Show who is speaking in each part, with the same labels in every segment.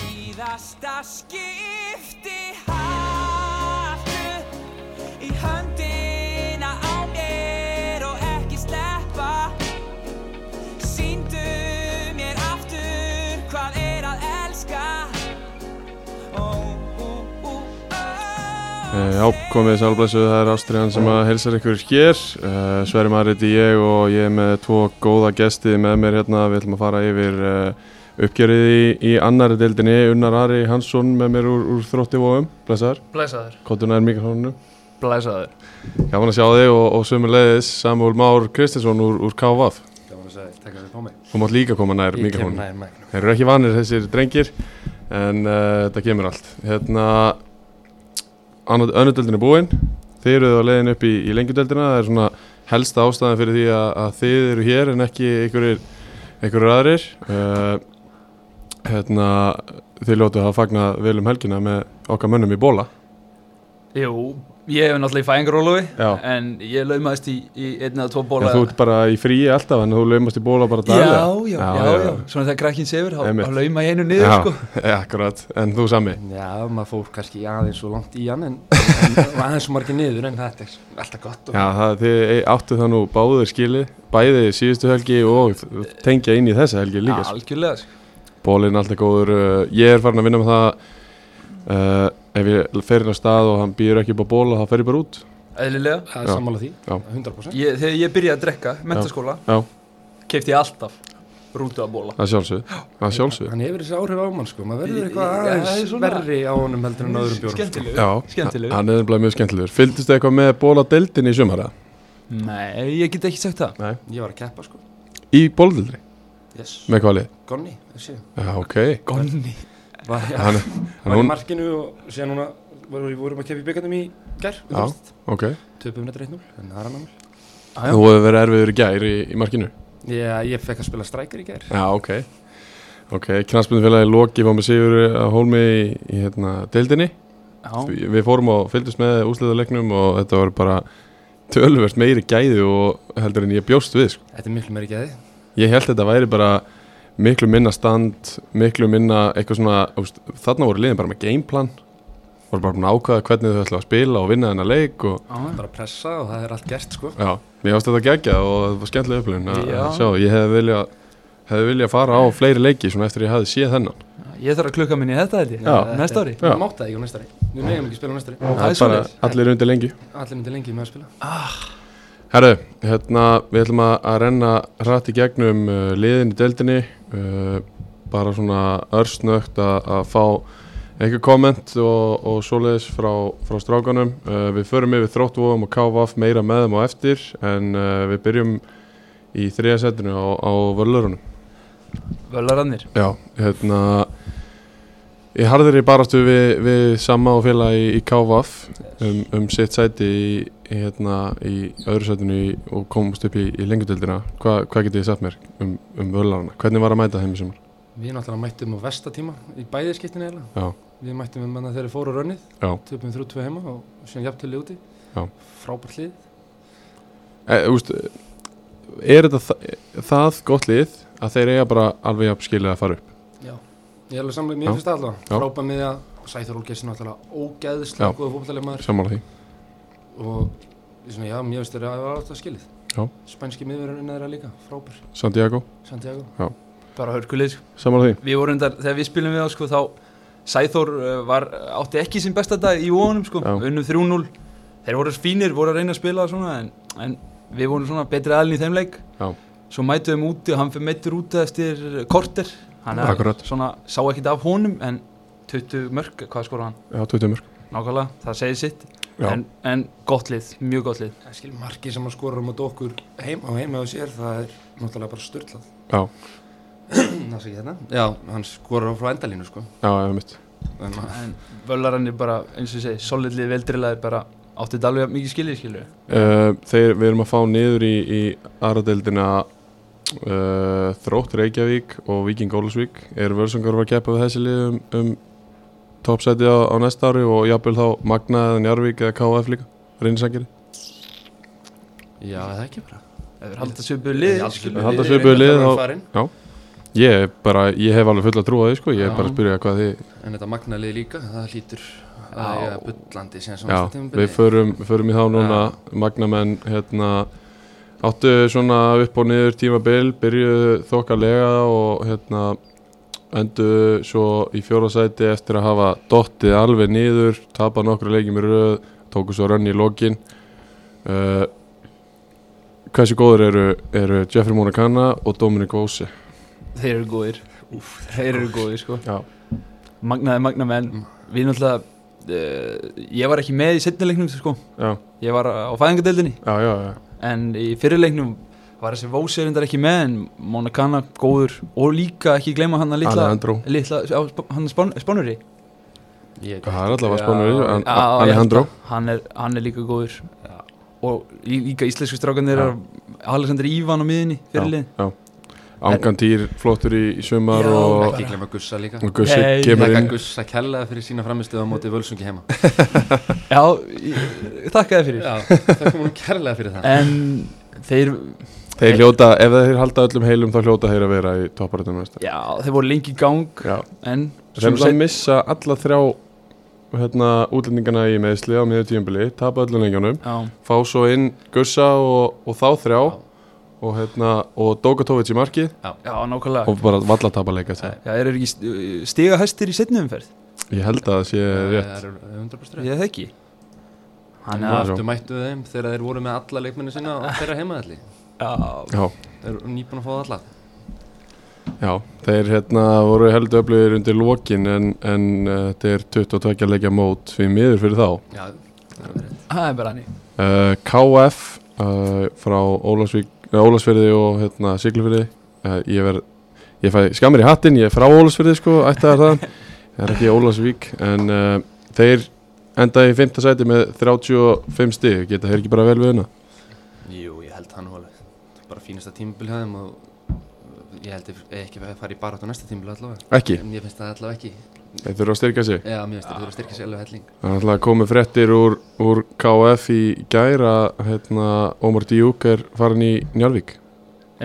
Speaker 1: síðasta skipti Haltu í höndina á mér og ekki sleppa Sýndu mér aftur hvað er að elska Ó, ú, ú, ó
Speaker 2: Eh, Já, komið sálblessuð, það er Ástriðan sem að helsar ykkur hér. Eh, Sverri Maður heiti ég og ég er með tvo góða gesti með mér hérna. Við ætlum að fara yfir eh, uppgjörið í, í annari deildinni. Unnar Ari Hansson með mér úr, úr þrótti vóum. Blessaður,
Speaker 3: Blæsaður
Speaker 2: kottuna er mikrofónu.
Speaker 3: Blæsaður
Speaker 2: Gaman að sjá þig og, og sömu leiðis Samúl Már Kristinsson úr, úr KVF.
Speaker 4: Gaman að segja, taka þér á mig.
Speaker 2: Þú mátt líka koma nær
Speaker 4: Ég kem
Speaker 2: mikrofónu.
Speaker 4: nær mæknum.
Speaker 2: Þeir eru ekki vanir þessir drengir en uh, þetta kemur allt hérna önnudeldin er búinn þeir eru á leiðin upp í, í lengjudeldina það er svona helsta ástæðan fyrir því að, að þið eru hér en ekki einhverjir einhverjir aðrir uh, hérna þið ljótu að fagna vel um helgina með okkar mönnum í bóla
Speaker 3: Jú, ég hef náttúrulega í fæðingarólufi
Speaker 2: Já.
Speaker 3: En ég laumaðist í, í einn eða tvo
Speaker 2: en
Speaker 3: bóla
Speaker 2: þú ert bara í fríi alltaf en þú laumast í bóla bara
Speaker 3: já, já,
Speaker 2: daglega.
Speaker 3: já, já, Svona þegar krakkin sefur, þá
Speaker 2: Einmitt.
Speaker 3: þá lauma ég einu niður sko.
Speaker 2: já, akkurat, en þú sami
Speaker 4: Já, maður fór kannski aðeins svo langt í hann en, en aðeins svo margir niður en þetta er alltaf gott og
Speaker 2: Já, það, þið áttu það nú báður skili, bæði síðustu helgi og tengja inn í þessa helgi líka.
Speaker 3: Já,
Speaker 2: sko.
Speaker 3: Algjörlega sko.
Speaker 2: Bólinn alltaf góður, uh, ég er farin að vinna með það, uh, ef ég fer inn á stað og hann býður ekki upp á bóla, þá fer ég bara út.
Speaker 3: Eðlilega
Speaker 4: það
Speaker 2: Já.
Speaker 4: er sammála því,
Speaker 2: Já.
Speaker 4: 100%.
Speaker 3: ég, Þegar ég byrjaði að drekka, mentaskóla
Speaker 2: Já,
Speaker 3: Kefti ég alltaf rútu að bóla
Speaker 2: það sjálfsög, það sjálfsög.
Speaker 4: Hann hefur þessi áhrif á mann sko, maður verður
Speaker 3: Ég-
Speaker 4: eitthvað
Speaker 3: ég- það er
Speaker 4: aðeins
Speaker 3: svona-
Speaker 4: verri á honum heldur en á öðrum sko. bjórnum.
Speaker 3: Skemmtilegur
Speaker 2: Já,
Speaker 3: Skemmtilegur.
Speaker 2: hann er nefnilega mjög skemmtilegur. Fylgdist þið eitthvað með bóladeildin í sumara?
Speaker 3: Nei, ég get ekki sagt það
Speaker 4: Ég var að keppa sko,
Speaker 2: Í bóladeildri?
Speaker 4: yes,
Speaker 2: Með hvað lið?
Speaker 4: Gonni, þessi,
Speaker 2: Já, ok.
Speaker 3: Gonni
Speaker 4: var, já,
Speaker 2: Hann, hann
Speaker 4: var í
Speaker 2: hún,
Speaker 4: markinu og síðan núna vorum við vorum að keppa í byggandum í gær,
Speaker 2: já, ok.
Speaker 4: töpum þetta 1-0, en það er annar mál.
Speaker 3: Já.
Speaker 2: Þú hefur verið erfiður í gær í, í markinu?
Speaker 4: Já, ég fekk að spila strækir í gær.
Speaker 2: Já, ok Ok, knastbundinfélagi Loki var með sigur að hólmi í, í hérna, deildinni
Speaker 3: Já,
Speaker 2: Við fórum og fylgdist með úsliðarleiknum og þetta var bara tölvert meiri gæði og heldur en ég bjóst við sko.
Speaker 4: Þetta er miklu meiri gæði.
Speaker 2: Ég held þetta væri bara miklu minna stand, miklu minna eitthvað svona, úst, þarna voru liðin bara með gameplan voru bara búin að ákvaða hvernig þau ætla að spila og vinna þennan leik og
Speaker 3: já.
Speaker 4: Bara pressa og það er allt gert sko.
Speaker 2: Já, mér ást þetta geggja og það var skemmtilega upplifun að
Speaker 3: Já.
Speaker 2: að sjá, ég hefði viljað hefði viljað fara á fleiri leiki svona eftir að ég hefði séð þennan
Speaker 3: Ég þarf að klukka minni í þetta held ég
Speaker 2: Já.
Speaker 3: Næsta ári
Speaker 2: Já.
Speaker 4: Við máta það ekki á næstari Við meðum ekki spila á næstari
Speaker 3: Það er
Speaker 2: bara
Speaker 3: svoleiðis.
Speaker 2: allir undir lengi
Speaker 4: Allir myndir lengi með að spila
Speaker 2: Herru, hérna við ætlum að að renna hratt í gegnum uh, liðin í deildinni uh, bara svona örsnögt að, að fá einhver komment og, og svoleiðis frá, frá strákanum uh, við förum yfir þróttvóðum og KVF meira með þeim á eftir en uh, við byrjum í þriða setinu á, á völlurunum
Speaker 3: Völarannir
Speaker 2: Já, hérna ég harður í barastu við, við sama og félagi í, í KVF um, um sitt sæti í, í, hérna, í öðru sætinu í, og komumst upp í, í lengjadöldina Hva, hvað getið þið sagt mér um, um völarna? Hvernig var að mæta þeim í sumar?
Speaker 4: Við náttúrulega mættum á vestatíma í bæði skiptinu eiginlega
Speaker 2: Já,
Speaker 4: Við mættum við manna þegar þeir fóru á rönnið
Speaker 2: já
Speaker 4: Töpum 3-2 heima og síðan jafn til úti
Speaker 2: Já.
Speaker 4: Frábært lið
Speaker 2: e, úst, Er þetta það, það gott lið að þeir eiga bara alveg að skilja að fara upp?
Speaker 4: Ég er alveg samlega,
Speaker 2: Já.
Speaker 4: mér finnst það allavega
Speaker 2: Já.
Speaker 4: Frábært miðja, Sæþur Olgeirsen náttúrulega ógeðislega
Speaker 2: Já.
Speaker 4: góða fókbaltalega maður
Speaker 2: Sammála því
Speaker 4: Og svona, já, mér finnst þeir að það var alltaf skilið
Speaker 2: Já.
Speaker 4: Spænski miðverðurinn er líka, frábær
Speaker 2: Santiago,
Speaker 4: Santiago
Speaker 3: Bara hörkuleið sko.
Speaker 2: sammála því
Speaker 3: Við vorum þar, þegar við spilum við á sko þá Sæþór uh, var, átti ekki sinn besta dag í vonum sko,
Speaker 2: Já.
Speaker 3: unnum 3-0 Þeir voru fínir, voru að reyna að spila svona en, en við vorum svona betri aðlinn í þeim leik
Speaker 2: Já.
Speaker 3: Svo mætum við úti og hann fyrir meittur út eftir korter Hann er
Speaker 2: Akkurat.
Speaker 3: svona, sá ekkit af honum en 20 mörg, hvað skora hann?
Speaker 2: Já, 20 mörg
Speaker 3: Nákvæmlega, það segir sitt
Speaker 2: Já.
Speaker 3: en, en gott lið, mjög gott lið
Speaker 4: Það skil markið sem að skora um okkur heima og heima á sér Það er náttúrulega bara styrlað
Speaker 2: Já,
Speaker 4: Það sé ekki þetta? Já, hann skorar frá endalínu sko
Speaker 2: já, eða mitt
Speaker 4: En ma-
Speaker 3: En völarinn er bara, eins og ég segi, solid lið, veldrilaði bara Átti þetta alveg jafn mikið skilið skilur
Speaker 2: Uh, þeir, við erum að fá niður í, í aðradeldina uh, Þrótt Reykjavík og Víking Ólusvík er völsungar að fara að keppa við þessi lið um, um toppsæti á, á næsta ári og jafnvel þá Magna eða Njarvík eða KF líka reynisangir
Speaker 4: Já, það er ekki bara
Speaker 3: Ef þeir halda svipuð lið
Speaker 4: Ég halda
Speaker 3: skilurðu.
Speaker 2: Halda
Speaker 4: Ég-
Speaker 2: svipuðu
Speaker 4: ég-
Speaker 2: lið
Speaker 4: ég-
Speaker 2: þá-
Speaker 4: farin.
Speaker 2: já. Ég, er bara, ég hef alveg fulla trú á því sko, ég er bara að
Speaker 4: Já.
Speaker 2: spyrja hvað þið
Speaker 4: En þetta magnaðlið líka, það hlýtur að
Speaker 3: Já.
Speaker 4: ég að bullandi síðan sem
Speaker 2: Já, við förum, förum í þá núna Magnamenn hérna, áttu svona upp og niður tímabil byrjuðu þokkalega og hérna endu svo í fjórasæti eftir að hafa dottið alveg niður tapa nokkru leikjum í röð tóku svo rönni í lokin uh, Hversu góður eru, eru Jeffrey Monacana og Dominic Óse?
Speaker 3: Þeir eru góðir Úf, Þeir eru góðir sko
Speaker 2: Já,
Speaker 3: Magnaði magna menn
Speaker 4: Mm.
Speaker 3: Við náttúrulega uh, Ég var ekki með í setni leiknum sko
Speaker 2: já,
Speaker 3: Ég var á fæðingadeildinni
Speaker 2: já, já, já.
Speaker 3: En í fyrir leiknum var þessi Vósi reyndar ekki með En Monacana góður Og líka ekki gleyma hann að litla
Speaker 2: Alejandro
Speaker 3: Litla, á Sp- hann spán, spánuri
Speaker 4: Ég,
Speaker 2: Það er allavega
Speaker 4: Já,
Speaker 2: spánur
Speaker 4: já,
Speaker 2: Alejandro
Speaker 3: hann er, hann er líka góður
Speaker 4: Já.
Speaker 3: Og lí- líka íslensku strákanir
Speaker 2: Já.
Speaker 3: er Alexander Ívan á miðinni fyrirlið
Speaker 2: Angantýr flottur í, í sumar
Speaker 3: Já,
Speaker 2: og
Speaker 4: ekki glemma Gussa líka
Speaker 2: og Gussi
Speaker 3: Nei,
Speaker 2: kemur
Speaker 4: Þakka
Speaker 2: inn
Speaker 4: Gussa kellaði fyrir sína framistuð á móti völsungi heima
Speaker 3: Já, ég- þakka þér fyrir
Speaker 4: Já, það kom hún kærlega fyrir það
Speaker 3: En þeir,
Speaker 2: þeir hljóta, ef þeir halda öllum heilum þá hljóta þeir að vera í topparatum
Speaker 3: já, þeir voru lengi í gang
Speaker 2: Já.
Speaker 3: En
Speaker 2: þeir
Speaker 3: svo
Speaker 2: hljóta að missa alla þrjá hérna, útlendingana í meðsli á miður tíumbili, tapa öllum leikjónum
Speaker 3: Já,
Speaker 2: fá svo inn Gussa og, og þá þrjá og, hérna, og Dókatóvits í markið
Speaker 3: já, nákvæmlega
Speaker 2: og bara valla tapa leika þetta
Speaker 3: Já, þeir eru ekki st- stiga hæstir í setni umferð
Speaker 2: ég held að það sé Eh, rétt
Speaker 4: Það er 100%
Speaker 3: Ég þekki
Speaker 4: En
Speaker 3: Þannig að
Speaker 2: já.
Speaker 4: aftur mættu þeim þegar þeir voru með alla leikmenni sinna og þeirra heimaðalli
Speaker 3: já,
Speaker 2: Já,
Speaker 4: Þeir eru nýbúin að fá alla
Speaker 2: já, þeir hérna, voru heldur öflugir undir lokin en, en uh, þetta er 22 leikja mót því miður fyrir þá
Speaker 4: Já, það er rétt
Speaker 3: það er bara hann
Speaker 2: Uh, KF uh, frá Ólafsvík- eh, Ólafsfirði og hérna, Siglufirði uh, ég, ver, ég fæ skammir í hattinn, ég er frá Ólafsfirði sko, ættaðar það ég er ekki í Ólafsvík en uh, þeir enda í 5. sæti með 35 stig geta þeir ekki bara vel við hérna
Speaker 4: Jú, ég held það nú alveg Það er bara fínasta tímabil hjá þeim og eh, ég held þeir eigi ekki að fara í baráttu næsta tímabil allavega
Speaker 2: ekki,
Speaker 4: Mér finnst það allavega ekki
Speaker 2: þeir þurfa að styrka sig
Speaker 4: Já, mér finnst þeir þurfa að styrkja sér alveg helling
Speaker 2: Það er alltaf komið fréttir úr, úr KF í gæra hérna, Ómar Díuk er farin í Njálvík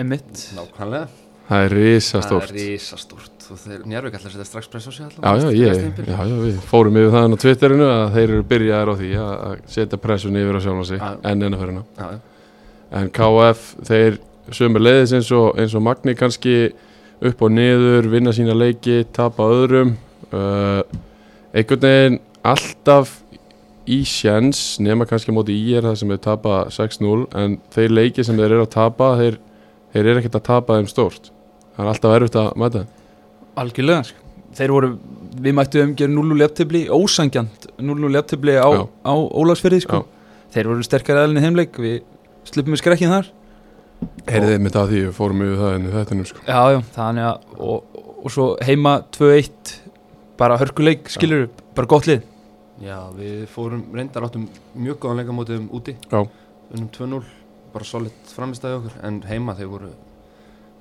Speaker 3: Emmitt
Speaker 4: Nákvæmlega
Speaker 2: það er risastórt
Speaker 4: Það er risastórt og þeir njárvík ætla að setja strax press á sig
Speaker 2: Já, já,
Speaker 4: næsta- næsta
Speaker 2: ég,
Speaker 4: tímabil.
Speaker 2: já, já, við fórum yfir það hann á Twitterinu að þeir eru byrjaðir á því að- að setja pressun yfir á sjálfa sig
Speaker 4: Já.
Speaker 2: enn ennaferðina.
Speaker 4: Já, já.
Speaker 2: En KF, þeir sömu leiðis eins og, eins og Magni kannski upp og niður, vinna sína leiki, tapa öðrum. Uh, einhvern veginn alltaf í sjens, nema kannski á móti í er það sem þeir tapa 6-0, en þeir leiki sem þeir eru að tapa, þeir, þeir eru ekkert að tapa þeim stórt. Það er alltaf erfitt að mæta þeim.
Speaker 3: Algjörlega sko. Þeir voru, við mættu umgjör 0-0 jafntefli, ósangjant 0-0 jafntefli á,
Speaker 2: Já.
Speaker 3: á Ólafsferði sko. Þeir voru sterkari aðlinni heimleik Við sluppum við skrekkin þar
Speaker 2: Heyrðið mitt að því, við fórum yfir það enn í þettinum sko.
Speaker 3: Já, já, þannig að og, og svo heima 2-1 bara hörkuleik, skilur bara gott lið
Speaker 4: Já, við fórum reyndar áttum mjög góðan leika mótum úti
Speaker 2: Já.
Speaker 4: Unnum 2-0, bara solid framistæði okkur En heima þeir voru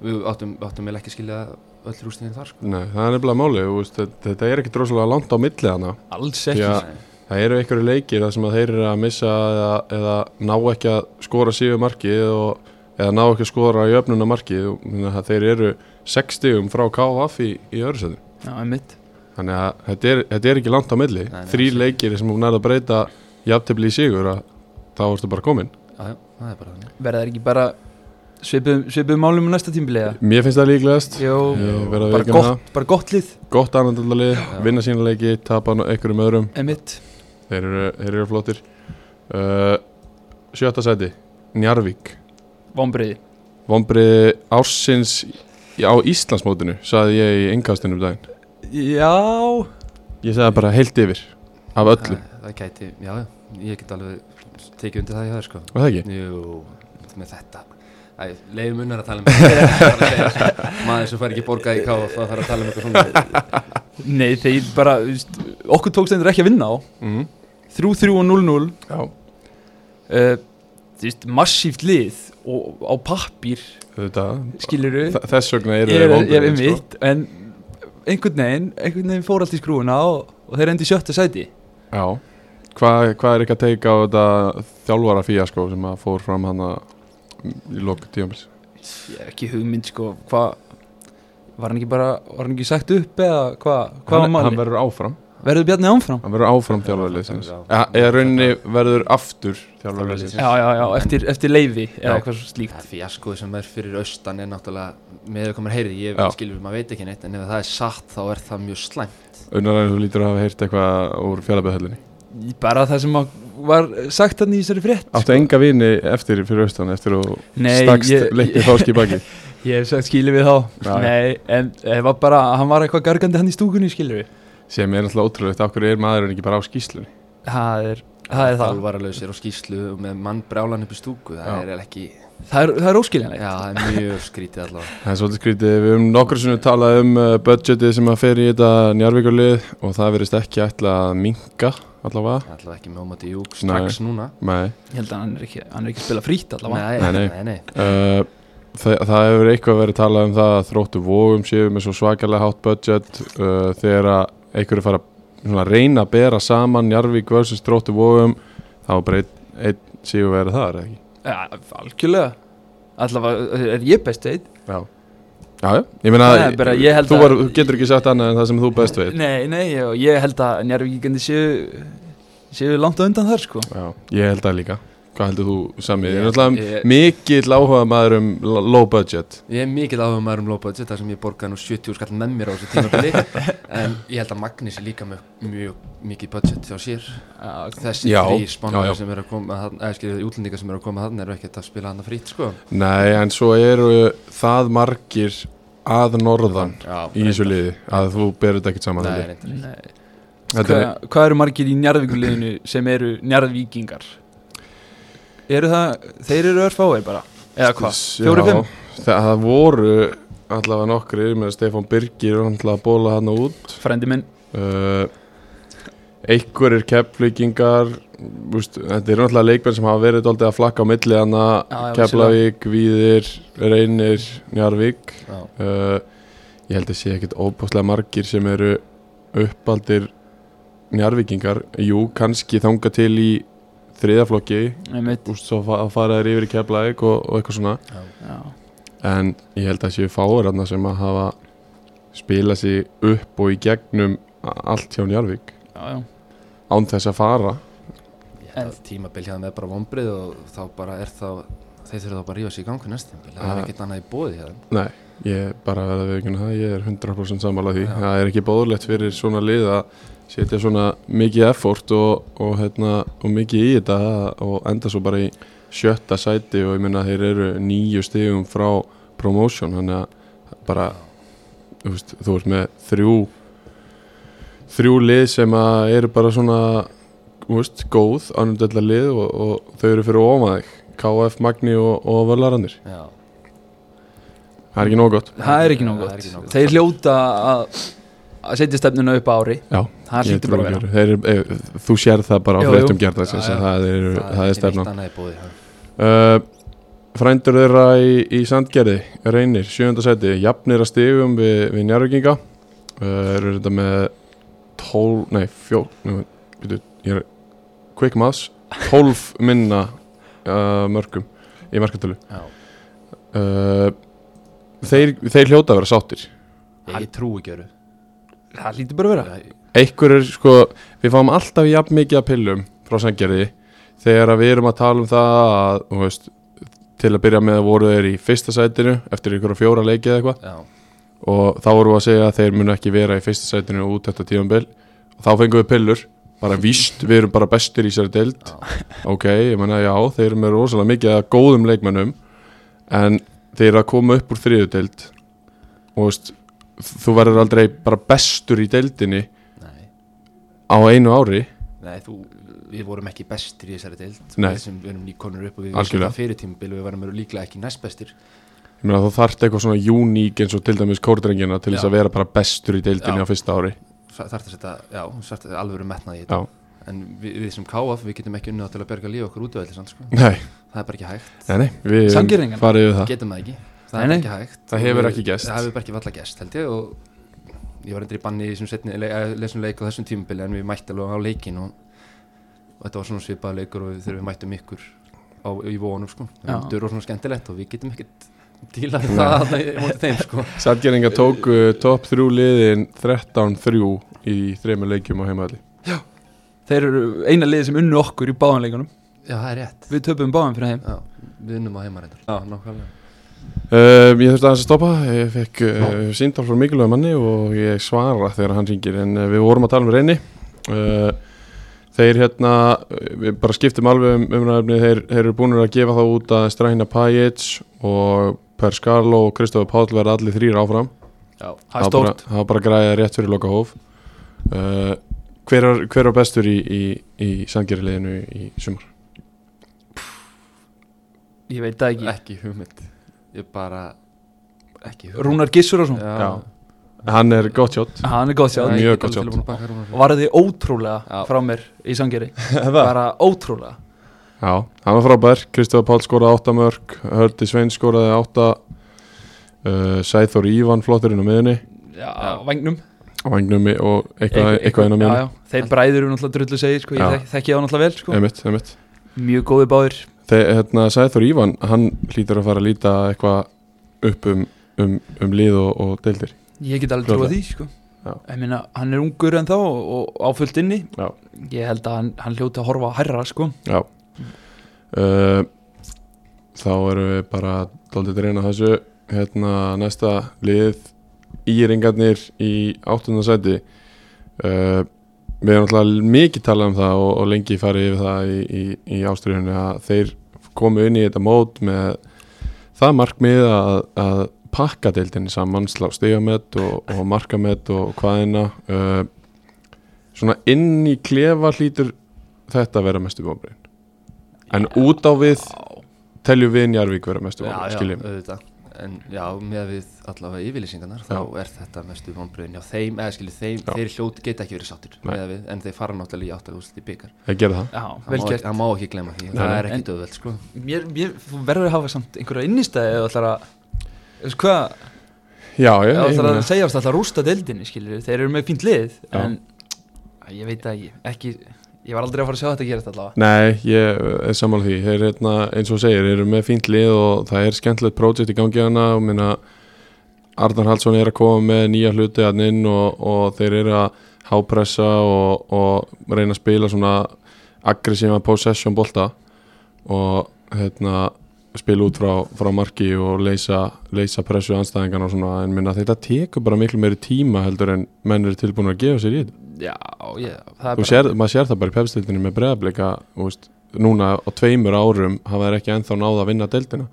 Speaker 4: Við áttum, áttum vel ekki skilja öll rústingin þar sko.
Speaker 2: Nei, það er nefnilega málið, þú veist, þetta, þetta er ekkert rosalega langt á milli hana.
Speaker 3: alls
Speaker 2: Því
Speaker 3: ekki
Speaker 2: að
Speaker 3: sko.
Speaker 2: það eru einhverju leikir þar sem að þeir eru að missa eða, eða ná ekki að skora síðu markið og, eða ná ekki að skora í öfnuna markið. og Þannig að þeir eru 60 frá KVF í, í öðursæðum.
Speaker 3: Já, einmitt
Speaker 2: Þannig að þetta er, þetta er ekki langt á milli.
Speaker 4: Nei, nei,
Speaker 2: Þrý
Speaker 4: alls ekki.
Speaker 2: leikir sem hún er að breyta jafntefli í sigur að þá ertu bara komin.
Speaker 4: Já, já, það er bara þannig
Speaker 3: Verða þeir ekki bara svipuð, svipuð málum á næsta tímbili eða?
Speaker 2: Mér finnst það líklegast.
Speaker 3: Jó,
Speaker 2: Ég verð að
Speaker 3: bara
Speaker 2: viðurkenna
Speaker 3: gott, bara gott lið
Speaker 2: Gott anandalið, vinna sína leiki, tapa einhverjum öðrum.
Speaker 3: einmitt
Speaker 2: Þeir eru, þeir eru flottir uh, Sjötta sæti Njarvík
Speaker 3: Vombriði
Speaker 2: Vombriði ársins í- á Íslandsmótinu Saði ég í engastinu um daginn
Speaker 3: Já,
Speaker 2: Ég sagði bara heilt yfir Af öllu
Speaker 4: Það, það gæti, já, já, ég get alveg tekið undir það hjá þér sko
Speaker 2: Var það ekki?
Speaker 4: Jú, með þetta Æ, leiðum unnar að tala um þetta Maður sem fær ekki borgað í káf þá þarf að tala um eitthvað svona
Speaker 3: nei þeir bara þú veist, okkur tókst þeir ekki að vinna á
Speaker 2: Mm.
Speaker 3: 3-3 og 0-0
Speaker 2: Já
Speaker 3: uh, þú veist, massíft lið og á pappir,
Speaker 2: Þetta,
Speaker 3: skiluru
Speaker 2: þa- Þess vegna eru
Speaker 3: er,
Speaker 2: þeir
Speaker 3: er
Speaker 2: vombriði sko.
Speaker 3: mitt en einhvern veginn, einhvern veginn fór allt í skrúuna og, og þeir endi í sjötta sæti
Speaker 2: Já Hvað hva er ekki að teika á þetta þjálfara fíja sko sem að fór fram hana í lok tíðanbils?
Speaker 3: ég hef ekki hugmynd sko hvað var hann ekki bara, var hann ekki sagt upp eða hvað, hvað var
Speaker 2: hann, hann
Speaker 3: máli?
Speaker 2: verður áfram
Speaker 3: Verður Bjarni áfram?
Speaker 2: hann verður áfram þjálfarliðsins
Speaker 4: Já.
Speaker 2: eða rauninni verður aftur þjálfarliðsins
Speaker 3: Já, já, já, eftir, eftir leiði eða
Speaker 2: Já.
Speaker 3: eitthvað svo slíkt
Speaker 4: Það fjaskoði sem er fyrir austan er náttúrulega með aukomar heyrið, ég
Speaker 2: Já.
Speaker 4: skilur maður veit ekki neitt en ef það er satt þá er það mjög slæmt
Speaker 2: unnar en þú lítur að hafa heyrt eitthvað úr fjallabæðhöllinni
Speaker 3: Bara það sem að var sagt hann í þessari frétt
Speaker 2: áttu enga vini eftir fyrir austan eftir að
Speaker 3: Sko- Nei,
Speaker 2: stakst
Speaker 3: ég-
Speaker 2: leitti fáski baki
Speaker 3: Ég hef sagt skilið við þá
Speaker 2: Já, já.
Speaker 3: Nei, en það var bara, hann var eitthvað gargandi hann í stúkunni skilið við
Speaker 2: sem er náttúrulega ótrúlegt af hverju er maðurinn ekki bara á skýslunni
Speaker 3: Það er það, er það.
Speaker 4: Þjálfaralausir á skýslu og með mann brjálan upp í stúku það
Speaker 2: Já.
Speaker 4: er eiginlega ekki,
Speaker 3: Það, er, það er óskiljanlegt
Speaker 4: já það er mjög skrítið allavega
Speaker 2: það er svolítið skrítið, við höfum nokkur sinnum talað um uh, budgetið sem að fer í þetta njarvíkulið og það verist ekki ætla að minka allavega
Speaker 4: allavega ekki með ómati júk
Speaker 2: Nei.
Speaker 4: strax núna
Speaker 2: Nei.
Speaker 3: Ég held að hann er ekki, hann er ekki að spila frýtt allavega
Speaker 4: nei,
Speaker 2: Nei, nei.
Speaker 4: nei, nei, nei.
Speaker 2: Uh, það, það hefur eitthvað verið talað um það að þróttu vóum séu með svo svakalega hátt budget uh, þegar að einhverju fara svona, að reyna að bera saman Njarvík vs. þróttu vóum þá bara einn ein, séu verið það, er það ekki?
Speaker 3: Já, algjörlega Allavega, er ég best veit
Speaker 2: Já, já, já. ég meina
Speaker 3: Nei, bara ég held
Speaker 2: þú,
Speaker 3: að-
Speaker 2: var, þú getur ekki sagt annað en það sem þú best veit
Speaker 3: Nei, nei, og ég held að njárvíkandi séu séu langt á undan þar sko
Speaker 2: Já, ég held það líka Hvað heldur þú samið? Ég er
Speaker 4: Ég-
Speaker 2: náttúrulega
Speaker 4: ég-
Speaker 2: mikill áhuga maður um l- low budget
Speaker 4: Ég er mikill áhuga maður um lópaðið þetta sem ég borgaði nú 70 skall með mér á þessu tímabili en ég held að Magnís er líka með mjög mikið budget hjá sér þessi
Speaker 2: Já,
Speaker 4: þrý
Speaker 2: já, já.
Speaker 4: spánar sem eru að koma þarna, eða skiljið útlendingar sem eru að koma þarna eru ekkert að spila hana frýtt sko
Speaker 2: Nei, en svo eru það margir að norðan
Speaker 4: Já,
Speaker 2: í þessu liði að þú berur þetta ekkert saman
Speaker 4: Nei,
Speaker 2: held ég.
Speaker 4: reyndar.
Speaker 2: Þetta er,
Speaker 3: Hvað hva eru margir í njárvíkuleginu sem eru njárvíkingar? Eru það, þeir eru örfáir bara Eða hvað,
Speaker 2: Já,
Speaker 3: fjóri fimm?
Speaker 2: Það það voru allavega nokkrir með Stefán Birgir og náttúrulega að bóla hann út
Speaker 3: Frendi minn,
Speaker 2: uh, einhverjir kepplíkingar úst, þetta eru náttúrulega leikmenn sem hafa verið dálítið að flakka á milli hann
Speaker 3: Já, já,
Speaker 2: Keflavík, Víðir, Reynir Njarvík
Speaker 4: Já.
Speaker 2: uh, ég held að sé ekkit óbúslega margir sem eru uppaldir Njarvíkingar, jú kannski þanga til í þriðaflokki
Speaker 3: einmitt
Speaker 2: úst, svo fa- að fara þér yfir í Keflavík og, og eitthvað svona
Speaker 3: Já,
Speaker 2: en ég held að séu fáir hann sem að hafa spilað sig upp og í gegnum a- allt hjá Njarvík
Speaker 3: já, já
Speaker 2: án þess að fara
Speaker 4: Ég held að tímabil hérna er bara vombrið og þá bara er þá þeir þurfa þá bara að rífa sér í gangu næstum það er
Speaker 2: Ah.
Speaker 4: ekkert annað í bóði hérna
Speaker 2: Nei, ég bara verða við ekki það, ég er 100% sammála því
Speaker 4: Já.
Speaker 2: það er ekki bóðlegt fyrir svona lið að setja svona mikið effort og, og, hérna, og mikið í þetta og enda svo bara í sjötta sæti og ég minna þeir eru nýju stigum frá promotion þannig að bara þú, veist, þú veist með þrjú þrjú lið sem að eru bara svona þú veist, góð annundella lið og, og þau eru fyrir ofan þig KF, Magni og, og Völarannir
Speaker 4: Já,
Speaker 2: það er ekki nóg gott
Speaker 3: Það er ekki nóg
Speaker 4: Það er
Speaker 3: gott.
Speaker 4: ekki nóg gott.
Speaker 3: Þeir hljóta að að setja stefnuna upp á ári
Speaker 2: Já,
Speaker 3: Það
Speaker 2: ég
Speaker 3: hlýtur bara
Speaker 2: trúi
Speaker 3: að vera
Speaker 2: ekki öðru. Þeir eru- eh, Þú sér það bara á
Speaker 3: Jú, jú.
Speaker 2: fréttum gerðarsins að
Speaker 4: Já, já.
Speaker 2: það er, það er
Speaker 4: ekki neitt
Speaker 2: stefnan
Speaker 4: annað í bóði hérna.
Speaker 2: uh, Frændur þeirra í, í Sandgerði reynir, sjönda seti jafnir að stigum við, við njárvíkinga uh, eru þetta með tól, nei, fjó nú, byrju, ég er quick maths, tólf minna uh, mörgum í markatölu
Speaker 4: Já.
Speaker 2: uh, þeir, þeir hljóta að vera sáttir
Speaker 4: Ég trú ekki öru
Speaker 3: Það hlýtur bara að vera
Speaker 2: einhverjur sko, við fáum alltaf jafn mikið að pillum frá sengjari þegar að við erum að tala um það að, þú veist, til að byrja með voru þeir í fyrsta sætinu eftir einhverja fjóra leiki eða eitthvað
Speaker 4: Já,
Speaker 2: og þá voru að segja að þeir munu ekki vera í fyrsta sætinu út þetta tímanbill og þá fengum við pillur, bara víst við erum bara bestir í sér deild ok, ég menna já, þeir eru með rosalega mikið að góðum leikmennum en þeir eru að koma upp úr þriðu deild og þú veist, þú verður aldrei bara bestur í deildinni
Speaker 4: nei
Speaker 2: á einu ári
Speaker 4: Nei, þú, við vorum ekki bestir í þessari deild
Speaker 2: Nei.
Speaker 4: Við sem við erum nýkonur upp og við
Speaker 2: Algjörlega.
Speaker 4: það fyrir tímabil og við varum líklega ekki næst bestir
Speaker 2: Ég meina þú þarft eitthvað svona uník eins og til dæmis kórdrengina til þess
Speaker 4: Já.
Speaker 2: að vera bara bestur í deildinni
Speaker 4: Já.
Speaker 2: á fyrsta ári
Speaker 4: þarf að setja, já, þarf að alvöru metnaði í þetta
Speaker 2: Já,
Speaker 4: En við, við sem KF, við getum ekki unnið það til að berga líf okkur út af allir sko.
Speaker 2: nei,
Speaker 4: Það er bara ekki hægt
Speaker 2: nei, nei við höfum
Speaker 3: Sanngirningar.
Speaker 2: farið við það
Speaker 4: Getum það ekki, það
Speaker 3: Nei,
Speaker 4: er
Speaker 3: nei.
Speaker 4: bara ekki hægt
Speaker 2: Það
Speaker 4: Og
Speaker 2: hefur
Speaker 4: við-
Speaker 2: ekki gerst.
Speaker 4: Það hefur bara ekki valla gæst, held ég Og ég var endur í banni í þessum setni, le eh, lesnum leik á þessum tímabili En við mætti alveg á leikin og, og þetta var svona svipaða leikur Og þegar við mættum ykkur á, í vonum sko.
Speaker 3: Já.
Speaker 4: Það var svona skemmtilegt og við getum ekkert díla við það þarna í- móti þeim sko
Speaker 2: Sætgeringa tóku topp þrjú liðin 13-3 í þremur leikjum á heimaðli
Speaker 3: Þeir eru eina liðið sem unnu okkur í báðanleikunum
Speaker 4: Já, það er rétt
Speaker 3: Við töpum báðan fyrir þeim
Speaker 4: Já, við unnum á heimarættur Já, nákvæmlega
Speaker 2: um, Ég þurfti aðeins að stoppa, ég fekk uh, síndál frá mikilvæg manni og ég svara þegar hann ringir en uh, við vorum að tala um reyni uh, Þeir hérna, uh, við bara skiptum alveg um umræðumni, þeir, þeir eru búin að gefa það út að Strahina Pajic og Per Skarlo og Kristofur Páll verða allir þrýr áfram
Speaker 3: Já, það er stórt
Speaker 2: bara, það var bara græðið rétt fyrir loka hóf uh, hver, er, hver er bestur í, í, í sangerileginu í sumar?
Speaker 3: Ég veit það ekki
Speaker 4: Ekki hugmynd Ég bara Ekki hugmynd
Speaker 3: Rúnar Gissurason
Speaker 4: Já,
Speaker 2: Já. hann er gott sjótt
Speaker 3: Hann er góð
Speaker 4: Já,
Speaker 3: sjálf
Speaker 2: Mjög
Speaker 4: ég get
Speaker 2: gott
Speaker 4: alveg
Speaker 2: shot.
Speaker 4: tilbúin að baka Rúnar.
Speaker 3: Varði ótrúlega
Speaker 4: Já.
Speaker 3: frá mér í sangeri Bara ótrúlega
Speaker 2: já, hann var frábær, Kristofur Pál skoraði 8 mörg Hördi Svein skoraði 8 uh, Sæþór Ívan flotturinn á miðunni
Speaker 3: Já, vagnum
Speaker 2: á engnum og eitthvað, eitthvað inn á
Speaker 3: já,
Speaker 2: miðunni
Speaker 3: já. Þeir bræður eru náttúrulega drullu segir sko.
Speaker 2: Já.
Speaker 3: Ég þek- þekki það náttúrulega vel sko.
Speaker 2: einmitt, einmitt
Speaker 3: Mjög góði báðir
Speaker 2: Þegar hérna, Sæþór Ívan, hann hlýtur að fara að líta eitthvað upp um, um, um lið og, og deildir
Speaker 3: Ég get alveg
Speaker 2: Fljótlega.
Speaker 3: trúa því sko.
Speaker 2: Já.
Speaker 3: Ég meina, hann er ungur en þá og, og áfullt inni
Speaker 2: Já.
Speaker 3: Ég held að hann, hann hljóti að horfa hærra sko.
Speaker 2: Já uh, Þá erum við bara daldið að reyna þessu hérna næsta lið íringarnir í áttundasæti uh, Við erum alltaf mikið talað um það og, og lengi farið yfir það í, í, í ástriðunni að þeir komu inn í þetta mót með það markmið að, að pakka deildinni saman, slá stigamett og, og markamett og hvaðina uh, svona inn í klefa hlýtur þetta vera mestu vonbrinn en út á við teljum við Njarvík vera mestu
Speaker 4: Já,
Speaker 2: vonbrinn,
Speaker 4: já,
Speaker 2: skiljum
Speaker 4: auðvitað En já, með við allavega yfirlýsingarnar þá
Speaker 2: Já.
Speaker 4: er þetta mestu vonbröðin Já, þeim, eða skilju, þeim,
Speaker 2: Já.
Speaker 4: þeir hljóti geta ekki verið sáttir
Speaker 2: Nei.
Speaker 4: með við, en þeir fara náttúrulega í áttalúslit í byggar
Speaker 2: að gera það
Speaker 3: Já,
Speaker 4: Það
Speaker 3: vel
Speaker 4: má,
Speaker 3: gert
Speaker 4: það má ekki glemma því,
Speaker 2: Nei,
Speaker 4: það
Speaker 2: nei.
Speaker 4: er
Speaker 3: En-
Speaker 4: ekki döðveld sko
Speaker 3: mér, mér, Þú verður að hafa samt einhverja innistæði eða ætlar að Þú veist hvað
Speaker 2: Já, já,
Speaker 3: eða
Speaker 2: ég
Speaker 3: ætlar að
Speaker 2: meina
Speaker 3: segja alltaf að rústa deildinni skilur Þeir eru með fínt lið
Speaker 2: Já.
Speaker 3: En Æ, ég veit það ekki, ekki Ég var aldrei að fara að sjá þetta að gera þetta allavega
Speaker 2: Nei, ég eh, er sammála því þeir hérna, eins og þú segir, eru með fínt lið og það er skemmtilegt prójekt í gangi hana og minna Arnar Haldsson er að koma með nýja hluti hann inn og, og þeir eru að hápressa og, og reyna að spila svona aggressíma possession bolta og hérna spila út frá, frá marki og leysa, leysa pressu anstæðingarna og svona en minna þetta tekur bara miklu meiri tíma heldur en menn eru tilbúin að gefa sér í þetta
Speaker 3: Já, já, það er
Speaker 2: Þú sér, maður sér það bara í pepstildinni með breðablika veist, núna á tveimur árum hafa þeir ekki ennþá náða að vinna deildina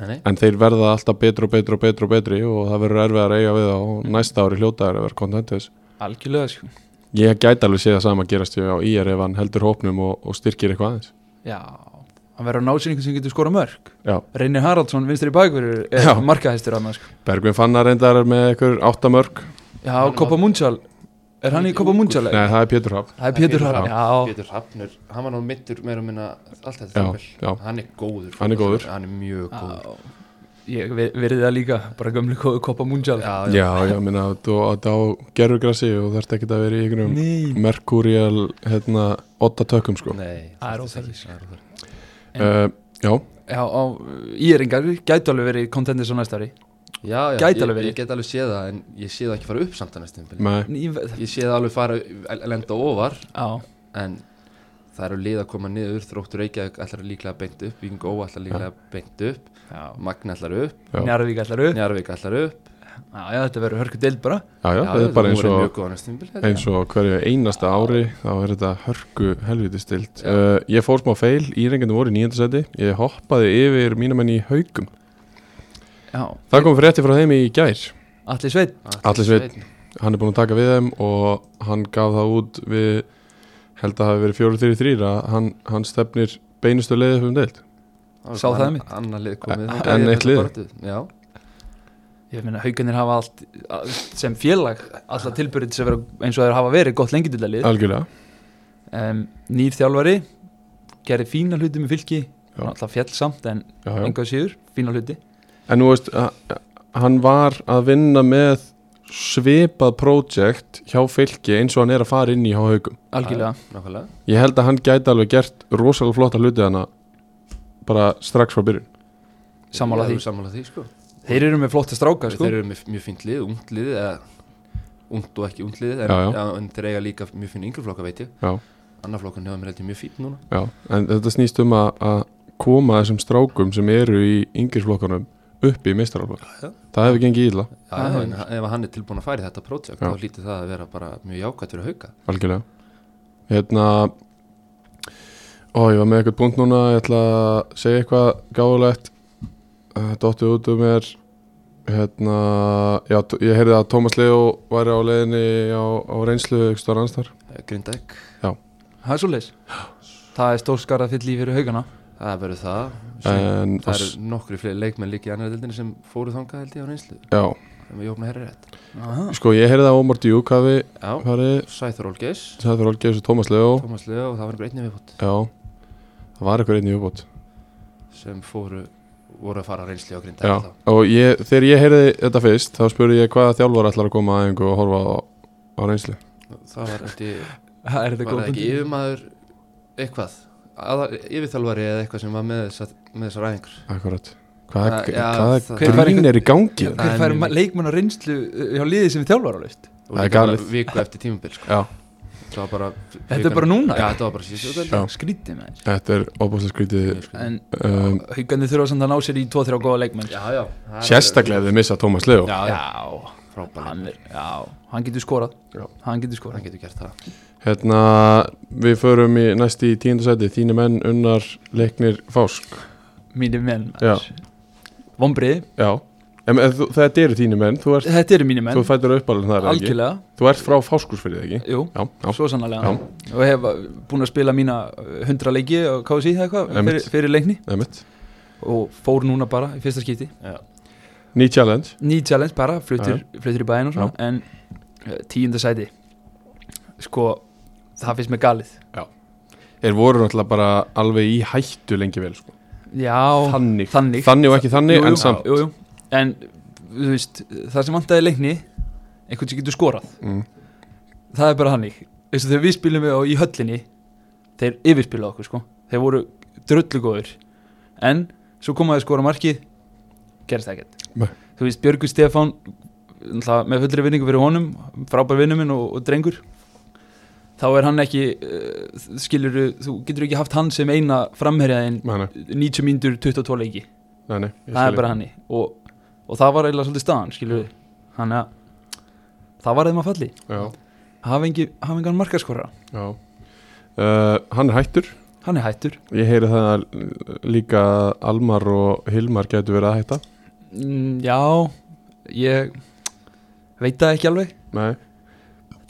Speaker 4: Nei, nei,
Speaker 2: en þeir verða alltaf betri og betri og betri og betri og það verður erfið að reyja við það og næsta ári hljótaður að vera kontentið
Speaker 3: algjörlega sko
Speaker 2: Ég gæti alveg séð það sama gerast ég á IR ef hann heldur hópnum og, og styrkir eitthvað aðeins
Speaker 3: Já, hann verður að ná sér einhvern sem getur skora mörg
Speaker 2: Já,
Speaker 3: Reynir Haraldsson, vinstri bakverður, er
Speaker 2: Já.
Speaker 3: markahæstur annars sko.
Speaker 2: Bergvin Fannar reyndar er með einhver áttamörk
Speaker 3: Já, Kopa Munchal, er hann í Kopa Munchal?
Speaker 2: Nei, það er Pétur Hafn
Speaker 3: það er Pétur
Speaker 4: Pétur
Speaker 3: Harald Já,
Speaker 4: Pétur Hafnur, hann var nú mittur meira og minna allt þetta
Speaker 2: Já, já.
Speaker 4: tímabil. Hann er góður
Speaker 2: Hann er góður.
Speaker 4: Hann er mjög góður
Speaker 3: já. ég vi- virði það líka, bara gömlu kóðu Kopa Munchal
Speaker 4: Já,
Speaker 2: Já, já, minna, þú átt á gerfugrassi og þarft ekki að vera í einhverjum
Speaker 3: Nei,
Speaker 2: Merkúrial, hérna, otta tökum sko
Speaker 4: Nei,
Speaker 3: Það er
Speaker 4: þetta
Speaker 3: óþarfi,
Speaker 4: ekki-
Speaker 3: sko.
Speaker 4: það er óþarfi.
Speaker 2: uh, Já,
Speaker 3: já, á, ég er engar, gætu alveg verið kontendis á næsta ári
Speaker 4: Já, já,
Speaker 3: Gæti alveg
Speaker 4: ég,
Speaker 3: verið.
Speaker 4: ég get alveg séð það en ég sé það ekki fara upp samt að næstum tímabil.
Speaker 2: með
Speaker 3: Ég ve-
Speaker 4: Ég sé það alveg fara, að lenda ofar
Speaker 3: Já,
Speaker 4: en það eru lið að koma niður þróttur Reykjavík allar líklega beint upp Víking Ó allar líklega beint upp
Speaker 3: já
Speaker 4: Magna allar upp,
Speaker 2: Já.
Speaker 3: Njarðvík allar upp,
Speaker 4: Njarvík allar upp
Speaker 3: já, já, þetta verður hörku deild bara
Speaker 2: Já, já, það er bara eins og
Speaker 4: mjög góðan stimbil
Speaker 2: eins og hverju einasta ári þá er þetta hörku helviti stilt uh, ég fór smá feil, írengjandi voru í nýjöndasæti ég hoppaði yfir mínamenn í haugum
Speaker 3: Já,
Speaker 2: það kom frétti frá þeim í gær
Speaker 3: Atli Sveit
Speaker 2: Atli Sveinn. hann er búin að taka við þeim og hann gaf það út við held að það hafi verið 4-3-3 að hann, hann stefnir beinustu leiðið um deild
Speaker 3: Sá það einmitt.
Speaker 4: Annar lið komið
Speaker 2: En-
Speaker 4: þangað
Speaker 2: en
Speaker 4: í
Speaker 2: eitt
Speaker 4: þessa
Speaker 2: lið.
Speaker 4: baráttu. Já,
Speaker 3: Ég meina, haugarnir hafa allt a- sem félag, alla tilbyrðið sem vera eins og þeir hafa verið gott lengjutildalið
Speaker 2: algjörlega,
Speaker 3: um, Nýr þjálfari gerði fína hluti með fylki
Speaker 2: Já.
Speaker 3: alltaf fjall samt en
Speaker 2: já, já.
Speaker 3: enga síður fína hluti
Speaker 2: en nú veist að- hann var að vinna með svipað projekt hjá fylki eins og hann er að fara inn í hjá haugum
Speaker 3: algjörlega
Speaker 4: nákvæmlega
Speaker 2: Ég held að hann gæti alveg gert rosalega flotta hluti hana bara strax frá byrjun
Speaker 3: Sammála
Speaker 4: Ég er
Speaker 3: því.
Speaker 4: alveg Sammála því, sko
Speaker 3: Þeir eru með flotta stráka sko
Speaker 4: Þeir eru með mjög fínt lið, ungt lið eða ungt og ekki ungt lið en,
Speaker 2: Já, já.
Speaker 4: en þeir eiga líka mjög fín yngri flokka veit ég
Speaker 2: Já.
Speaker 4: annar flokkan hefur mér heldur mjög fín núna
Speaker 2: Já, en þetta snýst um að, að koma þessum strákum sem eru í yngirflokkanum upp í meistaraflokk það hefur gengið illa,
Speaker 4: já,
Speaker 3: Það
Speaker 4: já,
Speaker 3: hefur
Speaker 4: en ef hann er tilbúin að fara í þetta prótjekt
Speaker 2: Ah, Já.
Speaker 4: þá lítið það að vera bara mjög jákvæmt fyrir að hauka
Speaker 2: algjörlega hérna ó, ég var með eitthvað punkt núna ég ætla að segja eitthvað gáðulegt dóttið út um mér hérna, já, t- ég heyrði að Tómas Leo væri á leiðinni á, á reynslu ykkur stóra anstar
Speaker 4: Eh, Grindæk,
Speaker 3: Það er svo leis Það er stórskarað fyll í fyrir haugana
Speaker 4: það verður það Svo-
Speaker 2: en,
Speaker 4: það eru nokkri fleiri leikmenn líka í annar deildinni sem fóru þangað held ég á reynslu
Speaker 2: já,
Speaker 4: ef ég opna herri rétt
Speaker 2: sko ég heyrði að Ómar Djúk hafi
Speaker 4: já,
Speaker 2: farið,
Speaker 4: Sæþur Olgeis
Speaker 2: það þurfa algjörðis og Tómas Leo
Speaker 4: Tómas Leo og það var einhver einnig viðbót
Speaker 2: Já, það var eitthvað einn í uppbót
Speaker 4: sem fóru voru að fara á reynslu á
Speaker 2: Já,
Speaker 4: Grindæk þá
Speaker 2: og ég, þegar ég heyrði þetta fyrst þá spurði ég hvaða þjálfur ætlar að koma að einhver og horfa á, á reynslu
Speaker 4: það var eftir
Speaker 3: Það er þetta
Speaker 4: var það
Speaker 3: góð
Speaker 4: ekki yfirmaður eitthvað Aðal- yfirþjálfari eða eitthvað sem var með þessar, með þessar æfingur
Speaker 2: Akkurat Hvað
Speaker 4: Já, já, það-
Speaker 2: hvaða
Speaker 3: Hver fær
Speaker 2: grín
Speaker 3: einhvern-
Speaker 2: er í gangi? Já,
Speaker 4: Já, það er
Speaker 3: Hver fær
Speaker 4: mjög
Speaker 3: ma-
Speaker 4: mikið.
Speaker 3: leikmenn á reynslu uh, hjá liði sem er þjálfar á laust
Speaker 4: og
Speaker 2: Það er
Speaker 4: líka bara
Speaker 2: galið.
Speaker 4: viku eftir tímabil sko.
Speaker 2: já.
Speaker 4: þetta var bara
Speaker 3: Þetta er bara núna?
Speaker 4: já, þetta var bara síðan
Speaker 2: Já.
Speaker 3: Skrítið með þér
Speaker 2: Þetta er óbúslega skrítið
Speaker 4: já,
Speaker 3: En
Speaker 2: um,
Speaker 3: haugandi þurfa samt að ná sér í 2-3 góða leikmenn
Speaker 4: já það er-
Speaker 2: Sérstaklega ef þið missa Tómas Leo
Speaker 4: já, já,
Speaker 3: Já
Speaker 4: frábært
Speaker 3: Hann er, já, hann getur skorað
Speaker 2: Já.
Speaker 3: Hann getur
Speaker 4: hann
Speaker 3: skorað
Speaker 4: getur gert það
Speaker 2: Hérna, við förum í næst í tíundasæti Þínu menn unnar leiknir fásk
Speaker 3: Mínir menn
Speaker 2: Já.
Speaker 3: Vombrið
Speaker 2: Já en, en, þú, Þetta eru þínu menn, þú ert
Speaker 3: Þetta eru mínir menn
Speaker 2: Þú fættur uppalinn þar ekki
Speaker 3: Algjörlega
Speaker 2: Þú ert frá fáskursfyrir ekki
Speaker 3: Jú
Speaker 2: Já, já,
Speaker 3: Svo sannlega
Speaker 2: Já.
Speaker 3: Og hef búin að spila mína uh, 100 leiki og KSI það eitthvað
Speaker 2: Einmitt.
Speaker 3: fyrir, fyrir leikni
Speaker 2: nefnitt
Speaker 3: og fór núna bara í fyrsta skipti
Speaker 4: já.
Speaker 2: Ný challenge
Speaker 3: Ný challenge bara, flutur, flutur í bæinn og svona en uh, tíunda sæti sko, það finnst mér galið
Speaker 2: Þeir voru náttúrulega bara alveg í hættu lengi vel sko.
Speaker 3: Já,
Speaker 2: Þannig
Speaker 3: þannig
Speaker 2: Þannig og ekki þannig
Speaker 3: Jú, jú,
Speaker 2: en samt
Speaker 3: jú, jú. En, þú veist, það sem vantaði leikni einhvern sem getur skorað
Speaker 2: Mm.
Speaker 3: það er bara hannig eins og þegar við spilum við á, í höllinni þeir yfirspilaði okkur sko þeir voru drullugóður en svo komaði að skora markið gerist það
Speaker 2: Nei.
Speaker 3: ekkert þú veist Björgur Stefán náttúrulega með fullri vinningu fyrir honum frábær vinnuminn og, og drengur þá er hann ekki uh, skilur þú getur ekki haft hann sem eina framherjaðin
Speaker 2: Nei, nei,
Speaker 3: 90 mínútur 22 leiki
Speaker 2: nei, nei, ég
Speaker 3: það
Speaker 2: skil
Speaker 3: er bara hann og, og það var eiginlega svolítið staðan skilur við hann að það var þeim að falli
Speaker 2: Já,
Speaker 3: hafa engi- hafa engan markaskora
Speaker 2: já uh, Hann er hættur
Speaker 3: hann er hættur
Speaker 2: Ég heyri það að, uh, líka að Almar og Hilmar gætu verið að hætta
Speaker 3: mm, já ég veit það ekki alveg
Speaker 2: Nei,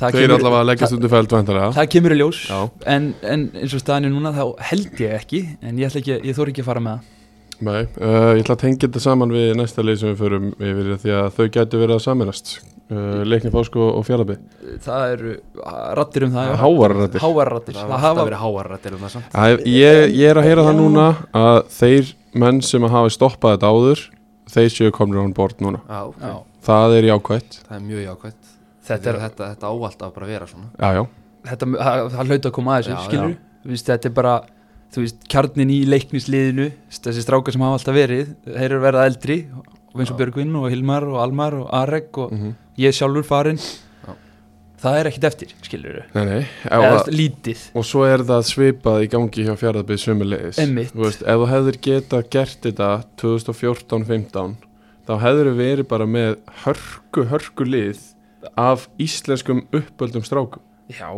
Speaker 3: það
Speaker 2: þeir allavega leggjast
Speaker 3: það,
Speaker 2: undir fæld væntanlega
Speaker 3: það kemur í ljós
Speaker 2: Já.
Speaker 3: en, en eins og staðan er núna þá held ég ekki en ég, ætla ekki, ég þóri ekki að fara með það
Speaker 2: Nei, uh, ég ætla að tengja þetta saman við næsta leið sem við förum yfir því að þau gætu verið að saminast uh, Leikni Fásko og Fjarlabi
Speaker 3: það eru rattir um það
Speaker 2: Hávarrættir
Speaker 3: hávarrattir
Speaker 4: það
Speaker 3: það,
Speaker 4: var alltaf
Speaker 3: hafa
Speaker 4: verið háarrættir um það samt
Speaker 2: Það er- Ég, ég er að heyra það núna að þeir menn sem að hafa stoppað þetta áður þeir séu komnir án bort núna
Speaker 4: já, ok.
Speaker 3: já,
Speaker 2: Það er jákvætt
Speaker 4: það er mjög jákvæmt
Speaker 3: þetta,
Speaker 4: þetta,
Speaker 3: er,
Speaker 4: þetta, þetta ávallt að bara vera svona
Speaker 2: Já, já,
Speaker 3: þetta, það, það hlaut að koma að þessu
Speaker 4: Já,
Speaker 3: skilur Vist, þetta er bara þú veist, kjarnin í leiknisliðinu þessi strákar sem hafa alltaf verið þeir eru að verða eldri og eins og Björgvin og Hilmar og Almar og Arek og
Speaker 2: Mhm.
Speaker 3: ég sjálfur farinn
Speaker 4: Já.
Speaker 3: það er ekkit eftir skilur
Speaker 2: nei, nei
Speaker 3: eða
Speaker 2: Eða,
Speaker 3: það... lítið
Speaker 2: Og svo er það svipað í gangi hjá fjaraðbyggð sömulegis
Speaker 3: Einmitt.
Speaker 2: Þú veist, ef þú hefðir geta gert þetta 2014-15 þá hefðir við verið bara með hörku, hörku lið af íslenskum uppöldum strákum
Speaker 3: já,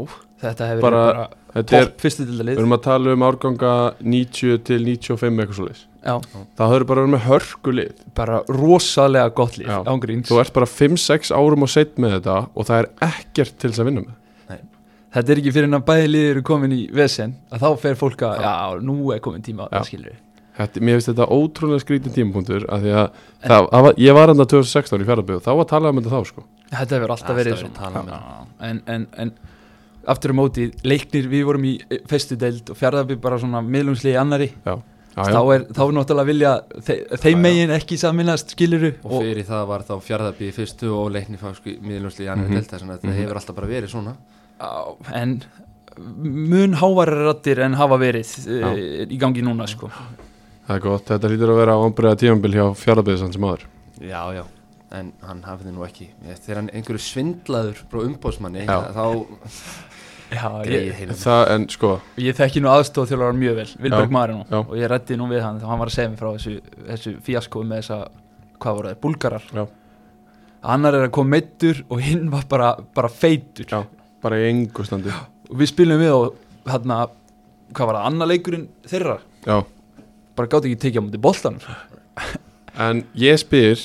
Speaker 3: þetta hefur
Speaker 2: Bara-
Speaker 3: bara, bara
Speaker 2: Þetta er,
Speaker 3: topp fyrstu
Speaker 2: við
Speaker 3: dildalið
Speaker 2: erum að tala um árganga 90 til 95 eitthvað svo leis
Speaker 3: já,
Speaker 2: Það hefur bara verið með hörku lið
Speaker 3: bara rosalega gott lið
Speaker 2: Já.
Speaker 3: ángríns,
Speaker 2: Þú ert bara 5-6 árum og seitt með þetta og það er ekkert til þess að vinna með
Speaker 3: þetta er ekki fyrir en að bæði liðið eru komin í vesen að þá fer fólk að, já, nú er komin tíma
Speaker 2: Já.
Speaker 3: já. skilur
Speaker 2: Þetta, mér finnst þetta ótrúlega skrítin tímapunktur af því að það, það var, ég var hann 2016 í fjaraðbyggð þá var talað um þetta þá sko
Speaker 3: Þetta hefur alltaf
Speaker 4: Alltaf
Speaker 3: verið
Speaker 4: verið
Speaker 3: svona
Speaker 4: talað um
Speaker 3: Já, en, en, en aftur á móti leiknir, við vorum í festu deild og fjárðabbi bara svona miðlumsli í annari
Speaker 2: Já, já,
Speaker 3: þá er, þá er náttúrulega vilja þe
Speaker 4: Já, já.
Speaker 3: þeim megin ekki saminast skiluru
Speaker 4: og fyrir það var þá fjárðabí fyrstu og leikni fásku miðlumsli í annar mm -hmm. delta þannig að þetta hefur alltaf bara verið svona
Speaker 3: á, en mun hávarar rattir en hafa verið uh, í gangi núna sko
Speaker 2: Það er gott, þetta lítur að vera ámbriða tímambil hjá fjaraðbyggðsan sem aður
Speaker 4: já, já en hann hafði nú ekki þegar hann einhverju svindlaður frá umbóðsmanni
Speaker 2: Já.
Speaker 4: þá
Speaker 3: Já,
Speaker 4: greið
Speaker 3: ég,
Speaker 4: heilum
Speaker 2: það en sko
Speaker 3: ég þekki nú aðstofa þjálfara mjög vel, Vilberg
Speaker 2: Já,
Speaker 3: Marino
Speaker 2: já.
Speaker 3: og ég rætti nú við hann þá hann var að segja mér frá þessu, þessu fíasko með þessa, hvað voru þeir, búlgarar
Speaker 2: Já.
Speaker 3: annar er að koma meittur og hinn var bara, bara feitur
Speaker 2: já, bara í engu standi
Speaker 3: og við spilum við og hann hvað var það, annar leikurinn þeirra
Speaker 2: já.
Speaker 3: bara gátt ekki tekið á múti boltanum
Speaker 2: en ég spyr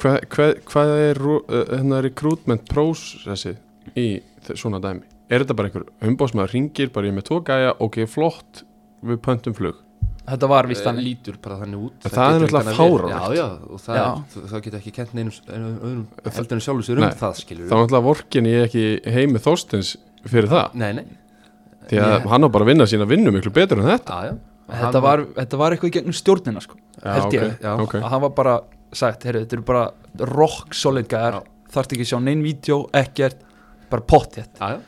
Speaker 2: hva, hva, hvað er ru- uh, hérna recruitment processi í þe- svona dæmi er þetta bara einhver umbóðsmaður ringir bara ég er með tvo gæja, ok flott við pöntum flug
Speaker 3: þetta var
Speaker 2: Eh,
Speaker 3: víst
Speaker 4: hann
Speaker 3: þannig
Speaker 4: lítur bara þannig út
Speaker 2: En það er
Speaker 4: getur
Speaker 2: náttúrulega
Speaker 4: engan að vera.
Speaker 2: fáránlegt.
Speaker 4: já, já, og það,
Speaker 3: Já.
Speaker 4: er- þú- það getur ekki kent neinum s- einum öðrum heldur en sjálfur sér um
Speaker 2: Nei.
Speaker 4: það skilur
Speaker 2: þá er alltaf vorkin ég ekki heimi Þorstins fyrir það,
Speaker 4: nei, nei,
Speaker 2: því að
Speaker 4: Ég-
Speaker 2: hann á bara að vinna sína vinnu miklu betur en þetta
Speaker 4: já, já
Speaker 3: þetta var, þetta var eitthvað í gegnum stjórnina sko, held ég
Speaker 4: já.
Speaker 2: ok,
Speaker 3: að hann var bara sagt, heyrðu, þetta eru bara rock solid gæðar, þarft ekki að sjá neinn vídeo, ekkert, bara pott hér
Speaker 4: já, já,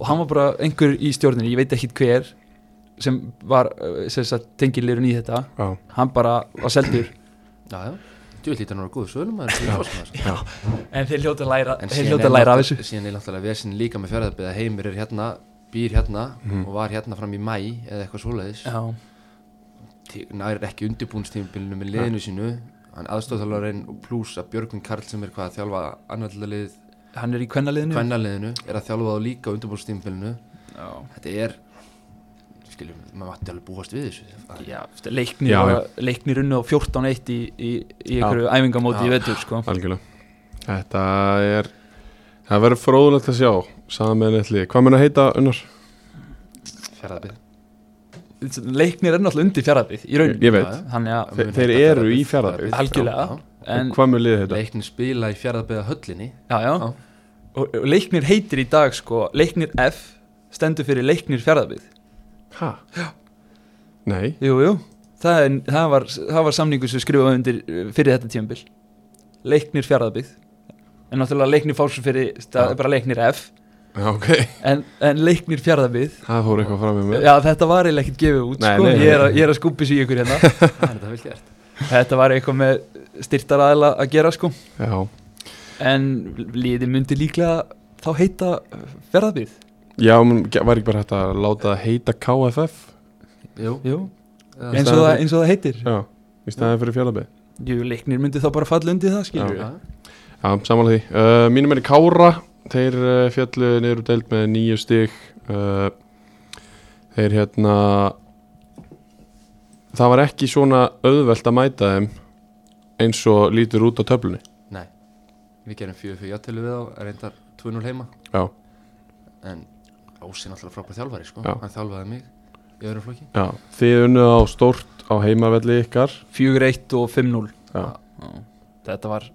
Speaker 3: og hann var bara einhver í stjórninni, ég veit ekki hver sem var eh, sem sagt, tengilirun í þetta
Speaker 2: já,
Speaker 3: hann bara var seldur
Speaker 4: já, já Djú, lítur hann á góðu sölum að það er sko. umbóðsmaður
Speaker 2: já,
Speaker 3: en þeir hljóta að læra,
Speaker 4: En
Speaker 3: þeir
Speaker 4: síðan
Speaker 3: hljóta
Speaker 4: er
Speaker 3: að læra af
Speaker 4: náttú-
Speaker 3: þessu
Speaker 4: Síðan er náttúrulega vesinn líka með fjörðarbið að heimir er hérna, býr hérna og var hérna fram í mæ eða eitthvað svoleiðis
Speaker 3: Mhm. já,
Speaker 4: Tí- nær ekki undirbúnstímbilinu með liðinu sínu hann aðstofþjálfarinn og pluss að Björgvin Karl sem er hvað að þjálfa annarliðið
Speaker 3: hann er í kvennaliðinu
Speaker 4: kvennaliðinu er að þjálfa þá líka á undirbúnstímbilinu
Speaker 3: já,
Speaker 4: þetta er skiljum, maður mætti alveg búast við þessu Það-
Speaker 3: já, veist, leiknir,
Speaker 2: Já,
Speaker 3: já, leiknir unni á 14-1 í, í, í einhverju æfingamóti í vetur sko.
Speaker 2: algjörlega þetta er það verður fróðulegt að sjá saman eitthvað, hvað mun að heita unnar?
Speaker 4: Fjarðabyggð
Speaker 3: leiknir er náttúrulega undir fjarrabið í
Speaker 2: Ég,
Speaker 3: rauninni
Speaker 2: ég veit,
Speaker 4: Já,
Speaker 3: þannig að,
Speaker 2: Þe- þeir
Speaker 4: um
Speaker 2: eru í Fjarðabyggð.
Speaker 3: algjörlega en,
Speaker 2: hvað mun liðið þetta?
Speaker 4: leiknin spila í fjaraðbyða höllinni
Speaker 3: já, já.
Speaker 4: Já.
Speaker 3: Og, og leiknir heitir í dag sko, leiknir F stendur fyrir leiknir fjarrabið
Speaker 2: Hæ? Nei,
Speaker 3: Jú, jú, það, er, það, var, það var samningu sem skrifaði undir eh, fyrir þetta tímabil Leiknir fjaraðbyggð En náttúrulega leiknir fársum fyrir, það
Speaker 2: Já.
Speaker 3: er bara leiknir F
Speaker 2: já, ok
Speaker 3: En, en leiknir fjaraðbyggð
Speaker 2: Það fór eitthvað fram í mig
Speaker 3: Já, þetta var eiginlega ekkert gefið út
Speaker 2: Nei,
Speaker 3: sko.
Speaker 2: nei, nei.
Speaker 3: Ég, er að, ég er að skúpi sig í ykkur hérna
Speaker 4: það er þetta vel gert
Speaker 3: Þetta var eitthvað með styrtaraðila að gera sko
Speaker 2: Já,
Speaker 3: En liði myndi líklega þá heita fjaraðbyggð
Speaker 2: já menn, ge- var ekki bara hægt að láta það heita KFF
Speaker 4: Jú,
Speaker 3: Jú,
Speaker 4: það-
Speaker 3: eins og, það, eins og það heitir
Speaker 2: Já, í staðin fyrir fjallabbi
Speaker 3: Jú, leiknir myndi þá bara falla undir það skilur
Speaker 4: Já.
Speaker 2: Já, samanlega því uh, Mínum er Kára Þeir uh, fjallu niður og deild með nýju stig uh, Þeir hérna Það var ekki svona auðvelt að mæta þeim eins og lítur út á töflunni
Speaker 4: Nei, við gerum fjögur fyrir játtelu við þá, reyndar 2-0 heima
Speaker 2: Já,
Speaker 4: en Ási er náttúrulega frábær þjálfari sko,
Speaker 2: Já.
Speaker 4: hann þjálfaði mig í öðrum flokki
Speaker 2: já Þið unnuð á stórt á heimavelli ykkar
Speaker 3: Fjögur eitt og 5-0
Speaker 2: Já,
Speaker 3: Já, þetta var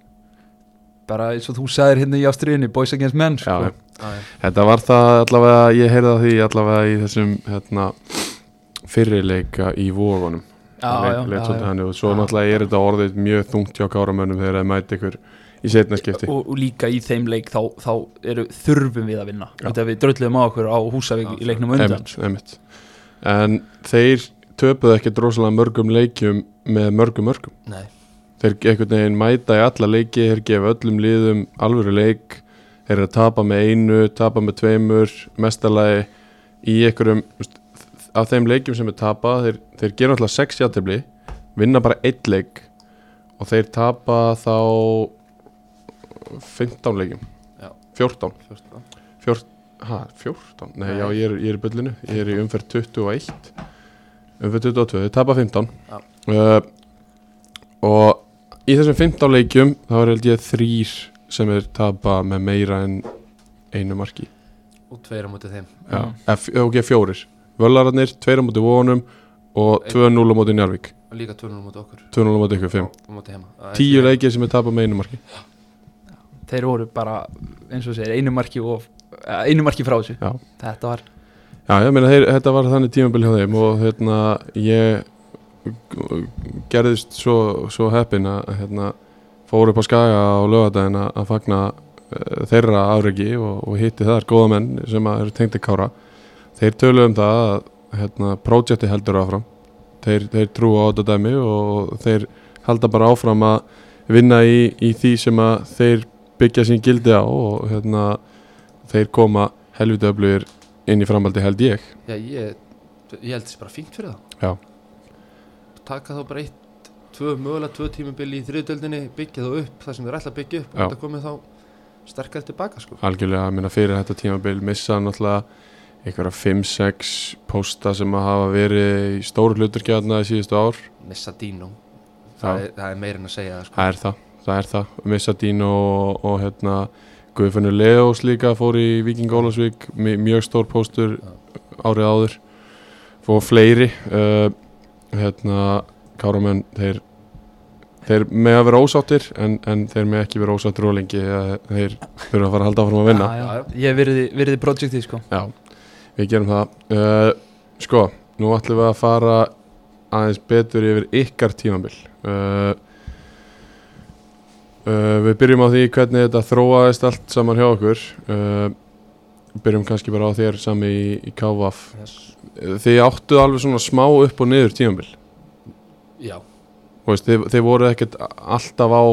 Speaker 3: bara eins og þú sagðir hérna í ástriðinni Boys Against Men sko.
Speaker 2: já, já
Speaker 4: ah,
Speaker 2: Þetta var það allavega, ég heyrði að því allavega í þessum hérna, fyrirleika í vógunum
Speaker 3: já, já,
Speaker 2: Leit
Speaker 3: já,
Speaker 2: svolítið
Speaker 3: já.
Speaker 2: hann og svo náttúrulega er þetta orðið mjög þungt hjá káramönnum þegar það mæti ykkur í setna skipti
Speaker 3: Og, og líka í þeim leik þá, þá eru, þurfum við að vinna
Speaker 2: Já.
Speaker 3: þetta við dröllum á okkur á Húsavík
Speaker 4: Já,
Speaker 3: í leiknum á undan
Speaker 2: Einmitt, einmitt. En þeir töpuðu ekkert rosalega mörgum leikjum með mörgum mörgum
Speaker 4: Nei,
Speaker 2: Þeir einhvern veginn mæta í alla leiki, þeir gefa öllum liðum alvöru leik Þeir eru að tapa með einu, tapa með tveimur, mestalagi í einhverjum þú veist, af þeim leikjum sem er tapa, þeir, þeir gera alltaf sex játefli, vinna bara eitt leik og þeir tapa þá 15 leikjum
Speaker 4: Já.
Speaker 2: 14,
Speaker 4: fyrst já.
Speaker 2: Fjör, ha, 14? Nei,
Speaker 4: Nei.
Speaker 2: já, ég er, ég er í byllinu ég er í umferð 21 umferð 22, þeir tapa 15
Speaker 4: Já.
Speaker 2: uh, og í þessum 15 leikjum þá er held ég þrýr sem er tapa með meira en einu marki
Speaker 4: og tveir á móti þeim
Speaker 2: Já, eða f- ok, fjórir Völararnir, tveir á móti vonum og 2-0 á móti Njarvík
Speaker 4: og líka 2-0 á móti okkur
Speaker 2: 2-0 á móti ykkur, 5
Speaker 4: og móti heima Það er
Speaker 2: Tíu
Speaker 4: fyrir-
Speaker 2: leikir sem er tapað með einu marki
Speaker 3: þeir voru bara eins og segir einu marki, og, eh, einu marki frá þessu
Speaker 2: Já.
Speaker 3: þetta var
Speaker 2: Já, ég meina, þeir, þetta var þannig tímabil hjá þeim og hérna, ég gerðist svo, svo heppin að hérna, fór upp á skaga á lögadaginn að- að fagna eh, þeirra afregi og, og hitti þar góða menn sem að eru tengdi kára þeir tölu um það að hérna, projekti heldur áfram þeir, þeir trúa á þetta dæmi og þeir halda bara áfram að vinna í, í því sem að þeir byggja sín gildi á og hérna, þeir koma helviti öflugir inn í framhaldi held ég
Speaker 4: Já, ég, ég held þessi bara fínt fyrir það
Speaker 2: Já.
Speaker 4: Taka þá bara eitt, tvö, mögulega tvö tímabili í þriðutöldinni Byggja þá upp það sem þeir ætla að byggja upp
Speaker 2: Já.
Speaker 4: Og það komið þá sterkar tilbaka sko
Speaker 2: algjörlega, ég meina fyrir þetta tímabil missa hann náttúrulega einhverja 5-6 pósta sem að hafa verið í stóru hluturkjarna í síðustu ár
Speaker 4: Missa Dino
Speaker 2: Já.
Speaker 4: það er, það er meira en að segja það sko
Speaker 2: það er það, það er það, missa Dino og, og hérna Guðfinnu Leós líka fór í Viking Ólafsvík mi- mjög stór póstur árið áður fór fleiri uh, hérna káramenn þeir Þeir með að vera ósáttir en, en þeir með ekki vera ósáttir og lengi eða þeir þurfa að fara að halda áfram að vinna.
Speaker 3: Já, já. Ég virði, virði projektið sko
Speaker 2: Já, við gerum það uh, Sko, nú ætlum við að fara aðeins betur yfir ykkar tímabil uh, uh, Við byrjum á því hvernig þetta þróaðist allt saman hjá okkur uh, Byrjum kannski bara á þér sami í, í KVF
Speaker 4: yes.
Speaker 2: Þið áttu alveg svona smá upp og niður tímabil
Speaker 4: Já,
Speaker 2: Þú veist, þið, þið voru ekkert alltaf á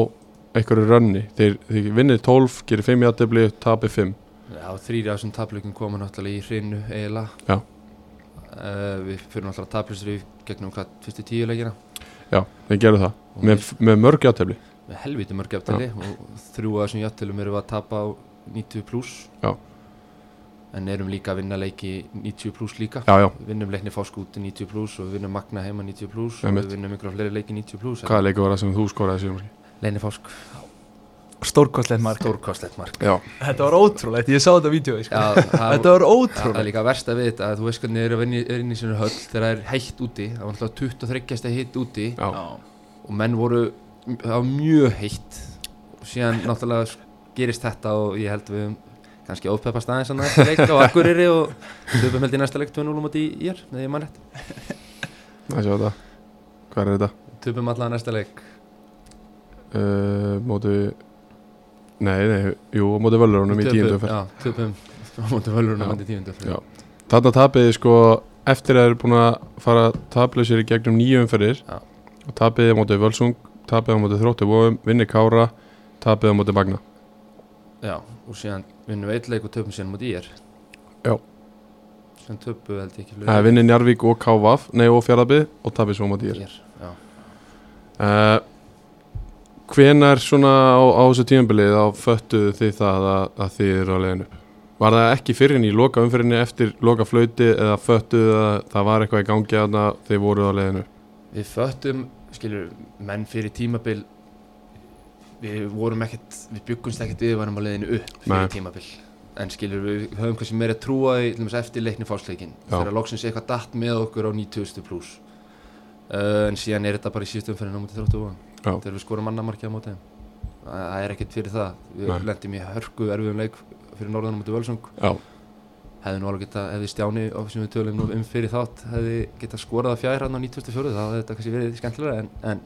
Speaker 2: einhverju rönni Þið, þið vinnir 12, gerir 5 játtöfli, tapir 5
Speaker 4: Já, þrýri af þessum tapleikum koma náttúrulega í hreinu eiginlega
Speaker 2: Já.
Speaker 4: Eh, Við fyrir náttúrulega tapleistur í gegnum hvað fyrstu tíu leikina
Speaker 2: Já, þið gerðu það
Speaker 4: Og
Speaker 2: Með, með mörg játtöfli
Speaker 4: með helviti mörg jafntefni og þrjú af þessum jafntefnum erum við að tapa á 90 pluss
Speaker 2: Já.
Speaker 4: en erum líka að vinna leiki 90 pluss líka
Speaker 2: Já, já,
Speaker 4: við vinnum leikni fáskúti 90 pluss og við vinnum magna heima 90 pluss og
Speaker 2: Einmitt.
Speaker 4: við vinnum ykkur fleiri leiki 90 pluss
Speaker 2: hvaða leikur var það sem þú skoraði þessu marki?
Speaker 4: leikni fásk,
Speaker 3: Stórkostlegt mark
Speaker 4: stórkostlegt mark
Speaker 2: Já,
Speaker 3: Þetta var ótrúlegt, ég sá þetta vídeo sko.
Speaker 4: Já, það
Speaker 3: Þetta var
Speaker 4: það er
Speaker 3: ótrúlegt
Speaker 4: líka verst að við þetta að þú veist hvernig þeir eru að vinna í- eru inn í sinni höll þegar það er heitt úti, það var alltaf 23 steg heitt úti
Speaker 2: já,
Speaker 4: og menn voru, það var mjög heitt og síðan náttúrulega gerist þetta og ég held við höfum kannski ofpeppast aðeins að næsta leik á Akureyri og við höfum held í næsta leik 2-0 um átti í ér, neði ég mann rétt
Speaker 2: það séu þetta Hvað er þetta?
Speaker 4: töpum allavega næsta leik
Speaker 2: Uh, móti Nei, nei, jú, á móti völlurunum í tíundu fyrr
Speaker 4: töpum á móti
Speaker 2: Já.
Speaker 4: völurunum átti í tíundu
Speaker 2: Já.
Speaker 4: fyrir
Speaker 2: Þarna tapiði sko eftir að þeir eru búin að fara tapleysir í gegnum nýju umferðir
Speaker 4: Já.
Speaker 2: og tapiði á móti völsung tapiði á móti þróttu vóum, vinni kára tapiði á móti magna
Speaker 4: Já, og síðan vinnum við eitt leik og töpum síðan mútið í ér
Speaker 2: Já.
Speaker 4: síðan töpum við held ég ekki
Speaker 2: Það er vinni Njarvík og Kávaf nei og Fjarlabið og tapiði svo á móti ír
Speaker 4: Ír, já
Speaker 2: uh, Hvenar svona á, á þessu tímabilið þá föttuðu þið það að, að þið eru á leiðin upp? Var það ekki fyrir henni í loka umfyrinni eftir loka flöyti eða föttuðu að það var eitthvað í gangi að þið voruð á leiðin upp?
Speaker 4: Við föttum, skilur, menn fyrir tímabil Við vorum ekkert, við byggumst ekkert við varum á leiðinu upp fyrir
Speaker 2: Nei.
Speaker 4: tímabil En skilur, við höfum kannski meira trúa í til dæmis, eftir leikni fásleikin
Speaker 2: Já.
Speaker 4: Þegar loksins eitthvað datt með okkur á 90 pluss uh, En síðan er þetta bara í síðustu umferðin á móti þróttu vóðan
Speaker 2: Já.
Speaker 4: Þegar við skorum annamarkið á móti þeim. Það það er ekkert fyrir það Við
Speaker 2: Nei.
Speaker 4: lendum í hörku erfiðum leik fyrir norðan á móti Völsung
Speaker 2: Já,
Speaker 4: Hefði nú alveg geta, hefði Stjáni á sem við tölum nú um fyrir þátt hefði geta skorað að fjæra hann á 94 þá hefði þetta kannski verið skemmtilega en, en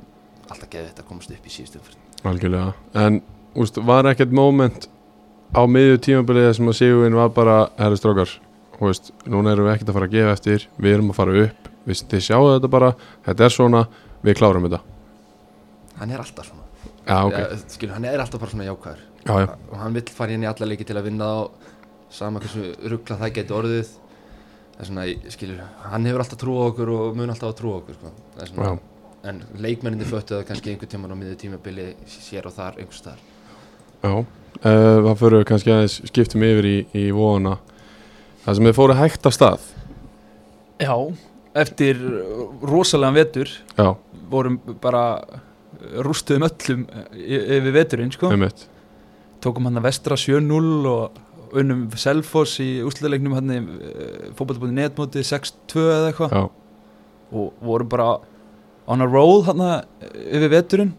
Speaker 4: alltaf geði þetta komast upp í síðustu umfyrir
Speaker 2: algjörlega En úst, var ekkert moment á miðju tímabilið þar sem að Sigurinn var bara herri strókar Þú veist, núna erum við ekkert að fara að gefa eftir við erum að fara upp, við, þið sjáu þetta bara þetta er svona, við klárum þetta
Speaker 4: Hann er alltaf svona
Speaker 2: Já, ok,
Speaker 4: okay. Skilu, hann er alltaf bara svona jákvæður
Speaker 2: já, já,
Speaker 4: og hann vill fara inn í alla leiki til að vinna þá sama hversu ruggla það geti orðið það er svona, skilur, hann hefur alltaf trú á okkur og mun alltaf að trú á okkur sko. Það er
Speaker 2: já.
Speaker 4: svona, en leikmenninni föttu það kannski einhver tíman á miðju tímabili sér og þar einhvers staðar
Speaker 2: Já, uh, það fyrir við kannski aðeins skiptum yfir í, í vona Það sem þið fóru hægt af stað
Speaker 3: Já, eftir rosalega vetur
Speaker 2: Já,
Speaker 3: vorum bara eh, rústuðum öllum eh, yfir veturinn sko.
Speaker 2: einmitt
Speaker 3: tókum hann að vestra 7-0 og unnum Selfoss í úsliðleiknum hann í eh, fótballbúinu netmóti 6-2 eða eitthvað
Speaker 2: Já,
Speaker 3: og vorum bara on a roll hann eh, yfir veturinn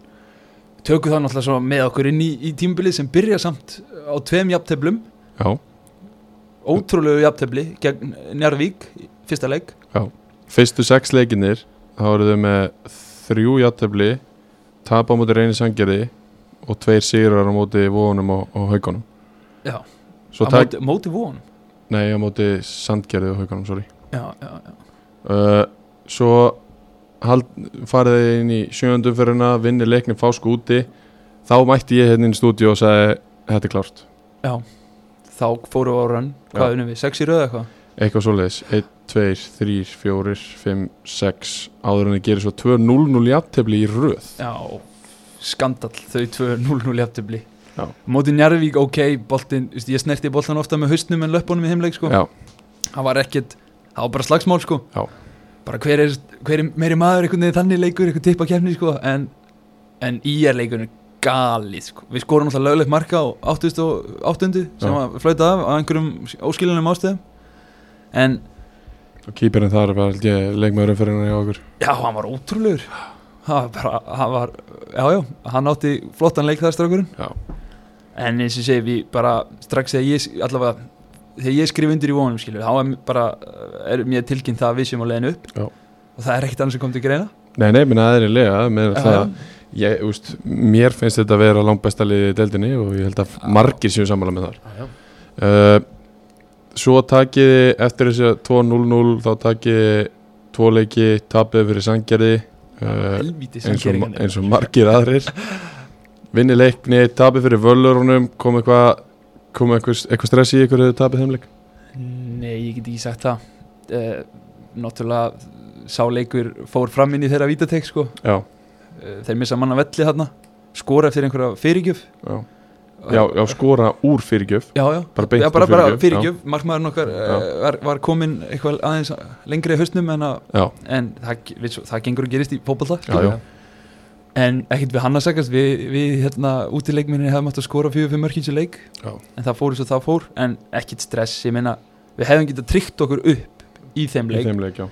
Speaker 3: tökum það náttúrulega svo með okkur inn í, í tímbilið sem byrja samt á tveim jafnteflum
Speaker 2: já,
Speaker 3: ótrúlegu jafntefli gegn Njarvík í fyrsta leik
Speaker 2: fyrstu sex leikinir þá eru þau með þrjú játtöfli tap á móti reyni sangjari og tveir sigrar á móti vonum og, og haugunum
Speaker 3: Já.
Speaker 2: Svo
Speaker 3: að
Speaker 2: tæk,
Speaker 3: móti, móti von
Speaker 2: nei, á móti sandgerði og haugunum, sorry
Speaker 3: já, já, já.
Speaker 2: uh, Svo hald, farið þið inn í sjöndu umferðina, vinni leikni fásku úti þá mætti ég hérna inn í stúdíu og sagði þetta er klárt,
Speaker 3: þá fórum við á rönn,
Speaker 2: Já.
Speaker 3: hvað unum við, sex í röð eða eitthvað
Speaker 2: eitthvað svoleiðis 1, 2, 3, 4, 5, 6 áður en það gerir svo 2, 0, 0 jafntefli í röð
Speaker 3: Já, skandal þau 2-0-0 jafntefli
Speaker 2: Já.
Speaker 3: Móti Njarvík, ok, boltinn, þú veist, ég snerti boltan ofta með haustnum en löpunum í heimleik sko.
Speaker 2: Já,
Speaker 3: Það var ekkert, það var bara slagsmál sko.
Speaker 2: Já.
Speaker 3: Bara hver er, hver er meiri maður einhvern veginn þannig leikur, einhvern tippa kefni sko. en, en í er leikurinn galið sko. Við skorum alltaf löglegt marka á 88. sem
Speaker 2: Já.
Speaker 3: var flautað af á einhverjum óskilunum ástæðum en
Speaker 2: og kýperinn þar var held ég leikmaðurinn fyrir henni á okkur
Speaker 3: Já, hann var ótrúlegur Það var bara, hann var Já, já, hann átti flottan leik þar strákurinn
Speaker 2: Já.
Speaker 3: En eins og ég segi, við bara strax þegar ég, allavega þegar ég skrif undir í vonum, skilur, þá er mér bara er mér tilkynnt það að við sem á leiðinu upp
Speaker 2: Já.
Speaker 3: og það er ekkert annars sem kom til greina
Speaker 2: Nei, nei, minna aðeinlega, með það
Speaker 3: Já,
Speaker 2: ég, úst, mér finnst þetta að vera langbæsta liðið í deildinni og ég held að margir séu sammála með þar
Speaker 4: já, já.
Speaker 2: uh, Svo takiði eftir þessi 2-0-0 þá takiði tvo leiki tapið fyrir sangjarði uh,
Speaker 3: helvítið
Speaker 2: eins,
Speaker 3: sem hérna.
Speaker 2: og,
Speaker 3: gerðinni.
Speaker 2: eins og margir aðrir vinni leikni, tapið fyrir völlurunum kom eitthvað kom eitthvað, eitthvað stress í ykkur hefur tapið þeim leik
Speaker 3: Nei, ég get ekki sagt það uh, Náttúrulega sáleikur fór fram inn í þeirra vítatek, sko
Speaker 2: Já,
Speaker 3: uh, þeir missa manna velli þarna skora eftir einhverja fyrirgjöf
Speaker 2: já, já, já skora úr fyrirgjöf
Speaker 3: Já, já,
Speaker 2: bara beint
Speaker 3: já, bara,
Speaker 2: úr
Speaker 3: bara
Speaker 2: fyrirgjöf, já.
Speaker 3: fyrirgjöf, markmaðurinn okkar
Speaker 2: Já.
Speaker 3: uh, var, var komin eitthvað aðeins lengri í hausnum en, að,
Speaker 2: Já.
Speaker 3: en það, við, svo- það gengur og gerist í fótballta
Speaker 2: Já, já.
Speaker 3: en ekkert við hann að segast við, við hérna útileikminni hefðum átt að skora fjögur fyrir mörkins í leik
Speaker 2: Já.
Speaker 3: en það fór eins og það fór en ekkert stress, ég meina við hefðum getað tryggt okkur upp í þeim
Speaker 2: í
Speaker 3: leik
Speaker 2: þeim leik, já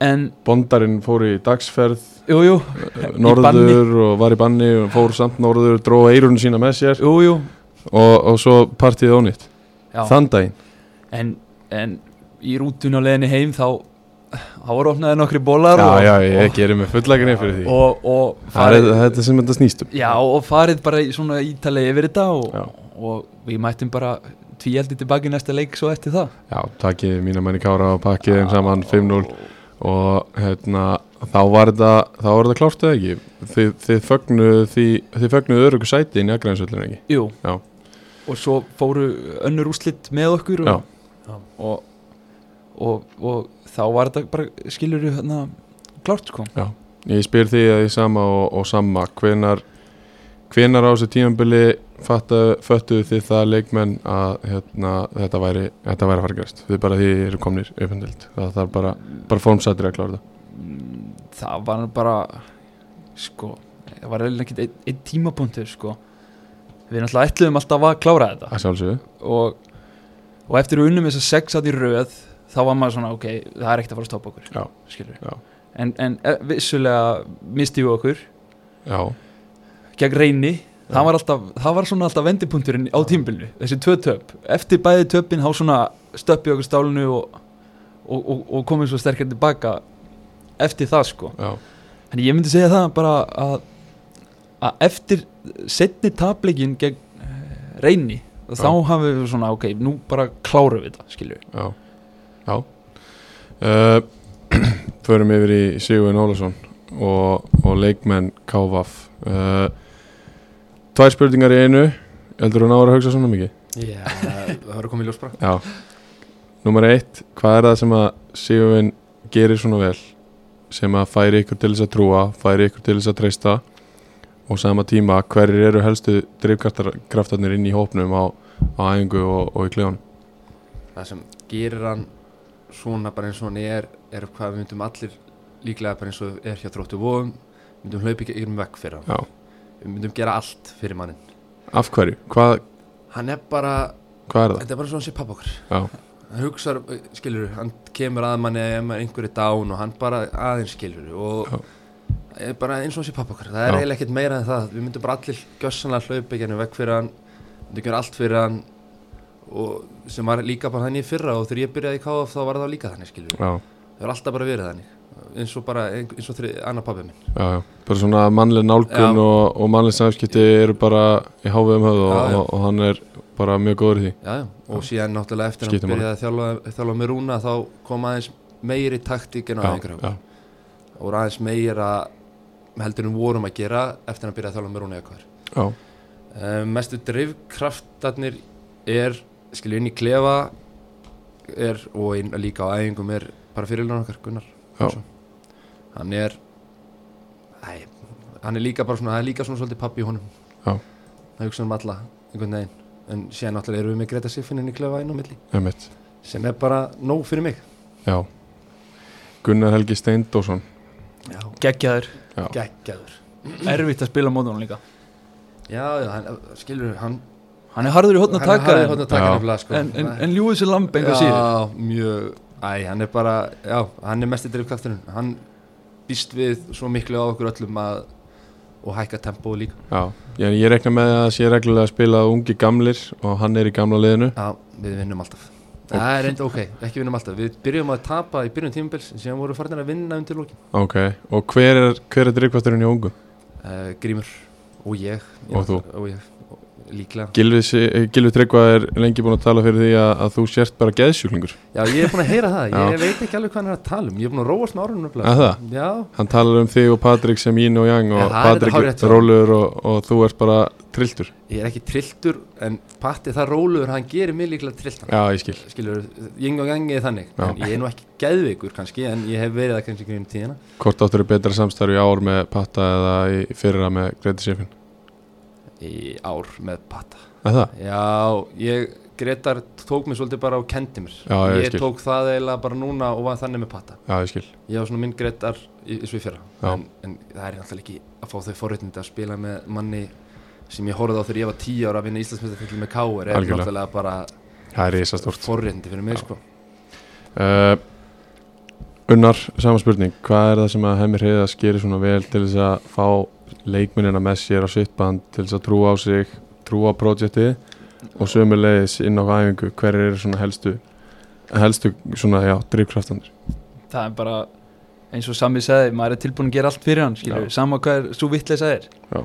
Speaker 3: en,
Speaker 2: Bondarinn fór í dagsferð
Speaker 3: jú, jú,
Speaker 2: eh,
Speaker 3: banni.
Speaker 2: norður og var í banni og fór samt norður, dró eirun sína með sér
Speaker 3: jú, jú
Speaker 2: og, og svo partíð ónýtt
Speaker 3: já.
Speaker 2: þann daginn
Speaker 3: en, en í rútun á leiðinni heim þá þá voru opnaði nokkri bólar
Speaker 2: já,
Speaker 3: og,
Speaker 2: já, ég gerir mig fullaginni fyrir því
Speaker 3: og, og, og
Speaker 2: það er það er þetta sem þetta snýst um
Speaker 3: Já og farið bara í svona ítalegi yfir þetta
Speaker 2: Já.
Speaker 3: og, og við mættum bara tvíaldi tilbaki í næsta leik svo eftir það
Speaker 2: já, takkið mína menni kára og pakkið þeim saman 5-0 og hérna þá var þetta, þá var þetta klárt eða ekki þið, þið fögnuðu því, þið fögnuðu öryggu sæti inn í aðgrænsvöldinu ekki
Speaker 3: Jú
Speaker 2: Já.
Speaker 3: Og svo fóru önnur úslit með okkur og,
Speaker 4: Já.
Speaker 3: og, og, og þá var þetta bara skilur við hérna klárt sko
Speaker 2: Ég spyr því að því sama og, og sama hvenar, hvenar á þessu tímanbili föttuðu þið það leikmenn að hérna, þetta væri þetta væri að fara að gerast, við bara því eru komnir upphendild, það þarf bara, bara formsættir að klára það
Speaker 3: Mm, það var nú bara sko, það var eiginlega ekkert einn ein tímapunktur sko við náttúrulega ætluðum alltaf að klára þetta
Speaker 2: að sjálfsögðu,
Speaker 3: og, og eftir að unnum þess að sex að í röð þá var maður svona ok, það er ekkert að fara að stoppa okkur
Speaker 2: Já.
Speaker 3: skilur
Speaker 2: Já.
Speaker 3: en, en eh, vissulega misti við okkur
Speaker 2: já,
Speaker 3: gegn reyni það var, alltaf, það var svona alltaf vendipunkturinn á tímbilinu þessi tvö töp, eftir bæði töpin þá svona stöppi okkur stálinu og, og, og, og komið svo sterkar tilbaka eftir það sko
Speaker 2: já,
Speaker 3: Þannig ég myndi segja það bara að, að eftir setni tapleikin gegn eh, reyni þá
Speaker 2: Já.
Speaker 3: hafum við svona ok, nú bara klárum við þetta skilju.
Speaker 2: já já uh, förum yfir í Sigurinn Ólafsson og, og leikmenn Kávaf uh, tvær spurningar í einu heldur þú náður að hugsa svona mikið?
Speaker 4: Já, það var að koma í ljós bara
Speaker 2: Já Númer eitt, hvað er það sem að Sigurvin gerir svona vel sem að færi ykkur til þess að trúa færi ykkur til þess að treysta og sama tíma, hverjir eru helstu drifkraftarnir inn í hópnum á, á æfingu og, og í kljóðan
Speaker 4: það sem gerir hann svona bara eins og hann er er hvað við myndum allir líklega bara eins og er hjá þróttu vóðum myndum hlaupa ekki yfir vekk fyrir hann
Speaker 2: Já.
Speaker 4: við myndum gera allt fyrir mannin
Speaker 2: Af hverju? Hvað,
Speaker 4: hann er bara,
Speaker 2: hvað er það?
Speaker 4: þetta er bara svona sé papp okkar
Speaker 2: Já,
Speaker 4: hann hugsar, skilur hann kemur að manni ef maður einhverju dán og hann bara aðeins skilur og
Speaker 2: Já.
Speaker 4: er bara eins og sé papp okkar það er
Speaker 2: Já.
Speaker 4: eiginlega ekkert meira en það við myndum bara allir gjössanlega hlaupa ekki yfir vekk fyrir hann myndum gera allt fyrir hann og sem var líka bara þannig í fyrra og þegar ég byrjaði í KF þá var það líka þannig skilur
Speaker 2: já,
Speaker 4: Það er alltaf bara verið þannig eins og bara, eins og þrið, annar pappi minn
Speaker 2: já, já Bara svona mannleg nálgun
Speaker 4: Já.
Speaker 2: og, og mannleg samskipti eru bara í hávegum höfðu og,
Speaker 4: Já, já.
Speaker 2: og, og hann er bara mjög góður í því
Speaker 4: já, já. og síðan náttúrulega eftir
Speaker 2: Skiptir
Speaker 4: hann byrjaði að þjálfa, þjálfa með Rúna þá kom aðeins meiri taktík en á
Speaker 2: Já,
Speaker 4: einhverjum
Speaker 2: já,
Speaker 4: og voru aðeins meira heldur en vorum að gera eftir hann byrjaði að þjálfa með Rúna eitthvað
Speaker 2: Já,
Speaker 4: uh, mestu dreifkraftarnir er skilju inn í klefa er, og inn, líka á æfingum er bara fyrirlega okkar Gunnar
Speaker 2: já,
Speaker 4: Svo. hann er æ, hann er líka bara svona það er líka svona svolítið pappi í honum
Speaker 2: Já.
Speaker 4: það hugsa um alla einhvern veginn en síðan náttúrulega erum við með Greta Siffin inn í klefa inn á milli
Speaker 2: emitt
Speaker 4: sem er bara nóg fyrir mig
Speaker 2: Já Gunnar Helgi Steindósson
Speaker 4: já,
Speaker 3: geggjaður,
Speaker 4: geggjaður
Speaker 3: erfitt að spila mótunum líka
Speaker 4: já, já, hann, skilur hann
Speaker 3: hann er harður í hóttin að
Speaker 4: hann er
Speaker 3: taka
Speaker 4: harður
Speaker 3: en,
Speaker 4: hótt að taka
Speaker 2: Já.
Speaker 4: nefnilega sko
Speaker 3: en, en, en ljúið sér lamb enga síður
Speaker 4: Já, mjög, æ, hann er bara, já, hann er mest í driftkafturinn Hann býst við svo miklu á okkur öllum að og hækka tempóð líka
Speaker 2: Já, ég, ég rekna með að það sé reglulega að spila ungi gamlir og hann er í gamla liðinu
Speaker 4: Já, við vinnum alltaf Það er enda ok, ekki vinnum alltaf Við byrjum að tapa í byrjun tímabils en síðan vorum við farin að vinna undir lókin
Speaker 2: Ok, og hver er, hver er drikkvarturinn í ungu?
Speaker 4: uh, Grímur og ég
Speaker 2: Og þú?
Speaker 4: Og ég, og líklega
Speaker 2: Gilvi, Si- eh, Gilvi Tryggva er lengi búin að tala fyrir því að, að þú sért bara geðsjúklingur
Speaker 4: Já, ég er búin að heyra það,
Speaker 2: Já.
Speaker 4: ég veit ekki alveg hvað hann er að tala um Ég er búin að róast með árunum
Speaker 2: Að
Speaker 4: nefnilega
Speaker 2: það?
Speaker 4: Já,
Speaker 2: Hann talar um þig og Patrik sem yin og yang og
Speaker 4: Já, það er
Speaker 2: Patrik
Speaker 4: hárrétt hjá honum.
Speaker 2: rólur og, og þú ert bara trilltur
Speaker 4: ég er ekki trilltur en Patti það róluður, hann gerir mig líklega trilltan
Speaker 2: Já, ég skil
Speaker 4: skilur, yng og gangi er þannig
Speaker 2: Já.
Speaker 4: en ég er nú ekki geðveikur kannski en ég hef verið það kannski grunum tíðina
Speaker 2: Hvort áttur er betra samstarf í ár með Patta eða í fyrra með Greti Sifin
Speaker 4: í ár með pata
Speaker 2: Að það?
Speaker 4: já, ég, Gretar tók mér svolítið bara og kendi mér
Speaker 2: Já, ég
Speaker 4: ég
Speaker 2: skil.
Speaker 4: tók það eiginlega bara núna og var þannig með pata
Speaker 2: Já, ég skil
Speaker 4: ég var svona minn Gretar í, í svifjara
Speaker 2: Já.
Speaker 4: en, en það er náttúrulega ekki að fá þau forréttindi að spila með manni sem ég horfði á þegar ég var 10 ára að vinna Íslandsmyndarfell með Káur er
Speaker 2: Algjörlega.
Speaker 4: náttúrulega bara
Speaker 2: Það er risastórt
Speaker 4: forréttindi fyrir mig sko.
Speaker 2: uh, Unnar, sama spurning hvað er það sem að Hemmi Hreiðars gerir svona vel til þess að fá leikmunina með sér á sitt band til þess að trúa á sig trúa á projektið og sömulegis inn á æfingu hver eru svona helstu helstu svona, já, drifkraftanir
Speaker 3: það er bara eins og Sami sagði, maður er tilbúin að gera allt fyrir hann skilur,
Speaker 2: Já.
Speaker 3: sama hvað er svo vittleisa er
Speaker 2: Já.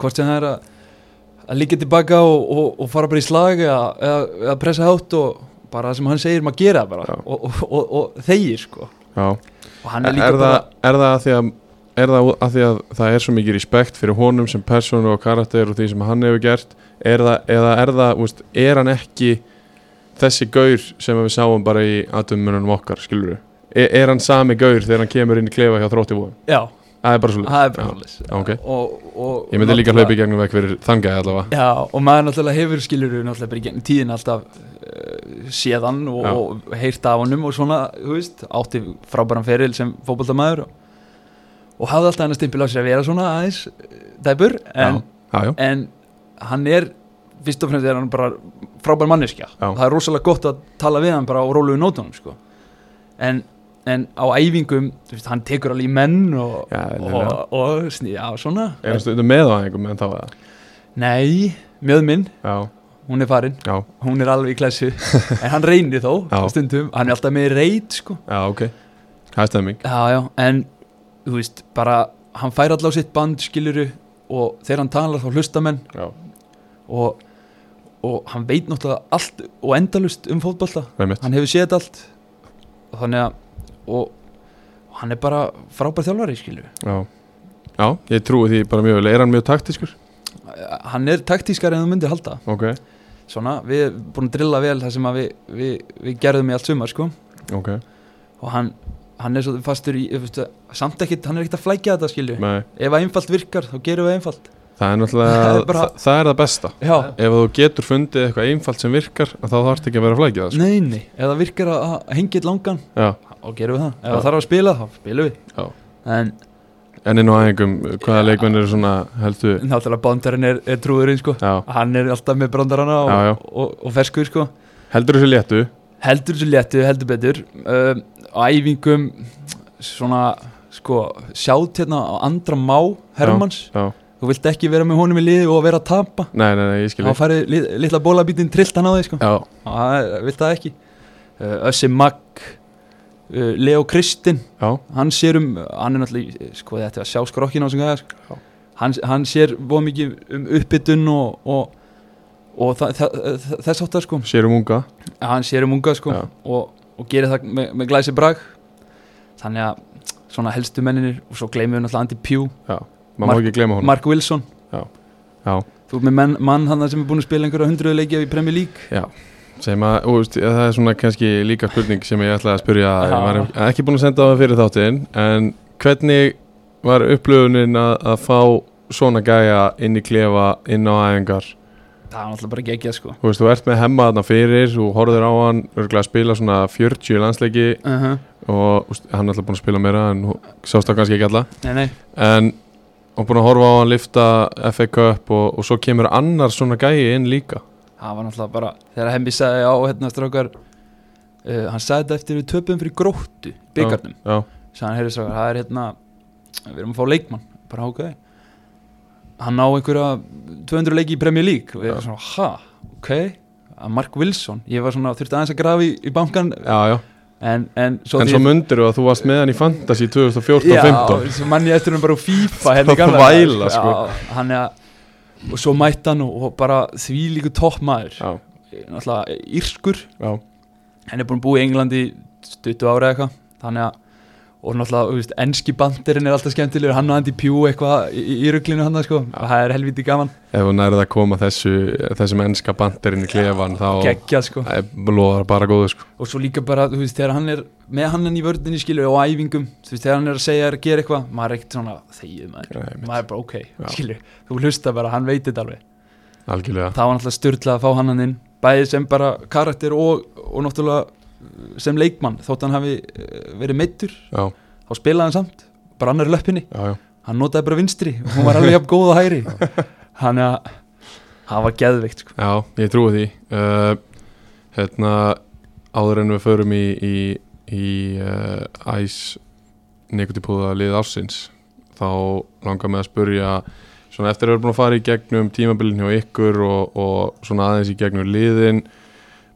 Speaker 3: hvort sem það er að að líka tilbaka og, og, og fara bara í slag eða, eða, eða pressa hátt og bara það sem hann segir maður gera
Speaker 2: Já.
Speaker 3: bara og, og, og, og þeir sko
Speaker 2: já,
Speaker 3: og hann
Speaker 2: er,
Speaker 3: er líka
Speaker 2: það,
Speaker 3: bara
Speaker 2: er það að því að er það að því að það er svo mikið respekt fyrir honum sem persónu og karakter og því sem hann hefur gert er það, eða er það, veist, er hann ekki þessi gaur sem við sáum bara í aðdömmunum okkar, skilur við er, er hann sami gaur þegar hann kemur inn í klefa hjá þrótti vóðum,
Speaker 3: já,
Speaker 2: það er bara svolítið
Speaker 3: það er bara svoleiðis.
Speaker 2: Já, ok.
Speaker 3: og, og,
Speaker 2: ég myndi líka
Speaker 3: náttúrulega-
Speaker 2: hlaupa í gegnum vekk fyrir þangæði allavega
Speaker 3: Já, og maður náttúrulega hefur skilur náttúrulega bara í gennum tíðin alltaf uh, séðan og,
Speaker 2: Já.
Speaker 3: og heyrt af honum og svona, þú veist, átti frábæran feril sem fótboltamaður og, og hafði alltaf hann að stimpil á sér að vera svona aðeins eh, dæpur en,
Speaker 2: já, já,
Speaker 3: en hann er, fyrst og fremst er hann bara frábær manneskja
Speaker 2: Já.
Speaker 3: það er rosalega gott að tala við hann bara á rólugu nótunum sko. en, en á æfingum, þú veist, hann tekur alveg í menn og,
Speaker 2: Já,
Speaker 3: og,
Speaker 2: eðlilega.
Speaker 3: og, sný, já svona
Speaker 2: er hann stundum með á einhverjum en þá eða?
Speaker 3: Nei, mjöð minn,
Speaker 2: já,
Speaker 3: hún er farin
Speaker 2: já,
Speaker 3: hún er alveg í klessu en hann reynir þó
Speaker 2: Já.
Speaker 3: stundum, hann er alltaf með reyt sko.
Speaker 2: já, ok það er stemming,
Speaker 3: já, já, en þú veist, bara hann fær allavega sitt band skiluru og þegar hann talar þá hlusta menn
Speaker 2: já,
Speaker 3: og, og hann veit náttúrulega allt og endalust um fótbolta
Speaker 2: reymitt
Speaker 3: hann hefur séð þetta allt og þannig að og, og hann er bara frábær þjálfari skiluru
Speaker 2: já. já, ég trúi því bara mjög vel er hann mjög taktiskur?
Speaker 3: hann er taktískar en þú myndir halda
Speaker 2: ok,
Speaker 3: svona, við erum búin að drilla vel það sem að við, við, við gerðum í allt sumar sko
Speaker 2: ok,
Speaker 3: og hann, hann er svo fastur í veistu, samt ekkert, hann er ekkert að flækja þetta skilju
Speaker 2: nei
Speaker 3: ef að einfalt virkar, þá gerum við einfalt
Speaker 2: Það er náttúrulega,
Speaker 3: Það
Speaker 2: það
Speaker 3: er bara-
Speaker 2: það, er það besta
Speaker 3: já,
Speaker 2: Ef þú getur fundið eitthvað einfalt sem virkar að þá þarf ekki að vera flækið það sko.
Speaker 3: nei, nei ef það virkar að að hengja eitt langan
Speaker 2: Já,
Speaker 3: þá gerum við það, ef
Speaker 2: Já.
Speaker 3: það þarf að spila þá spilum við
Speaker 2: já.
Speaker 3: en
Speaker 2: En inn á æfingum, hvaða
Speaker 3: Já.
Speaker 2: leikmenn eru svona helstu
Speaker 3: náttúrulega bándarinn er, er trúðurinn sko
Speaker 2: Já,
Speaker 3: hann er alltaf með brandarana og,
Speaker 2: Já, já.
Speaker 3: og, og ferskur sko
Speaker 2: heldur þessu léttu
Speaker 3: heldur þessu léttu, heldur betur um, á æfingum svona sko, sjátt hérna á andra má Hermanns,
Speaker 2: Já,
Speaker 3: þú vilt ekki vera með honum í liði og vera að tapa
Speaker 2: nei, nei, nei, ég skil
Speaker 3: þá
Speaker 2: þig.
Speaker 3: færði lit, litla bólabítin trillt hann á þig sko
Speaker 2: Já,
Speaker 3: Já, það vilt það ekki uh, Össi Magg uh, Leo Kristinn
Speaker 2: já,
Speaker 3: hann sér um, hann er náttúrulega í- sko þetta er að sjá skrokkina á sem gæða sko. hann, hann sér voð mikið um uppbytun og, og, og þa, þa, þa, þess áttar sko
Speaker 2: sérum unga
Speaker 3: hann sér um unga sko
Speaker 2: Já.
Speaker 3: og, og gerir það með, með glæsi brag þannig að svona helstu menninir og svo gleymum við náttúrulega Andy Pugh,
Speaker 2: Já, maður má
Speaker 3: Mark-
Speaker 2: ekki gleyma honum
Speaker 3: Mark Wilson
Speaker 2: Já. já,
Speaker 3: Þú ert með menn, mann hann sem er búin að spila einhverja hundruðu leikja í Premier League
Speaker 2: já sem að, og veist, það er svona kannski líka spurning sem ég ætlaði að spurja ég
Speaker 3: Já.
Speaker 2: var ekki búin að senda á það fyrir þáttinn en hvernig var upplöfunin að, að fá svona gæja inn í klefa, inn á æfingar
Speaker 3: Það var náttúrulega bara geggjað sko
Speaker 2: þú veist, þú ert með hemma þarna fyrir þú horfður á hann, örgulega að spila svona 40 landsleiki
Speaker 3: uh
Speaker 2: og úst, hann er alltaf búin að spila meira en þú sást það kannski ekki alla
Speaker 3: Nei, nei
Speaker 2: en og búin að horfa á hann lifta FA Cup og, og svo kemur annar svona gæi inn líka
Speaker 3: Það var náttúrulega bara Þegar Hemmi sagði á hérna strákar uh, Hann sagði þetta eftir við töpum fyrir gróttu Byggarnum
Speaker 2: já,
Speaker 3: Sæðan heyrði strákar Það er hérna Við erum að fá leikmann Bara hákaði Hann á einhverja 200 leiki í Premier League Og við
Speaker 2: Já.
Speaker 3: erum svona Ha, ok Að Mark Wilson Ég var svona Þurfti aðeins að grafi í, í bankan
Speaker 2: já, já.
Speaker 3: En, en svo
Speaker 2: en
Speaker 3: því-
Speaker 2: svo mundir þú að þú varst með hann í Fantasy 2014-15
Speaker 3: Já, svo mann ég eftir hann bara úr FIFA hérna í
Speaker 2: Það
Speaker 3: gamla daga,
Speaker 2: væla, sko.
Speaker 3: Já, hann er að og svo mætti hann og, og bara því líku toppmaður
Speaker 2: já,
Speaker 3: náttúrulega eh, írskur
Speaker 2: já,
Speaker 3: hann er búin að búa í Englandi í 20 ára eitthvað þannig að og náttúrulega, þú veist, enski bandirinn er alltaf skemmtilegur hann og Andy Pugh eitthvað í, í- í ruglinu hann sko, það er helviti gaman
Speaker 2: ef þú nærið að koma þessu þessum ennska bandirinn í klefan þá
Speaker 3: geggjað sko,
Speaker 2: Það er- loðar bara góðu sko
Speaker 3: og svo líka bara, þú veist, þegar hann er með hann í vördinni skilur og á æfingum, þú veist, þegar hann er að segja að gera eitthvað, maður er ekkert svona þegið maður,
Speaker 2: Nei, einmitt.
Speaker 3: maður er bara ok, skilur þú hlusta bara, hann veit þetta alveg
Speaker 2: algjörlega
Speaker 3: það var náttúrulega styrlað að fá hann hann inn bæði sem bara karakter og, og náttúrulega uh, sem leikmann þótt hann hafi uh, verið meittur
Speaker 2: já,
Speaker 3: þá spilaði hann samt, bara annar í löppinni
Speaker 2: já, já.
Speaker 3: hann notaði bara vinstri, hún var alveg jafn góð og hægri hann að hann var geðveikt sko.
Speaker 2: Já, ég trúi því uh, Hérna áður en við förum í, í, í uh, æs nekutipúða lið ársins þá langar mig að spurja svona eftir að við erum búin að fara í gegnum tímabilin hjá ykkur og, og svona aðeins í gegnum liðin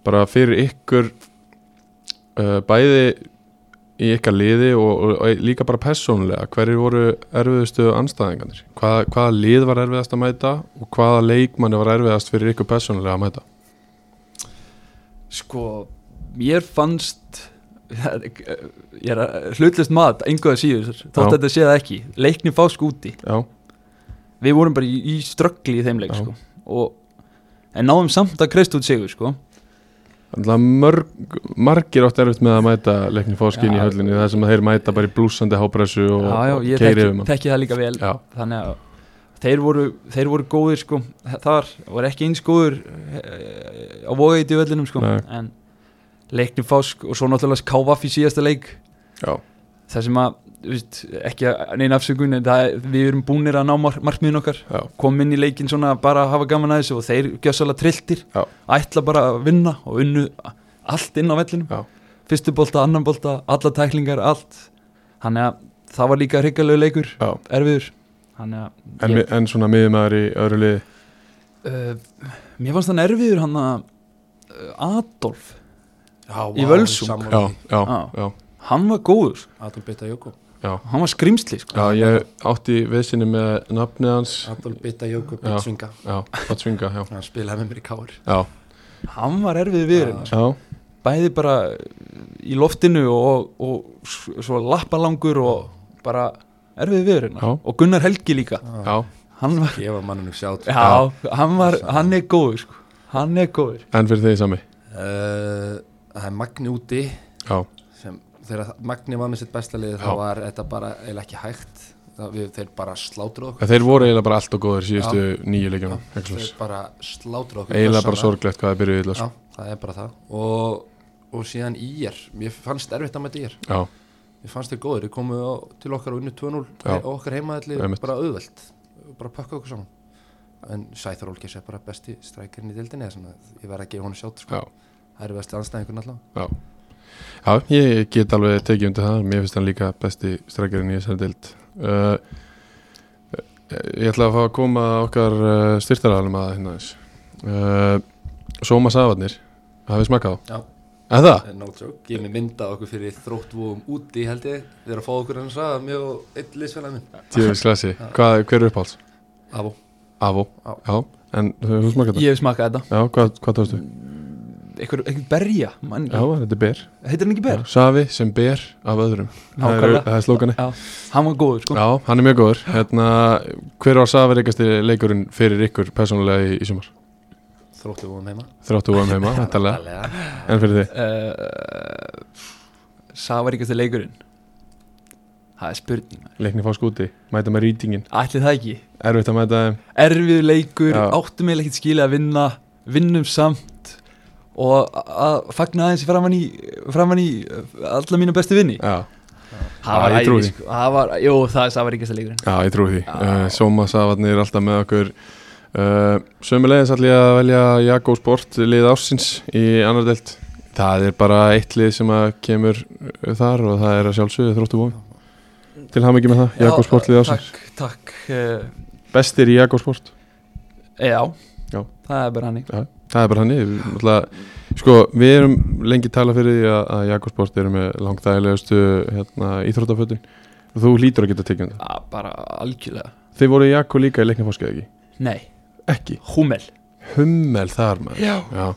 Speaker 2: bara fyrir ykkur uh, bæði í ykkar liði og, og, og líka bara persónulega, hverjir voru erfiðustu anstæðingarnir? Hvað, hvaða lið var erfiðast að mæta og hvaða leikmanni var erfiðast fyrir ykkur persónulega að mæta?
Speaker 3: sko, mér fannst ég er að- hlutlust mat engu að síður, þótt
Speaker 2: Já.
Speaker 3: þetta sé það ekki leikni fásk úti
Speaker 2: Já,
Speaker 3: við vorum bara í, í ströggli í þeim leik
Speaker 2: Já.
Speaker 3: sko. og, en náðum samt að kreist út sigur sko.
Speaker 2: alltaf mörg, margir átt erfitt með að mæta leikni fóskinn í
Speaker 3: Já.
Speaker 2: höllinni þar sem þeir mæta bara í blúsandi hápressu og
Speaker 3: já, já,
Speaker 2: keyra
Speaker 3: ég tekki,
Speaker 2: yfir mann.
Speaker 3: tekki það líka vel
Speaker 2: Já,
Speaker 3: þannig að þeir voru, þeir voru góðir sko, þar voru ekki eins góðir eh, á vóið í völlinum sko,
Speaker 2: Nei.
Speaker 3: en leikni fásk og svo náttúrulega kávaf í síðasta leik
Speaker 2: já,
Speaker 3: þar sem að, þú veist, ekki að neina afsökun en það, er- við erum búnir að ná mar markmiðin okkar,
Speaker 2: já,
Speaker 3: komum inn í leikin svona bara að hafa gaman að þessu og þeir gjössalega trilltir
Speaker 2: Já.
Speaker 3: ætla bara að vinna og unnu allt inn á vellinum
Speaker 2: Já.
Speaker 3: fyrstu bolta, annan bolta, alla tæklingar, allt þannig að það var líka hryggalegur leikur
Speaker 2: já.
Speaker 3: erfiður Þannig að
Speaker 2: En,
Speaker 3: ég,
Speaker 2: yeah. en svona miðumæður í öðru liði
Speaker 3: uh, mér fannst hann erfiður hann að uh, Adolf,
Speaker 4: Já,
Speaker 3: Í Völsung.
Speaker 2: Já, já,
Speaker 3: Já.
Speaker 2: já,
Speaker 3: hann var góður sko.
Speaker 4: Adolf Bita Jóko
Speaker 2: já
Speaker 3: hann var skrimsli sko.
Speaker 2: Já, ég átti viðsynni með nafnið hans
Speaker 4: Adolf Bita Jóko
Speaker 2: Já.
Speaker 4: Bitsvinga
Speaker 2: Já, það svinga, já
Speaker 4: hann spilaði með mér í káur
Speaker 2: Já,
Speaker 3: hann var erfiður við
Speaker 4: Já.
Speaker 2: já,
Speaker 3: bæði bara eh, í loftinu og, og s- svo lappalangur og bara erfiður við hérna.
Speaker 2: Já.
Speaker 3: og Gunnar Helgi líka
Speaker 2: já
Speaker 3: hann var,
Speaker 4: gefa manninu um sjátt
Speaker 3: já, hann, var hann er góður sko. hann er góður
Speaker 2: En fyrir þig sami
Speaker 4: Eh, það er Magni úti
Speaker 2: Já,
Speaker 4: sem þegar Magni var með sitt besta lið þá
Speaker 2: Já.
Speaker 4: var þetta bara eiginlega ekki hægt það, við, þeir bara slátruð okkur
Speaker 2: En Þeir voru eiginlega bara allt og góður síðustu nýju leikjana
Speaker 4: þeir bara slátruð okkur
Speaker 2: Eiginlega bara
Speaker 4: gjörsamlega.
Speaker 2: sorglegt hvað það byrjuði illa
Speaker 4: Já,
Speaker 2: sko.
Speaker 4: það er bara það og, og síðan ír, mér fannst erfitt að mæta ír
Speaker 2: Já,
Speaker 4: mér fannst þeir góðir, þeir komu á- til okkar og unnu 2-0
Speaker 2: Já.
Speaker 4: og okkar heimaðalli
Speaker 2: Einmitt.
Speaker 4: bara auðvelt, bara pakka okkur saman en Sæþur Olgers er bara besti strækirinn í dildinni, þannig að ég verð að gefa honum
Speaker 2: já,
Speaker 4: sjátt sko. það er besti anstæðingur náttúrulega
Speaker 2: já Já, ég get alveg tekið undir það Mér finnst hann líka besti strækjarinn í þessari dild uh, eh, Ég ætla að fá að koma að okkar uh, styrtaralum að hérna eins uh, Sóma Safarnir Hafið smakkað á?
Speaker 4: Já.
Speaker 2: Er það?
Speaker 4: no joke, ég er með myndað okkur fyrir þróttvóum úti held ég, þeir eru að fá okkur hans að mjög eitt liðsfélag minn
Speaker 2: Tjöfis klassi Hvað, hver er uppháls?
Speaker 4: Abo,
Speaker 2: Avo
Speaker 4: Já.
Speaker 2: Já, en eh, þú þú smakkað það?
Speaker 3: ég hef smakað þetta
Speaker 2: Já, hvað, hvað tóðstu?
Speaker 3: einhver, einhver berja mann,
Speaker 2: Já, þetta er ber
Speaker 3: heitir hann ekki ber?
Speaker 2: Safi sem ber af öðrum Það er,
Speaker 3: Nákvæmlega.
Speaker 2: það er slókani
Speaker 3: Já, hann var góður sko.
Speaker 2: Já, hann er mjög góður hérna, Hver var Safi reikasti leikurinn fyrir ykkur persónulega í, í sumar?
Speaker 4: Þróttu vóðum heima
Speaker 2: Þráttu um heima, hættalega
Speaker 4: Væntanlega.
Speaker 2: En fyrir þið?
Speaker 3: uh, Savaríkasti leikurinn Það er spurning maður.
Speaker 2: Leikni fá skúti, mæta með rýtingin
Speaker 3: Ætli það ekki
Speaker 2: Erfitt að mæta þeim
Speaker 3: Erfið leikur,
Speaker 2: Já.
Speaker 3: áttum eða ekkert skilið að vinna Vinnum samt Og að- að fagna aðeins framann í Framann í uh, alla mínu bestu vinni
Speaker 2: Já,
Speaker 3: Það
Speaker 2: Já,
Speaker 3: var
Speaker 2: ég trúi
Speaker 3: æði
Speaker 2: því.
Speaker 3: sko Það var, jú, það er Savaríkasti leikurinn
Speaker 2: Já, ég trúi því.
Speaker 3: Já.
Speaker 2: Uh, Soma Safarni er alltaf með okkur. Uh, Sömulegis ætlum ég að velja Jakko Sport lið ársins í annar delt. Það er bara eitt lið sem að kemur uh, þar og það er að sjálfsögðu þróttu vóðum. Til ham ekki með það, Jakko Sport lið ársins.
Speaker 3: Takk, takk uh,
Speaker 2: Bestir í Jakko Sport.
Speaker 3: já.
Speaker 2: Já.
Speaker 3: það er bara hannig
Speaker 2: Það er bara hann yfir. Náttúrulega, sko, við erum lengi tala fyrir því að, að Jakko Sport eru með langdægilegustu hérna, íþróttafötin. Þú hlýtur að geta tekið um það.
Speaker 3: ah, Bara algjörlega
Speaker 2: Þið voru í Jakko líka í leiknafóskið ekki?
Speaker 3: Nei,
Speaker 2: Ekki.
Speaker 3: Hummel
Speaker 2: Hummel þar maður.
Speaker 3: Já
Speaker 2: Já.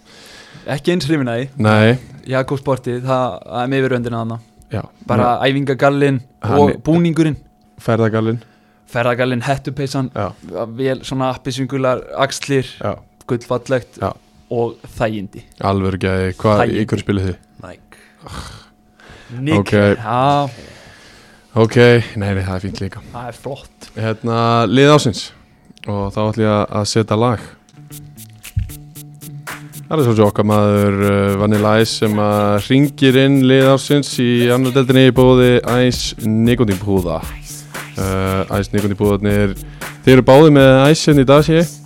Speaker 3: Ekki eins hriminaði
Speaker 2: Nei,
Speaker 3: Jakob Sportið, það það er með yfiröndina hann
Speaker 2: já
Speaker 3: bara
Speaker 2: Bara
Speaker 3: æfingagallin
Speaker 2: Hann
Speaker 3: og
Speaker 2: er-
Speaker 3: búningurinn
Speaker 2: Ferðagallin
Speaker 3: ferðagallin, hettupeysan
Speaker 2: Já,
Speaker 3: vel svona appisungular axlir
Speaker 2: já
Speaker 3: gullfallegt
Speaker 2: Já.
Speaker 3: og þægindi
Speaker 2: Alvöru gæði, hvað,
Speaker 3: Þægindi.
Speaker 2: í hverju spilu þið?
Speaker 4: Nike
Speaker 3: Nick,
Speaker 2: Ok.
Speaker 3: já,
Speaker 2: Ok, nei, nei, það er fínt líka
Speaker 3: það er flott
Speaker 2: Hérna, lið ásins Og þá ætlum ég að- að setja lag Það er svolítið okkar maður uh, Vanilla Ice sem að ringir inn lið ásins í annar deldinni í bóði Ice Nikotin Púða uh, Ice Nikotin Púðarnir Þeir eru báði með Ice hérna í dag sé ég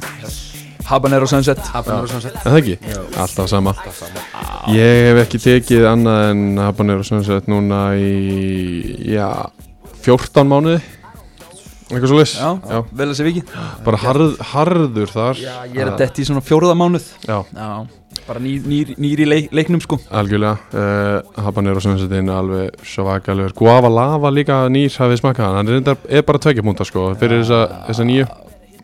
Speaker 3: Habanero Sunset
Speaker 4: Habanero Sunset
Speaker 2: Er það ekki? Alltaf sama. Ég hef ekki tekið annað en habanero sunset núna í, já, 14 mánuði. Eitthvað svo leys.
Speaker 3: já, vel að sé viki
Speaker 2: Bara harð, harður þar.
Speaker 3: já, ég er að detti í svona fjóruða mánuð
Speaker 2: Já,
Speaker 3: já, bara nýr, nýr, nýr í leik, leiknum sko
Speaker 2: algjörlega. Uh, habanero sunsetin alveg svakalur. Guava lava líka nýr hafið smakað hann. Hann er, reyndar- er bara tveikja púnta sko fyrir þessa, þessa nýju.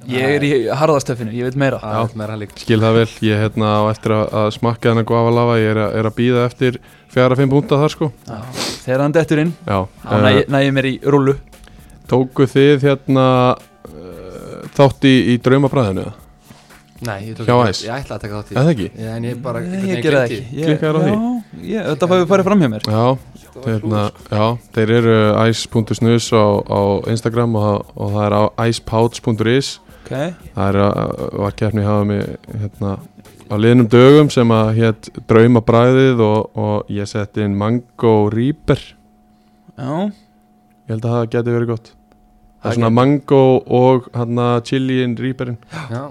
Speaker 3: ég er í harðastöfinu, ég veit meira
Speaker 4: Það er meira líkt
Speaker 2: Skil það vel. Ég hérna á eftir að, að smakka hann að guava lava. Ég er, að- er að býða eftir fjara fimm púnta þar sko.
Speaker 3: já. þegar hann dettur inn
Speaker 2: Já.
Speaker 3: þá næ, næ ég mér í rúlu
Speaker 2: Tóku þið hérna uh, þátt í, í draumabræðinu? eða?
Speaker 4: Nei, ég, tók
Speaker 2: Hjá
Speaker 4: ekki-
Speaker 2: Ice.
Speaker 4: ég ætla að taka þátt í
Speaker 2: Eða ekki?
Speaker 4: Já, en ég bara
Speaker 3: Nei, ég gerði það ekki Ég-
Speaker 2: Klikkaðir á
Speaker 3: já, ég, Þetta fæði farið fram hjá mér
Speaker 2: Já, hérna, já þeir eru ice.snus á, á Instagram og, og það er á icepouch.is
Speaker 3: okay.
Speaker 2: Það er að var keppni hafa mig hérna á liðnum dögum sem að hétt draumabræðið og, og ég sett inn mango reaper
Speaker 3: Já,
Speaker 2: Ég held að það geti verið gott Það
Speaker 3: Það
Speaker 2: er svona
Speaker 3: gæti-
Speaker 2: mango og hérna chiliin reaperinn
Speaker 4: Já,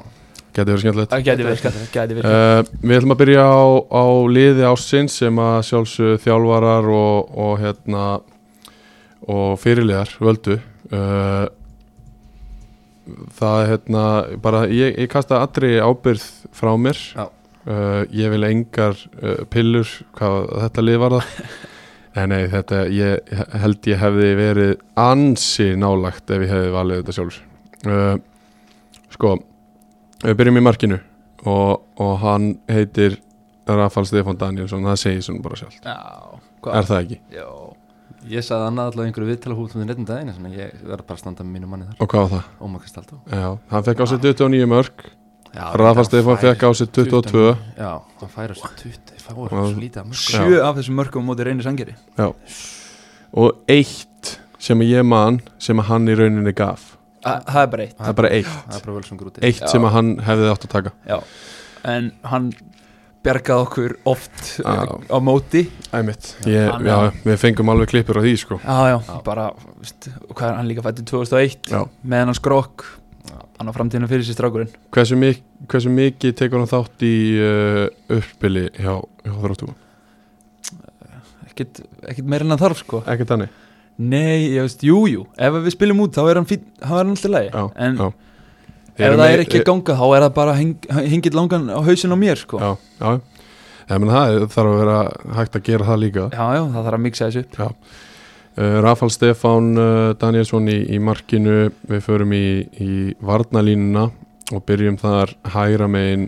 Speaker 2: Geti verið skemmtilegt
Speaker 3: það gæti virkað Gæti virkað
Speaker 2: Uh, við ætlum að byrja á, á liði ásins sem að sjálfsögðu þjálfarar og, og hérna og fyrirlegar völdu uh, það er hérna bara ég, ég kasta allri ábyrð frá mér
Speaker 4: Já.
Speaker 2: uh, ég vil engar uh, pillur hvað þetta lið var það Nei, nei, þetta, ég he- held ég hefði verið ansi nálagt ef ég hefði valið þetta sjálfur. Uh, sko, við byrjum í markinu og, og hann heitir Rafal Stefán Danielsson, það segir svona bara sjálf.
Speaker 3: Já,
Speaker 2: Er það ekki?
Speaker 3: Já,
Speaker 4: ég sagði annað allavega einhverju viðtala hútum þinn einn um daginn Þannig að ég verð bara að standa með mínu manni þar
Speaker 2: Og hvað var það?
Speaker 4: Ómakast alltaf
Speaker 2: Já, hann fekk á sig 29 mörg,
Speaker 4: Já,
Speaker 2: Rafa
Speaker 4: hann
Speaker 2: Stefán
Speaker 4: fær-
Speaker 2: fekk á sig 22.
Speaker 4: Já, hann færa sér 20 Fáir
Speaker 2: Já.
Speaker 4: svo lítið að mörg
Speaker 3: sjö af þessum mörgum á móti reynir sangeri
Speaker 2: og eitt sem ég man sem að hann í rauninni gaf.
Speaker 3: Það er bara eitt
Speaker 2: Það er bara eitt.
Speaker 4: Það er bara vel sem grútið
Speaker 2: Eitt sem að hann hefði átt að taka.
Speaker 3: Já. En hann bjargaði okkur oft
Speaker 2: Já.
Speaker 3: uh, á móti
Speaker 2: Æmitt. Ég,
Speaker 3: Hann-
Speaker 2: já, við fengum alveg klippur á því, sko.
Speaker 3: Já, já,
Speaker 4: Já.
Speaker 3: bara veist, og hvað er hann líka fættið 2001
Speaker 2: Já.
Speaker 3: með hann skrokk
Speaker 4: Já.
Speaker 3: hann á framtíðinu fyrir sér strákurinn
Speaker 2: Hversu, mik hversu mikið tekur hann þátt í uh, uppbili hjá, hjá þróttum?
Speaker 3: ekkit, ekkit meira en hann þarf sko
Speaker 2: Ekki þannig?
Speaker 3: Nei, ég veist, jú, jú, ef við spilum út þá er hann, fín, þá er hann alltaf lægi
Speaker 2: Já,
Speaker 3: en
Speaker 2: já. e-
Speaker 3: ef það er ekki að ganga þá er það bara heng, hengið langan á hausin á mér sko. já.
Speaker 2: Já, já. Ég meina það er- þarf að vera hægt að gera það líka.
Speaker 3: já, það þarf að mixa þessu upp
Speaker 2: Já. Uh, Rafal Stefán uh, Danielsson í, í markinu, við förum í, í varnalínuna og byrjum þar hægra megin.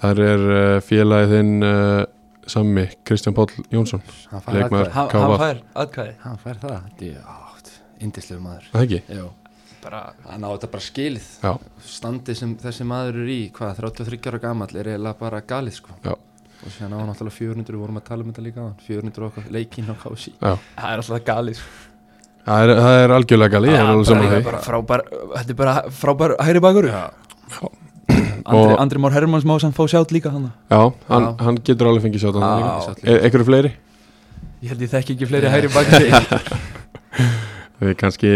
Speaker 2: Þar er uh, eh, félagið þinn uh, sammi Kristján Páll Jónsson
Speaker 4: hann fær
Speaker 2: Leikmaður.
Speaker 4: atkvæði.
Speaker 3: hann,
Speaker 2: KV.
Speaker 3: hann fær atkvæði
Speaker 4: hann fær það djátt, indislegu maður
Speaker 2: Það ekki?
Speaker 4: Jó.
Speaker 3: bara,
Speaker 4: hann á þetta bara skilið
Speaker 2: Já,
Speaker 4: standi sem þessi maður er í hvað, 33 ára gamall er eiginlega bara galið sko.
Speaker 2: Já.
Speaker 4: og síðan á hann náttúrulega 400 við vorum að tala um þetta líka á hann 400 og okkar leikinn á KSI
Speaker 2: já
Speaker 3: það er alltaf gali sko.
Speaker 2: Það er, það er algjörlega gali, ég er
Speaker 3: Já,
Speaker 2: alveg
Speaker 3: bara
Speaker 2: saman
Speaker 3: líka
Speaker 2: því
Speaker 3: bara frábær, þetta er bara frábær hæri bakur Andri,
Speaker 2: Og-
Speaker 3: Andri Már Hermanns má sem fá sjátt líka hann
Speaker 2: Já, hann,
Speaker 4: Já.
Speaker 2: hann getur alveg fengið sjátt
Speaker 3: Já.
Speaker 2: hann
Speaker 4: Sátt líka.
Speaker 2: Er E, einhverju fleiri?
Speaker 3: ég held ég þekki ekki fleiri hæri bakur
Speaker 2: Við kannski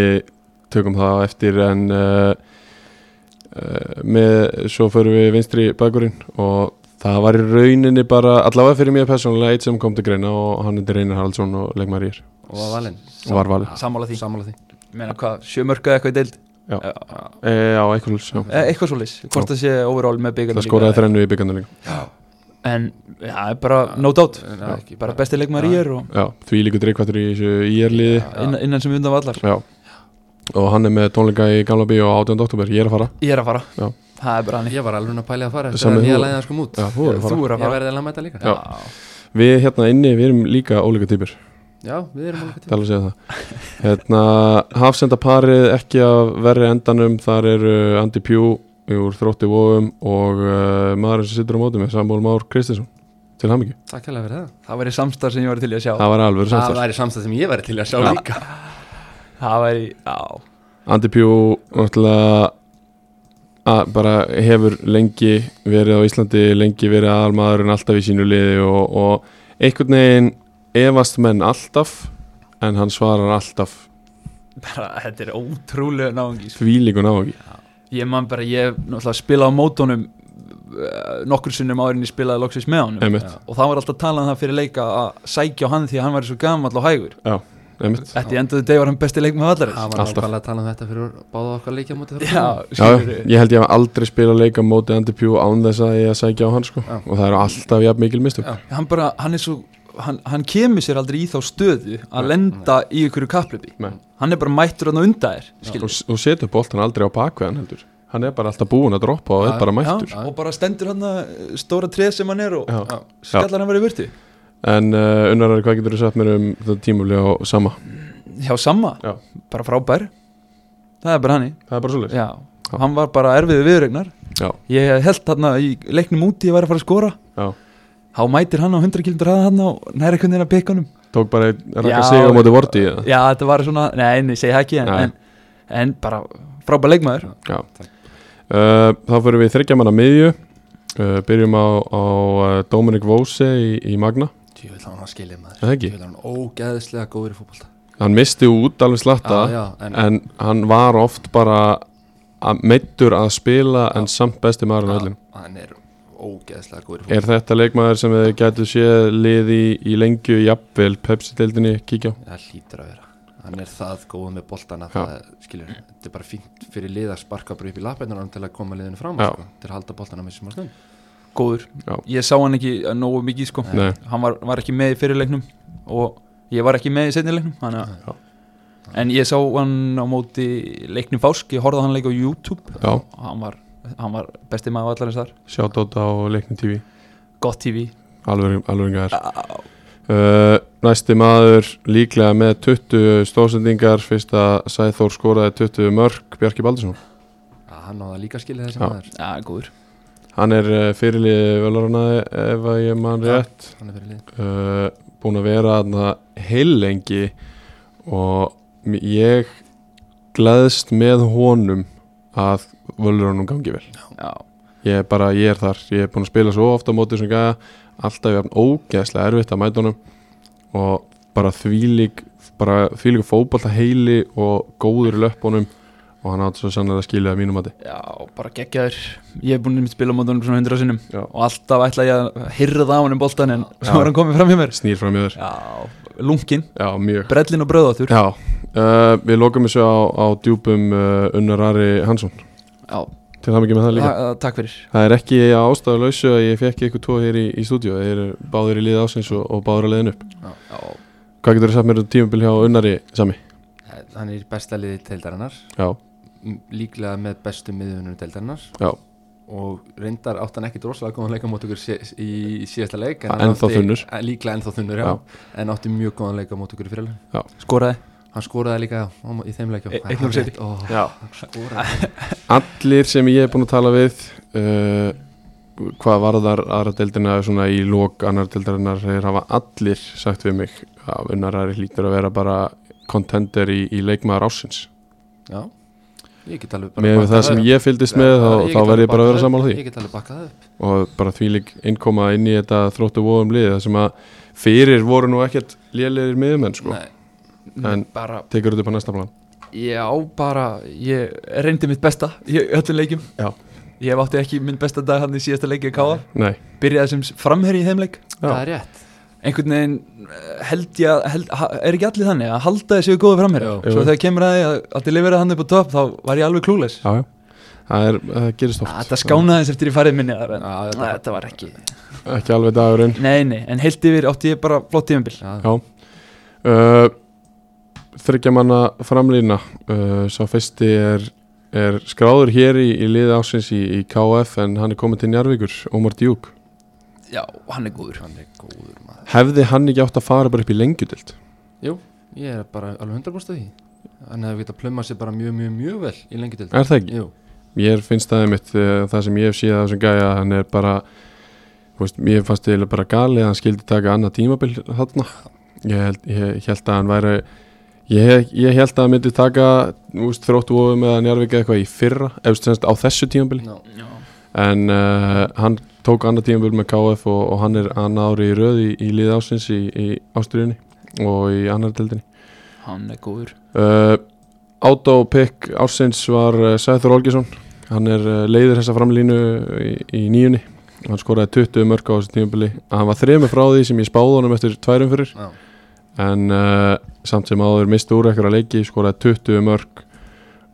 Speaker 2: tökum það á eftir en uh, uh, með, svo förum við vinstri bakurinn og það var í rauninni bara, allavega fyrir mér persónulega eitt sem kom til greina og hann heitir Einar Haraldsson og leggmaður í er
Speaker 4: og var valinn
Speaker 2: og var valið
Speaker 3: sammála því
Speaker 4: sammála því
Speaker 3: meina hvað, sjömörka eitthvað í deild
Speaker 2: Já.
Speaker 3: Eh,
Speaker 2: e, Já, eitthvað ljus, já
Speaker 3: eh, eitthvað svoleiðis, hvort það sé overall með byggjum
Speaker 2: Það skoraði þrennu í byggjandu líka
Speaker 3: en já, það er bara no doubt
Speaker 4: Já,
Speaker 2: Já.
Speaker 4: ekki
Speaker 3: bara besti leikmaður í er og
Speaker 2: Já, því líka dreikvættur í þessu íjarliði
Speaker 4: Já.
Speaker 3: innan, innan sem undan vallar
Speaker 2: Já Og hann er með tónleika í Gamla Bíó á 18. oktober, ég er að fara
Speaker 3: ég er að fara,
Speaker 2: Já.
Speaker 3: það er bara hann
Speaker 4: ég var alveg að pæli að fara eftir
Speaker 2: Sami
Speaker 4: að nýja
Speaker 2: þú.
Speaker 4: læðið hans kom út
Speaker 2: Já, þú er að fara
Speaker 3: þú er að
Speaker 4: ég
Speaker 3: fara
Speaker 4: verði að mæta líka
Speaker 2: Já. Við hérna inni, við erum líka ólíka týpur
Speaker 4: Já, við erum alveg til
Speaker 2: Það er alveg að segja það Hérna, hafsendaparið ekki af verri endanum Þar eru Andy Pugh úr þrótti vóum Og uh, maðurinn sem sittur á móti með Samúl Már Kristinsson Til hamingju
Speaker 4: Takk hérlega fyrir það
Speaker 3: það væri samstarf sem ég væri til í að sjá
Speaker 2: Það var alveg
Speaker 4: Það
Speaker 2: samstæð
Speaker 4: væri samstæð sem ég væri til að sjá
Speaker 2: Já.
Speaker 4: líka
Speaker 3: það væri, já,
Speaker 2: Andy Pugh, náttúrulega að bara hefur lengi verið á Íslandi lengi verið aðalmaðurinn alltaf í sínu liði og, og einhvern veginn efast menn alltaf en hann svarar alltaf
Speaker 3: bara þetta er ótrúlega náðungi sko.
Speaker 2: þvílíkun á ekki
Speaker 3: ég man bara, ég náttúrulega spilaði á mótónum eh, nokkur sinnum árinni spilaði loksins með honum
Speaker 2: Einmitt.
Speaker 3: Já. og það var alltaf talað um það fyrir leika að sækja á hann því að hann væri svo gamall og hægur
Speaker 2: einmitt,
Speaker 3: Þetta í endaðu deg var hann besti leik með vallarins
Speaker 4: Það var
Speaker 2: Alltaf.
Speaker 4: nákvæmlega að tala um þetta fyrir báða okkar leikja á móti þar
Speaker 3: Já,
Speaker 2: Já,
Speaker 3: skilur
Speaker 2: já, ég held ég hef aldrei spilað leika móti Andy Pugh án þess að ég að sækja á hann sko.
Speaker 4: Já.
Speaker 2: og það eru alltaf jafn mikil mistök
Speaker 4: Já.
Speaker 3: Hann bara, hann er svo hann, hann kemur sér aldrei í þá stöðu að lenda í ykkur kapplöpi
Speaker 2: Nei.
Speaker 3: Hann er bara mættur hann að unda þér skilur
Speaker 2: og, og setur boltan aldrei á bakveðan heldur hann er bara alltaf búinn að droppa og
Speaker 4: Já,
Speaker 2: er bara
Speaker 3: Já,
Speaker 2: mættur
Speaker 3: Og bara stendur hann að stóra treð sem hann er og
Speaker 2: Já.
Speaker 3: skallar hann verið burtu
Speaker 2: en uh, unnarari, hvað getur þú sagt mér um þetta tímuli á sama?
Speaker 3: Já, sama,
Speaker 2: Já.
Speaker 3: bara frábær Það er bara hann í
Speaker 2: Það er bara svolítið
Speaker 3: Já, hann var bara erfiði viðregnar
Speaker 2: Já.
Speaker 3: Ég held hann að í leiknum úti ég væri að fara að skora
Speaker 2: Já.
Speaker 3: Há mætir hann á 100 km hraða hann og næra einhvern veginn að pikka honum
Speaker 2: tók bara einn
Speaker 3: Já,
Speaker 2: rakka sig á móti vorti já.
Speaker 3: Já, þetta var svona, nei, nei, segi það ekki en,
Speaker 2: Nei.
Speaker 3: en, en bara frábær leikmaður
Speaker 2: Já. Uh, þá fyrir við þryggja manna miðju uh, byrjum á, á uh, Dominic Vose í, í Magna
Speaker 4: Tjóðvill hann að skilja maður
Speaker 2: Er það ekki?
Speaker 4: Djöfull var hann ógæðislega góður í fótbolta
Speaker 2: hann misti út alveg slatta
Speaker 4: Já, já, en,
Speaker 2: en hann var oft bara að- meiddur að spila en samt besti maður en
Speaker 4: Já,
Speaker 2: öllum
Speaker 4: hann er ógæðislega góður í
Speaker 2: Er þetta leikmaður sem þið gætu séð liði í lengju jafnvel Pepsi-deildinni kíkja á?
Speaker 4: fótbolta Það hlýtur að vera Hann er það góð með boltana
Speaker 2: Já.
Speaker 4: það, skilur, þetta er bara fínt fyrir lið að sparka bara upp í lappinnar til að koma liðinu fram
Speaker 2: Já.
Speaker 4: sko, til að halda boltana með sem að stund
Speaker 3: góður,
Speaker 2: Já.
Speaker 3: ég sá hann ekki eh, nógu mikið sko,
Speaker 2: Nei.
Speaker 3: hann var, var ekki með í fyrirleiknum og ég var ekki með í setnileiknum þannig
Speaker 2: Já.
Speaker 3: að En ég sá hann á móti leiknum Fásk, ég horfði á hann leik á YouTube
Speaker 2: Já,
Speaker 3: hann var, hann var besti maður allarins þar
Speaker 2: sjátt á leiknum TV
Speaker 3: gott TV,
Speaker 2: alveg engar uh, Næsti maður líklega með 20 stóðsendingar fyrst að Sæþór skoraði 20 mörg Bjarki Baldursson
Speaker 4: Já, hann á það líka skilja þessi
Speaker 2: Já.
Speaker 4: maður
Speaker 3: já, góður
Speaker 2: Hann er uh, fyrirliði velarana ef að ég man
Speaker 4: Já.
Speaker 2: rétt
Speaker 4: Hann er fyrir lið
Speaker 2: uh, búin að vera þarna heilengi og m- ég gleðst með honum að völurunum gangi vel
Speaker 3: já,
Speaker 2: ég er bara, ég er þar, ég er búin að spila svo ofta á móti sem gæða, alltaf jafn ógeðslega erfitt að mæta honum og bara þvílík bara þvílík fótbolta heili og góður í löppunum og hann átt svo sannlega að skilja að mínum mati
Speaker 3: já, bara geggjaður ég hef búin að spila á móti hann svona hundra sinnum
Speaker 2: Já.
Speaker 3: og alltaf ætla ég að hyrða á hann um boltan en svo var hann komið fram hjá mér
Speaker 2: snýr fram í þér,
Speaker 3: Já, lunkin,
Speaker 2: já, mjög
Speaker 3: brellin og bröðáttur
Speaker 2: Já, uh, við lokum þessu á, á djúpum uh, Unnar Ari Hansson
Speaker 3: Já,
Speaker 2: til það mikið með það líka
Speaker 3: þa- þa- takk fyrir
Speaker 2: Það er ekki á ástæðu lausu að ég fekk ykkur tvo hér í, í stúdíu Þeir eru báðir í liði ásins og, og báðir að leiðin upp
Speaker 3: Já,
Speaker 2: Hvað getur þú sagt mér um tímabil hjá Unnari sami?
Speaker 4: Eh, Hann er í besta liði deildarinnar
Speaker 2: Já,
Speaker 4: m- líklega með bestu miðunum deildarinnar
Speaker 2: Já.
Speaker 4: og reyndar átt hann ekki droslega góðan leika mót okkur sé, í síðasta leik
Speaker 2: Ja,
Speaker 4: hann
Speaker 2: ennþá
Speaker 4: átti-
Speaker 2: þunnur.
Speaker 4: eh, líklega ennþá þunnur, já,
Speaker 2: Já.
Speaker 4: en átti mjög góðan leika mót okkur í fyrirlega
Speaker 3: skoraði
Speaker 4: hann skoraði líka já, á mó- í þeim leikjum
Speaker 3: E- 1-0 sigri.
Speaker 2: Já.
Speaker 4: skoraði
Speaker 2: allir sem ég er búin að tala við uh, hvað varðar aðra deildina svona í lók annar deildarinnar þeir hafa allir sagt við mig að vinnarari hlýtur að vera bara contender í, í leikmaður ásins
Speaker 4: já, ég get alveg
Speaker 2: með
Speaker 4: bakkað
Speaker 2: það sem
Speaker 4: upp.
Speaker 2: ég fylgdist með þá,
Speaker 4: get
Speaker 2: þá
Speaker 4: alveg
Speaker 2: verð ég bara að
Speaker 4: bakkað
Speaker 2: vera
Speaker 4: upp.
Speaker 2: sammála því
Speaker 4: ég get alveg bakkað það upp
Speaker 2: og bara þvílik innkoma inn í þetta þróttu vóðum lið það sem að fyrir voru nú ekkert lélegir miðumenn sko,
Speaker 4: Nei,
Speaker 2: en
Speaker 3: bara,
Speaker 2: tekur þetta upp á næsta plan
Speaker 3: já, bara ég reyndi mitt besta í öllum leikjum
Speaker 2: Já.
Speaker 3: ég hef átti ekki minn besta dag hann í síðasta leiki að káa
Speaker 2: Nei,
Speaker 3: byrjaði sem framherri í þeim leik
Speaker 2: Já.
Speaker 4: það er rétt
Speaker 3: einhvern veginn eh, held ég að held, ha- er ekki allir þannig að halda þessu góðu framherri
Speaker 4: Já.
Speaker 3: svo
Speaker 2: Jú.
Speaker 3: þegar kemur að því að að delivera hann upp á topp þá var ég alveg klúles
Speaker 2: já, já. Það, er, það gerist oft
Speaker 3: þetta skánaði eins eftir í farið minni þar, en,
Speaker 4: Já, þetta-
Speaker 3: þetta var ekki
Speaker 2: ekki alveg dagurinn
Speaker 3: nei, nei, en heilt yfir átti ég bara flott tímabil
Speaker 4: já,
Speaker 2: Já uh, Þryggja manna framlýna uh, Sá fyrsti er, er skráður hér í, í liði ásins í, í KF en hann er komin til Njarvíkur, Ómar Djúk
Speaker 3: já, hann er góður
Speaker 4: hann er góður maður
Speaker 2: Hefði hann ekki átt að fara bara upp í lengjudild?
Speaker 4: ég er bara alveg 100% á því hann hefði getað plömmað sér bara mjög, mjög, mjög vel í lengi til
Speaker 2: Er það ekki?
Speaker 4: Jú,
Speaker 2: Mér finnst það einmitt uh, það sem ég hef séð af þessum gæja hann er bara þú veist, ég fannst eða bara gali að hann skildi taka annað tímabil þarna ég held, ég held að hann væri ég, ég held að hann myndi taka þú veist, þróttu ofum eða Njarvík eða eitthvað í fyrra eða semst á þessu tímabili
Speaker 4: no.
Speaker 3: já.
Speaker 2: en uh, hann tók annað tímabil með KF og, og hann er annað ári í röði í, í lið ásins í, í Ástriðunni og í annar deildinni
Speaker 3: hann er góður
Speaker 2: uh, Átó pick ásins var uh, Sæður Olgesson hann er uh, leiður þessa framlínu í, í nýjunni hann skoraði 20 mörg á þessu tímabili hann var þremur frá því sem ég spáði honum eftir tværum fyrir
Speaker 4: Já.
Speaker 2: en uh, samt sem áður misti úr ekkur að leiki skoraði 20 mörg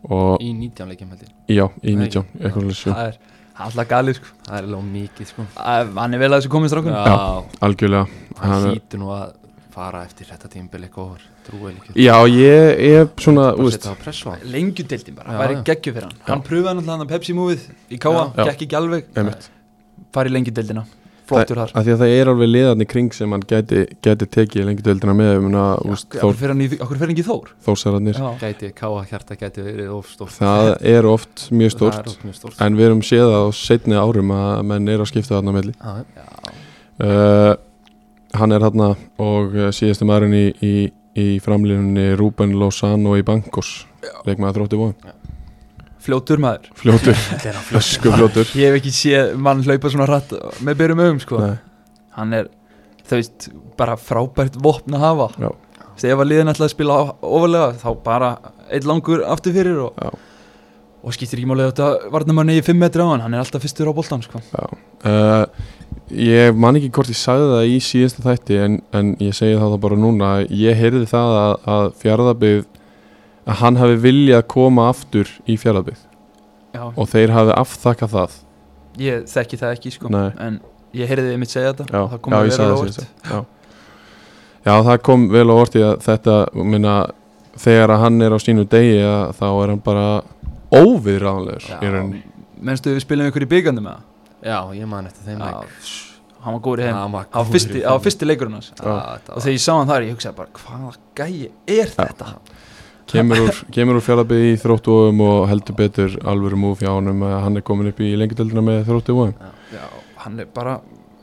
Speaker 2: og
Speaker 4: í 19 leikjum held ég
Speaker 2: já, í
Speaker 4: Nei.
Speaker 2: 19 eitthvað svolítið
Speaker 3: það er hann er alltaf galið sko
Speaker 4: það er alveg mikið sko
Speaker 3: Að- hann er vel að þessu komið strákun
Speaker 4: Já,
Speaker 2: algjörlega
Speaker 4: hann
Speaker 2: Hann-
Speaker 4: hýtur nú að fara eftir þetta tímbil eitthvað ofur trúið líka
Speaker 2: Já, ég er svona,
Speaker 4: bara
Speaker 2: úst,
Speaker 4: setja á pressu á hann.
Speaker 3: lengjudeildin bara,
Speaker 4: Já,
Speaker 3: væri
Speaker 4: já.
Speaker 3: geggju fyrir hann
Speaker 2: Já.
Speaker 3: hann pröfaði náttúrulega hann að Pepsi múið í káa,
Speaker 2: Já.
Speaker 3: gekk ekki alveg
Speaker 2: einmitt
Speaker 3: fari í lengjudeildina, flottur þar
Speaker 2: Af því að það er alveg liðarni kring sem hann gæti, gæti tekið lengdöldina með ég meina, úst,
Speaker 3: okkur
Speaker 2: Þór,
Speaker 3: fyrir hann í, okkur fyrir hann í Þór
Speaker 2: Þórsararnir
Speaker 3: já,
Speaker 4: gæti káa hjarta gæti verið of stórt
Speaker 2: Það er oft mjög
Speaker 4: Það er
Speaker 2: stórt
Speaker 4: oft mjög stórt
Speaker 2: En við erum séð á setni árum að menn eru að skipta þarna á milli
Speaker 4: Já,
Speaker 2: uh, Hann er þarna og uh, síðasti maðurinn í, í, í framlýnunni Ruben Lozano í Bankos Leikmaður þrótti vóðum
Speaker 3: fljótur maður
Speaker 2: Fljótur, ösku fljótur
Speaker 3: ég hef ekki séð mann hlaupa svona rætt með berum augum sko
Speaker 2: Nei,
Speaker 3: hann er, þú veist, bara frábært vopn að hafa
Speaker 2: Já.
Speaker 3: Þú veist, ef að liðin ætlaði að spila á- ofarlega þá bara eitt langur aftur fyrir og,
Speaker 2: Já.
Speaker 3: og skýttir ekki málega þetta varnamanni í 5 metri á hann, hann er alltaf fyrstur á boltan sko.
Speaker 2: Uh, ég man ekki hvort ég sagði það í síðasta þætti en, en ég segi það þá bara núna ég heyrði það að, að fjárðabyggð að hann hafi viljað koma aftur í fjárðabyggð
Speaker 3: já,
Speaker 2: og þeir hafi afþakkað það
Speaker 3: ég þekki það ekki sko
Speaker 2: Nei.
Speaker 3: en ég heyrði þið mitt segja þetta
Speaker 2: já,
Speaker 3: og það
Speaker 2: já,
Speaker 3: kom að
Speaker 2: ég
Speaker 3: vera
Speaker 2: sagði
Speaker 3: á
Speaker 2: það
Speaker 3: óvart
Speaker 2: síðasta. já. já, það kom vel á orti að þetta, minna þegar að hann er á sínu degi að, þá er hann bara óviðráðanlegur
Speaker 4: Já.
Speaker 2: í raun
Speaker 3: mennstu við spilum ykkur í byggandum með
Speaker 4: já, ég man eftir þeim
Speaker 3: það
Speaker 4: leik
Speaker 3: hann var góður í þeim
Speaker 4: Hann var
Speaker 3: á
Speaker 4: góður í
Speaker 3: fyrsti, á
Speaker 4: þeim.
Speaker 3: fyrsti leikurinn hans
Speaker 4: Já, þetta
Speaker 3: og
Speaker 4: var-
Speaker 3: þegar ég sá hann þar ég hugsaði bara hvaða gæi er þetta
Speaker 2: kemur úr, kemur úr fjárðabyggð í þróttu ofum og heldur betur alvöru múf hjá honum að hann er komin upp í lengjadöldina með þróttu ofum
Speaker 3: já, hann er bara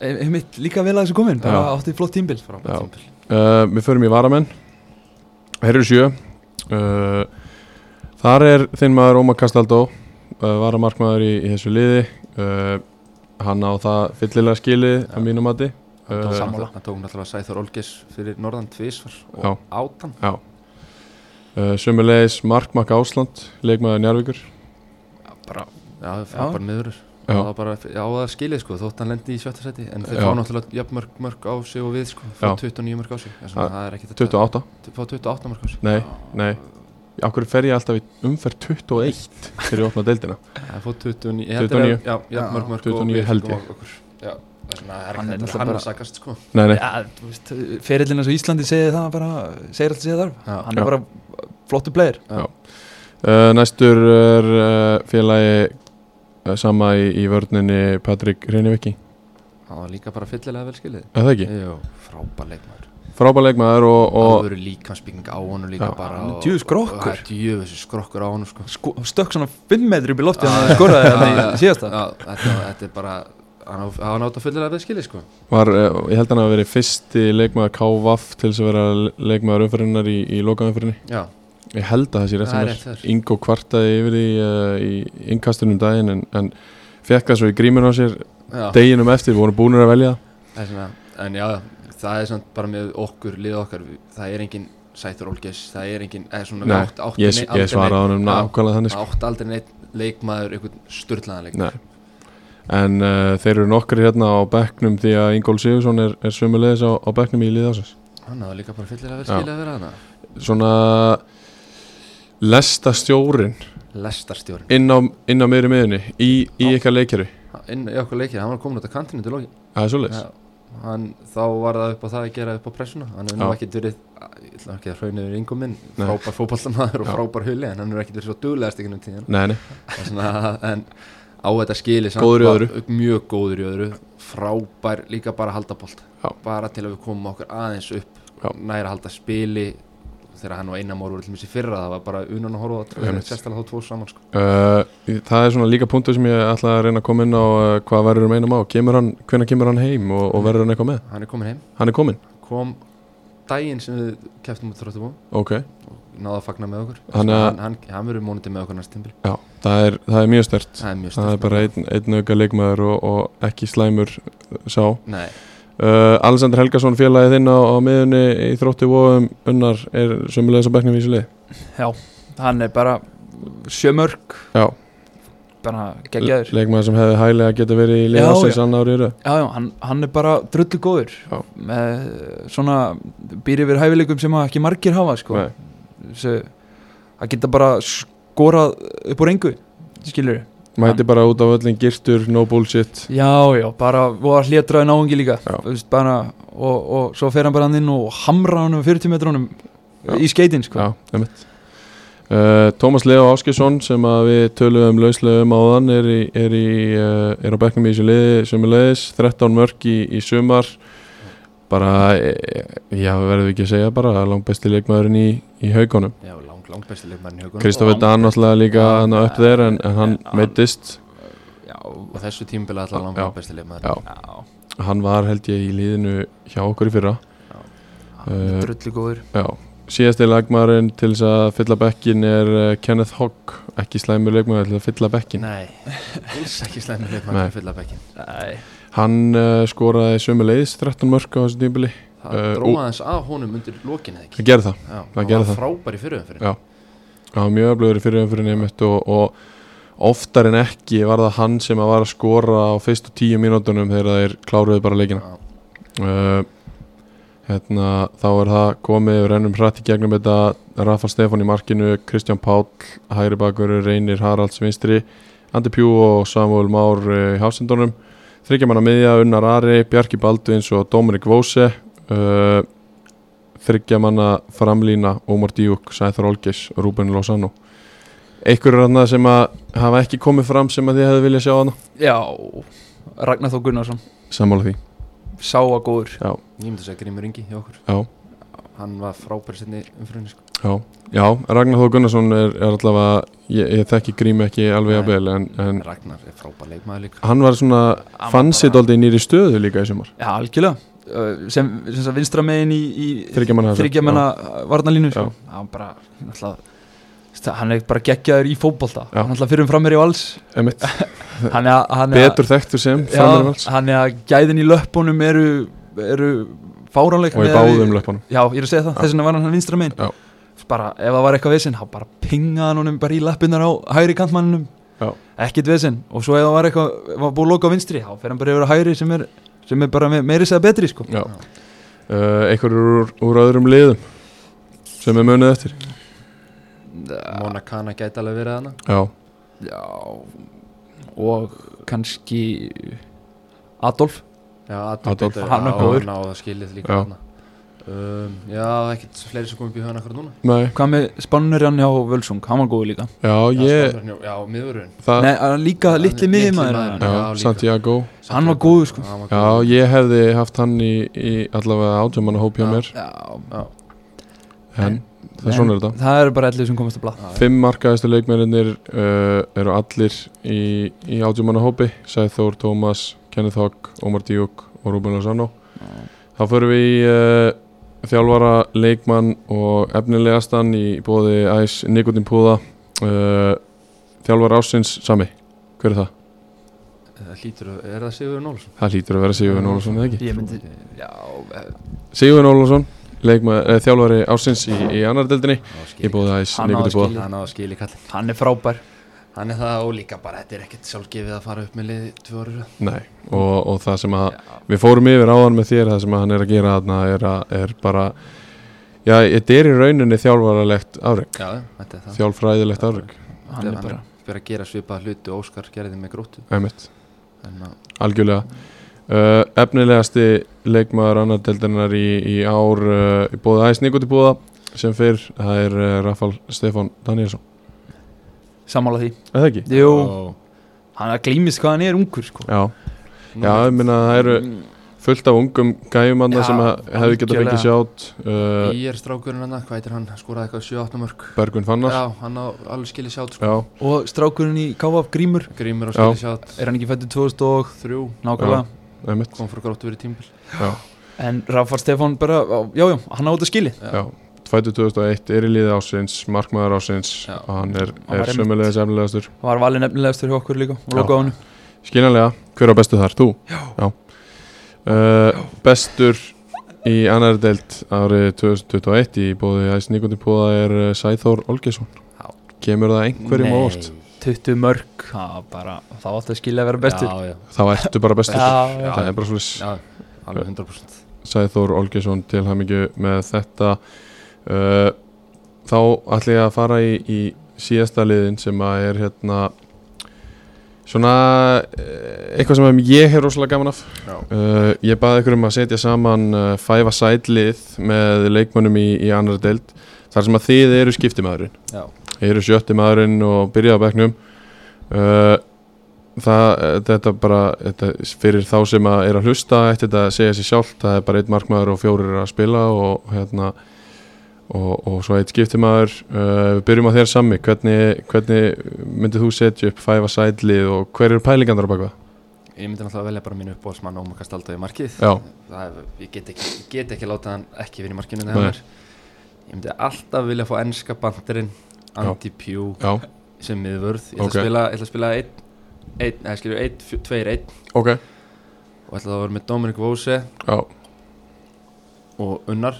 Speaker 3: eh, einmitt líka vel að þessu komin bara
Speaker 2: Já.
Speaker 3: átti flott tímbil
Speaker 4: frábært
Speaker 2: Já.
Speaker 4: tímabil.
Speaker 2: Uh, við förum í varamenn Herru sjö uh, Þar er þinn maður Ómar Kastaldó uh, varamarkmaður í, í þessu liði uh, hann á það fyllilega skilið
Speaker 4: Já.
Speaker 2: að mínu mati
Speaker 4: Hann tók
Speaker 2: Uh,
Speaker 3: sammála.
Speaker 4: náttúrulega- hann tók náttúrulega Sæþór Olgers fyrir norðan tvísvar
Speaker 2: Já.
Speaker 4: og átan
Speaker 2: uh, Sumulegis Markmak Ásland leikmaður Njarvíkur
Speaker 3: bara
Speaker 4: já, frábær miðurur
Speaker 2: Já.
Speaker 4: það var bara á það skilið sko þótt hann lendi í sjötta seti en þeir
Speaker 2: Já.
Speaker 4: fá náttúrulega jafn mörg mörg á sig og við sko
Speaker 2: Já.
Speaker 4: fá 29 mörg á sig Þess vegna
Speaker 2: Já.
Speaker 4: það er ekkert að-
Speaker 2: 28
Speaker 4: fá 28 mörg á sig
Speaker 2: Nei, nei Akkur fer ég alltaf í umferð 21 þegar ég opna deildina
Speaker 4: það fá 29 ég held
Speaker 2: 29.
Speaker 4: að- já, jafn mörg mörg
Speaker 2: 29 held ég.
Speaker 4: já, þess vegna er
Speaker 3: Hann er
Speaker 4: ekkert að-
Speaker 3: náttúrulega
Speaker 4: hann er að
Speaker 3: bara-
Speaker 4: sakast sko
Speaker 2: Nei, nei,
Speaker 3: ja, þú veist, ferillin eins og Íslandi segir það bara segir alltaf segir þarf
Speaker 4: Já.
Speaker 3: hann
Speaker 2: Já.
Speaker 3: er bara flottu player
Speaker 2: Eh, Uh, næstur er uh, eh, félagi Eh, Sama í, í vörninni Patrik Reyniviki
Speaker 4: Það var líka bara fyllilega vel skilið
Speaker 2: Er það ekki?
Speaker 4: Jú, frábær leikmaður
Speaker 2: Frábær leikmaður og,
Speaker 4: Það
Speaker 2: og
Speaker 4: voru líkansbygging á honum líka
Speaker 2: Já.
Speaker 4: bara
Speaker 3: Hann er
Speaker 4: og-
Speaker 3: djöfus
Speaker 4: og-
Speaker 3: grokkur.
Speaker 4: Það er Djöfus skrokkur á honum sko
Speaker 3: sko, stökk svona 5 metri upp í lofti þannig að hann skoraði
Speaker 2: hérna
Speaker 3: þannig í síðasta
Speaker 4: Já, þetta, þetta er bara hann á- hann átt að fullilega við skilið sko
Speaker 2: var, eh, ég held hann að verið fyrsti leikmaður KVAF til þess að vera le- leikmaður umfyririnnar í, í lokaumfyririnni.
Speaker 4: Já,
Speaker 2: Ég held að það sé rétt
Speaker 4: Það er
Speaker 2: sem
Speaker 4: rétt
Speaker 2: er.
Speaker 4: þar.
Speaker 2: Ingo kvartaði yfir í, uh, í innkastunum daginn en, en fekk það svo í gríminu á sér
Speaker 4: já
Speaker 2: deginum eftir, við vorum búinir að velja.
Speaker 4: þess vegna En já, já, það er samt bara með okkur, lið okkar við- Það er engin sætur ólges Það er engin, eða svona við
Speaker 2: Nei,
Speaker 4: átt, átt
Speaker 2: Ég, ég svaraði honum
Speaker 4: Já.
Speaker 2: nákvæmlega þannig. sko.
Speaker 4: Átt aldrei neitt leikmaður, einhvern sturlaðan leikmaður
Speaker 2: Nei. En uh, þeir eru nokkri hérna á bekknum því að Ingól Sigursson er, er sömulegis á, á bekknum í liðásins.
Speaker 4: Hann áður líka bara fyllilega við
Speaker 2: Já.
Speaker 4: skilið að vera hana
Speaker 2: Svona lesta stjórin
Speaker 4: Lestarstjórn
Speaker 2: inn á, inn á meðri miðunni í, í
Speaker 4: Já.
Speaker 2: ykkar leikjari.
Speaker 4: Inn í okkur leikir, hann var komin út af kantinu til loki
Speaker 2: Það er svoleiðis.
Speaker 4: Já, hann, þá var það upp á það að gera upp á pressuna hann er nú
Speaker 2: Já.
Speaker 4: ekkert verið ég ætla ekki að hrauna yfir yngum minn
Speaker 2: Nei.
Speaker 4: frábær fótballamaður og
Speaker 2: Já.
Speaker 4: frábær huli en hann er ekkert verið svo duglegast ekki um tíðan
Speaker 2: Nei, nei.
Speaker 4: svona, en á þetta skili samt
Speaker 2: Góður í
Speaker 4: var-
Speaker 2: öðru.
Speaker 4: mjög góður í öðru frábær líka bara að halda bolt
Speaker 2: Já.
Speaker 4: bara til að við komum okkur aðeins upp
Speaker 2: Já.
Speaker 4: næra að halda spili þegar hann og Einar Már voru til þessi fyrra það var bara unan að horfa á
Speaker 2: Einmitt.
Speaker 4: sérstaklega þá tvo saman sko.
Speaker 2: Uh, það er svona líka punktu sem ég ætla að reyna að koma inn á uh, hvað verður um einum á. Kemur hann, hvenær kemur hann heim og,
Speaker 4: Mm.
Speaker 2: og verður hann eitthvað með?
Speaker 4: hann er komin heim
Speaker 2: Hann er komin.
Speaker 4: kom daginn sem við keftum út þróttum á
Speaker 2: Ok.
Speaker 4: náða að fagna með okkur
Speaker 2: Hann,
Speaker 4: hann,
Speaker 2: eh,
Speaker 4: hann, hann, hann verður mónandi með okkur næst tímpil
Speaker 2: Já, það er, það er mjög stert.
Speaker 4: það er mjög
Speaker 2: Það er
Speaker 4: stort
Speaker 2: bara einn, einn auka leikmaður og, og ekki slæmur uh, sá.
Speaker 4: Nei,
Speaker 2: Uh, Alexander Helgason félagið þinn á, á miðunni í þrótti vóðum unnar er sömulegis á bekknum í sílið
Speaker 3: já, hann er bara sjömörk
Speaker 2: Já,
Speaker 3: bara geggjaður
Speaker 2: leikmaður sem hefði hæglega geta verið í
Speaker 3: Já,
Speaker 2: liða ásins
Speaker 3: já.
Speaker 2: annar árið röð.
Speaker 3: já, já, hann, hann er bara drullu góður
Speaker 2: Já.
Speaker 3: með svona býr yfir hæfileikum sem að ekki margir hafa sko.
Speaker 2: Nei.
Speaker 3: Þessu- að geta bara skorað upp úr engu skilur
Speaker 2: Mæti bara út á öllin girtur, no bullshit
Speaker 3: já, já, bara voða hlétraði náungi líka
Speaker 2: Já.
Speaker 3: Þú veist, bara, og, og svo fer hann bara hann inn og hamra hann um 40 metrunum
Speaker 2: Já.
Speaker 3: í skeitin sko.
Speaker 2: Já, einmitt uh, Tómas Leo Áskjesson sem að við töluðum lauslega um áðan er, í, er, í, uh, er á bekknum í þessu liði sömulegis, 13 mörg í, í sumar bara eh, já, verðum við ekki að segja bara langbæsti leikmaðurinn í, í haugunum
Speaker 4: já, lang, lang besti leikmann í haugunum
Speaker 2: Kristoffer Dan náttúrulega líka
Speaker 4: Já,
Speaker 2: hann upp þeir en, en hann
Speaker 3: hann-
Speaker 2: meittist
Speaker 3: já,
Speaker 4: og þessu tímpil alltaf lang,
Speaker 2: Já.
Speaker 4: lang besti leikmann
Speaker 2: Já.
Speaker 3: já,
Speaker 2: hann var held ég í liðinu hjá okkur í fyrra
Speaker 3: hann
Speaker 2: Eh,
Speaker 3: er drullu góður
Speaker 2: já. síðasti leikmaðurinn til þess að fylla bekkin er uh, Kenneth Hogg ekki slæmur leikmaður til að fylla bekkin
Speaker 4: Nei, alls ekki slæmi leikmann
Speaker 2: Nei.
Speaker 4: að fylla bekkin
Speaker 3: Nei.
Speaker 2: hann uh, skoraði sömulegis 13 mörg á þessu tímbili
Speaker 4: það
Speaker 2: Eh,
Speaker 4: uh,
Speaker 2: og-
Speaker 4: dróða aðeins að honum undir lokin eða ekki
Speaker 2: að gera það
Speaker 4: já,
Speaker 2: það
Speaker 4: hann
Speaker 2: gerði
Speaker 4: var
Speaker 2: það.
Speaker 4: frábær í fyrruðum fyrir
Speaker 2: Já. hann var mjög öflugur í fyrirumfyrinni einmitt og, og oftar en ekki var það hann sem að var að skora á fyrstu tíu mínútonum þegar þeir kláruðu bara leikina
Speaker 4: Já.
Speaker 2: uh, hérna, þá er það komið við rennum hratt í gegnum þetta Rafa Stefán í markinu, Kristján Páll Hægri Bakur, Reynir Haralds vinstri, Andi Pjú og Samuel Már eh, í hafsendunum þryggjamanna miðja, Unnar Ari, Bjarki Baldvins og Dominik Vóse uh, þryggjamanna framlína, Ómar Díuk, Sæþar Olgeis Rúben Lozano einhverjur hann sem að hafa ekki komið fram sem að þið hefði viljað sjá hana
Speaker 3: já, Ragnar Þór Gunnarsson
Speaker 2: sammála því,
Speaker 3: sáa góður
Speaker 4: ég myndi að segja Grímur Ingi hjá okkur
Speaker 2: já
Speaker 4: hann var frábær sinni umfyrinni sko.
Speaker 2: Já, já Ragnar Þór Gunnarsson er, er allavega, ég, ég þekki grím ekki alveg
Speaker 4: Nei.
Speaker 2: að vel en, en
Speaker 4: Ragnar er frábær leikmaður líka
Speaker 2: hann var svona,
Speaker 3: Hann var
Speaker 2: fann sér
Speaker 3: bara-
Speaker 2: dálítið í nýri stöðu líka í sumar
Speaker 3: já, algjörlega Eh, sem, sem sagt, vinstra megin í, í
Speaker 2: Þriggja manna hafsend,
Speaker 3: þryggja manna varnalínu sko.
Speaker 2: Já.
Speaker 3: hann bara náttúrulega, st- hann er bara geggjaður í fótbolta
Speaker 2: Já.
Speaker 3: hann er fyrir um framherji og alls
Speaker 2: Einmitt.
Speaker 3: hann er, hann er,
Speaker 2: betur þekktur sem framir vals
Speaker 3: já, hann er að gæðin í löppunum eru, eru
Speaker 2: og
Speaker 3: fáránleik
Speaker 2: í
Speaker 3: miðað við-
Speaker 2: báðum löpunum
Speaker 3: já, ég er að segja það, þess vegna var hann vinstra megin
Speaker 2: Já.
Speaker 3: bara, ef það var eitthvað vesinn, hann bara pingaði hann honum bara í lappinnar á hægri kantmanninum
Speaker 2: Já.
Speaker 3: ekkit vesinn, og svo ef það var eitthvað ef það var búið að loka á vinstri, þá fer hann bara yfir á hægri sem er, sem er bara me- meiri segja betri sko.
Speaker 2: Já. Uh, einhverjur úr, úr öðrum liðum sem er munið eftir
Speaker 4: Mona Kana gæti alveg verið hana
Speaker 2: Já,
Speaker 3: já og kannski Adolf
Speaker 4: já,
Speaker 2: Adolf.
Speaker 4: Adolf
Speaker 3: Hann er góður.
Speaker 4: náða skilið
Speaker 2: Já.
Speaker 4: líka hana um, Já, ekkert fleiri sem kom upp í höfðan akkur núna
Speaker 2: Nei,
Speaker 3: Hvað með spannurinn hjá Völsung, hann var góð líka
Speaker 2: já, ég
Speaker 4: Já, já miðurinn
Speaker 2: það,
Speaker 3: Nei, að líka
Speaker 4: Hann-
Speaker 3: litli
Speaker 4: litli
Speaker 3: miðjumæður
Speaker 4: maðurinn.
Speaker 2: Já,
Speaker 4: já, líka.
Speaker 2: Santiago
Speaker 3: Hann var góður, sko.
Speaker 4: Já, hann var
Speaker 2: Já,
Speaker 4: góður.
Speaker 2: ég hefði haft hann í, í allavega átjömanna hóp hjá
Speaker 4: Já.
Speaker 2: mér
Speaker 4: Já.
Speaker 2: En það er svona er þetta
Speaker 3: Það eru bara allir sem komast að blað
Speaker 2: Fimm markaðistu leikmennir uh, eru allir í, í átjumanna hópi Sæþór, Tómas, Kenneth Hogg, Omar Díuk og Rúben Lozano Þá förum við í uh, þjálfara, leikmann og efnilegastan í bóði Æs Nikotin Púða uh, Þjálfara ásins Sami, hver er það?
Speaker 4: Það hlýtur að, er það Sigur Nólsson?
Speaker 2: Það hlýtur að vera Sigurvin Ólafsson eða ekki?
Speaker 3: Ég myndi, já,
Speaker 2: Sigurvin Ólafsson, leikmann, eh, þjálfari ásins í, í annar deildinni í
Speaker 4: bóði
Speaker 2: bóði Æs
Speaker 3: Hann á að
Speaker 2: Nikotin Púða
Speaker 4: Hann á að skilja kallin
Speaker 3: hann er frábær
Speaker 4: Hann er það ólíka bara, þetta er ekkert sjálfgefið að fara upp með liði tvö orður
Speaker 2: Nei, og, og það sem að Við fórum yfir áðan með þér það sem hann er að gera þarna er, að, er bara Já, þetta er í rauninni þjálfaralegt afreg
Speaker 4: Já, þetta er það
Speaker 2: Þjálfræðilegt afreg
Speaker 3: Hann er bara
Speaker 4: Fyrir að gera svipað hluti og Óskar gerði með gróttu
Speaker 2: Æmitt,
Speaker 4: En að,
Speaker 2: algjörlega uh, Efnilegasti leikmaður annar deildarinnar í, í ár uh, í bóða æs Nikoti bóða sem fyrr, það er uh, Rafal Stefán Danielsson
Speaker 3: sammála því
Speaker 2: Er það ekki?
Speaker 3: Jú, hann er glýmist hvað hann er ungur sko.
Speaker 2: Já, já, ég minna það eru
Speaker 4: Mm,
Speaker 2: fullt af ungum gæjumanna
Speaker 3: Já,
Speaker 2: sem að hefði getað fengið sjátt uh,
Speaker 4: Ég er strákurinn hann, hvað heitir hann? Skoraði eitthvað 7-8 mörg
Speaker 2: Bergun Fannar
Speaker 4: Já, hann á alveg skilja sjátt sko.
Speaker 2: Já,
Speaker 3: Og strákurinn í Kávaf Grímur
Speaker 4: Grímur á
Speaker 2: Já.
Speaker 4: skilja sjátt
Speaker 3: Er hann ekki fættu 2000 og
Speaker 4: Þrjú,
Speaker 3: nákvæmlega
Speaker 2: einmitt
Speaker 4: kom frá gróttu verið tímbil
Speaker 2: Já
Speaker 3: En Rafa Stefán bara, já, já, hann á þetta skili
Speaker 2: Já, 2001 er í liði ásins, markmaður ásins
Speaker 4: Já.
Speaker 2: og hann er,
Speaker 3: Hann var
Speaker 2: er
Speaker 3: einmitt.
Speaker 2: sömulegis efnilegastur
Speaker 3: Hann var valinn efnilegastur hjá okkur líka Og loka á hann
Speaker 2: Skiljanlega, hver á bestu þar? Þú? Já, Uh, Bestur í annar deild árið 2021 í bóði æs Nikotin Póða er uh, Sæþór Olgesson
Speaker 4: Já.
Speaker 2: Kemur það einhverjum á óvart?
Speaker 3: 20 mörg, það bara, þá átti að skilja að vera bestur
Speaker 4: Já, já,
Speaker 2: Þá ertu bara bestur
Speaker 3: já,
Speaker 2: Það er bara svolítið
Speaker 4: já, alveg 100%
Speaker 2: Sæþór Olgesson til hamingju með þetta uh, þá ætla ég að fara í, í síðasta liðin sem að er hérna svona eh, eitthvað sem ég hef rosalega gaman af
Speaker 4: Já.
Speaker 2: uh, ég baði ykkur um að setja saman uh, fæfa sætlið með leikmönnum í, í annar deild þar sem að þið eru skiptimaðurinn
Speaker 4: Já,
Speaker 2: eru sjötti maðurinn og byrjaði á bekknum uh, það, þetta bara þetta, fyrir þá sem að er að hlusta eftir þetta að segja sér sjálft, það er bara einn markmaður og fjórir að spila og hérna og, og svo eitt skiptimaður uh, við byrjum á þér sami, hvernig, hvernig myndir þú setja upp fæfa sætlið og hver eru pælingandar á bakvað?
Speaker 4: ég myndi náttúrulega velja bara mín uppbóðsmann Ómar Kastaldo í markið
Speaker 2: Já,
Speaker 4: það, er- ég, get ekki, ég get ekki láta hann ekki vinna í markinu þegar
Speaker 2: Nei.
Speaker 4: hann er ég myndi alltaf vilja fá ennska bandurinn Andy Pugh
Speaker 2: já,
Speaker 4: sem miðvörð ég ætla
Speaker 2: Ok.
Speaker 4: að spila, ég ætla að spila einn, einn, eða skilur einn, fjó- tveir, einn
Speaker 2: ok
Speaker 4: og ætla að vera með Dominic Vose
Speaker 2: já,
Speaker 4: og Unnar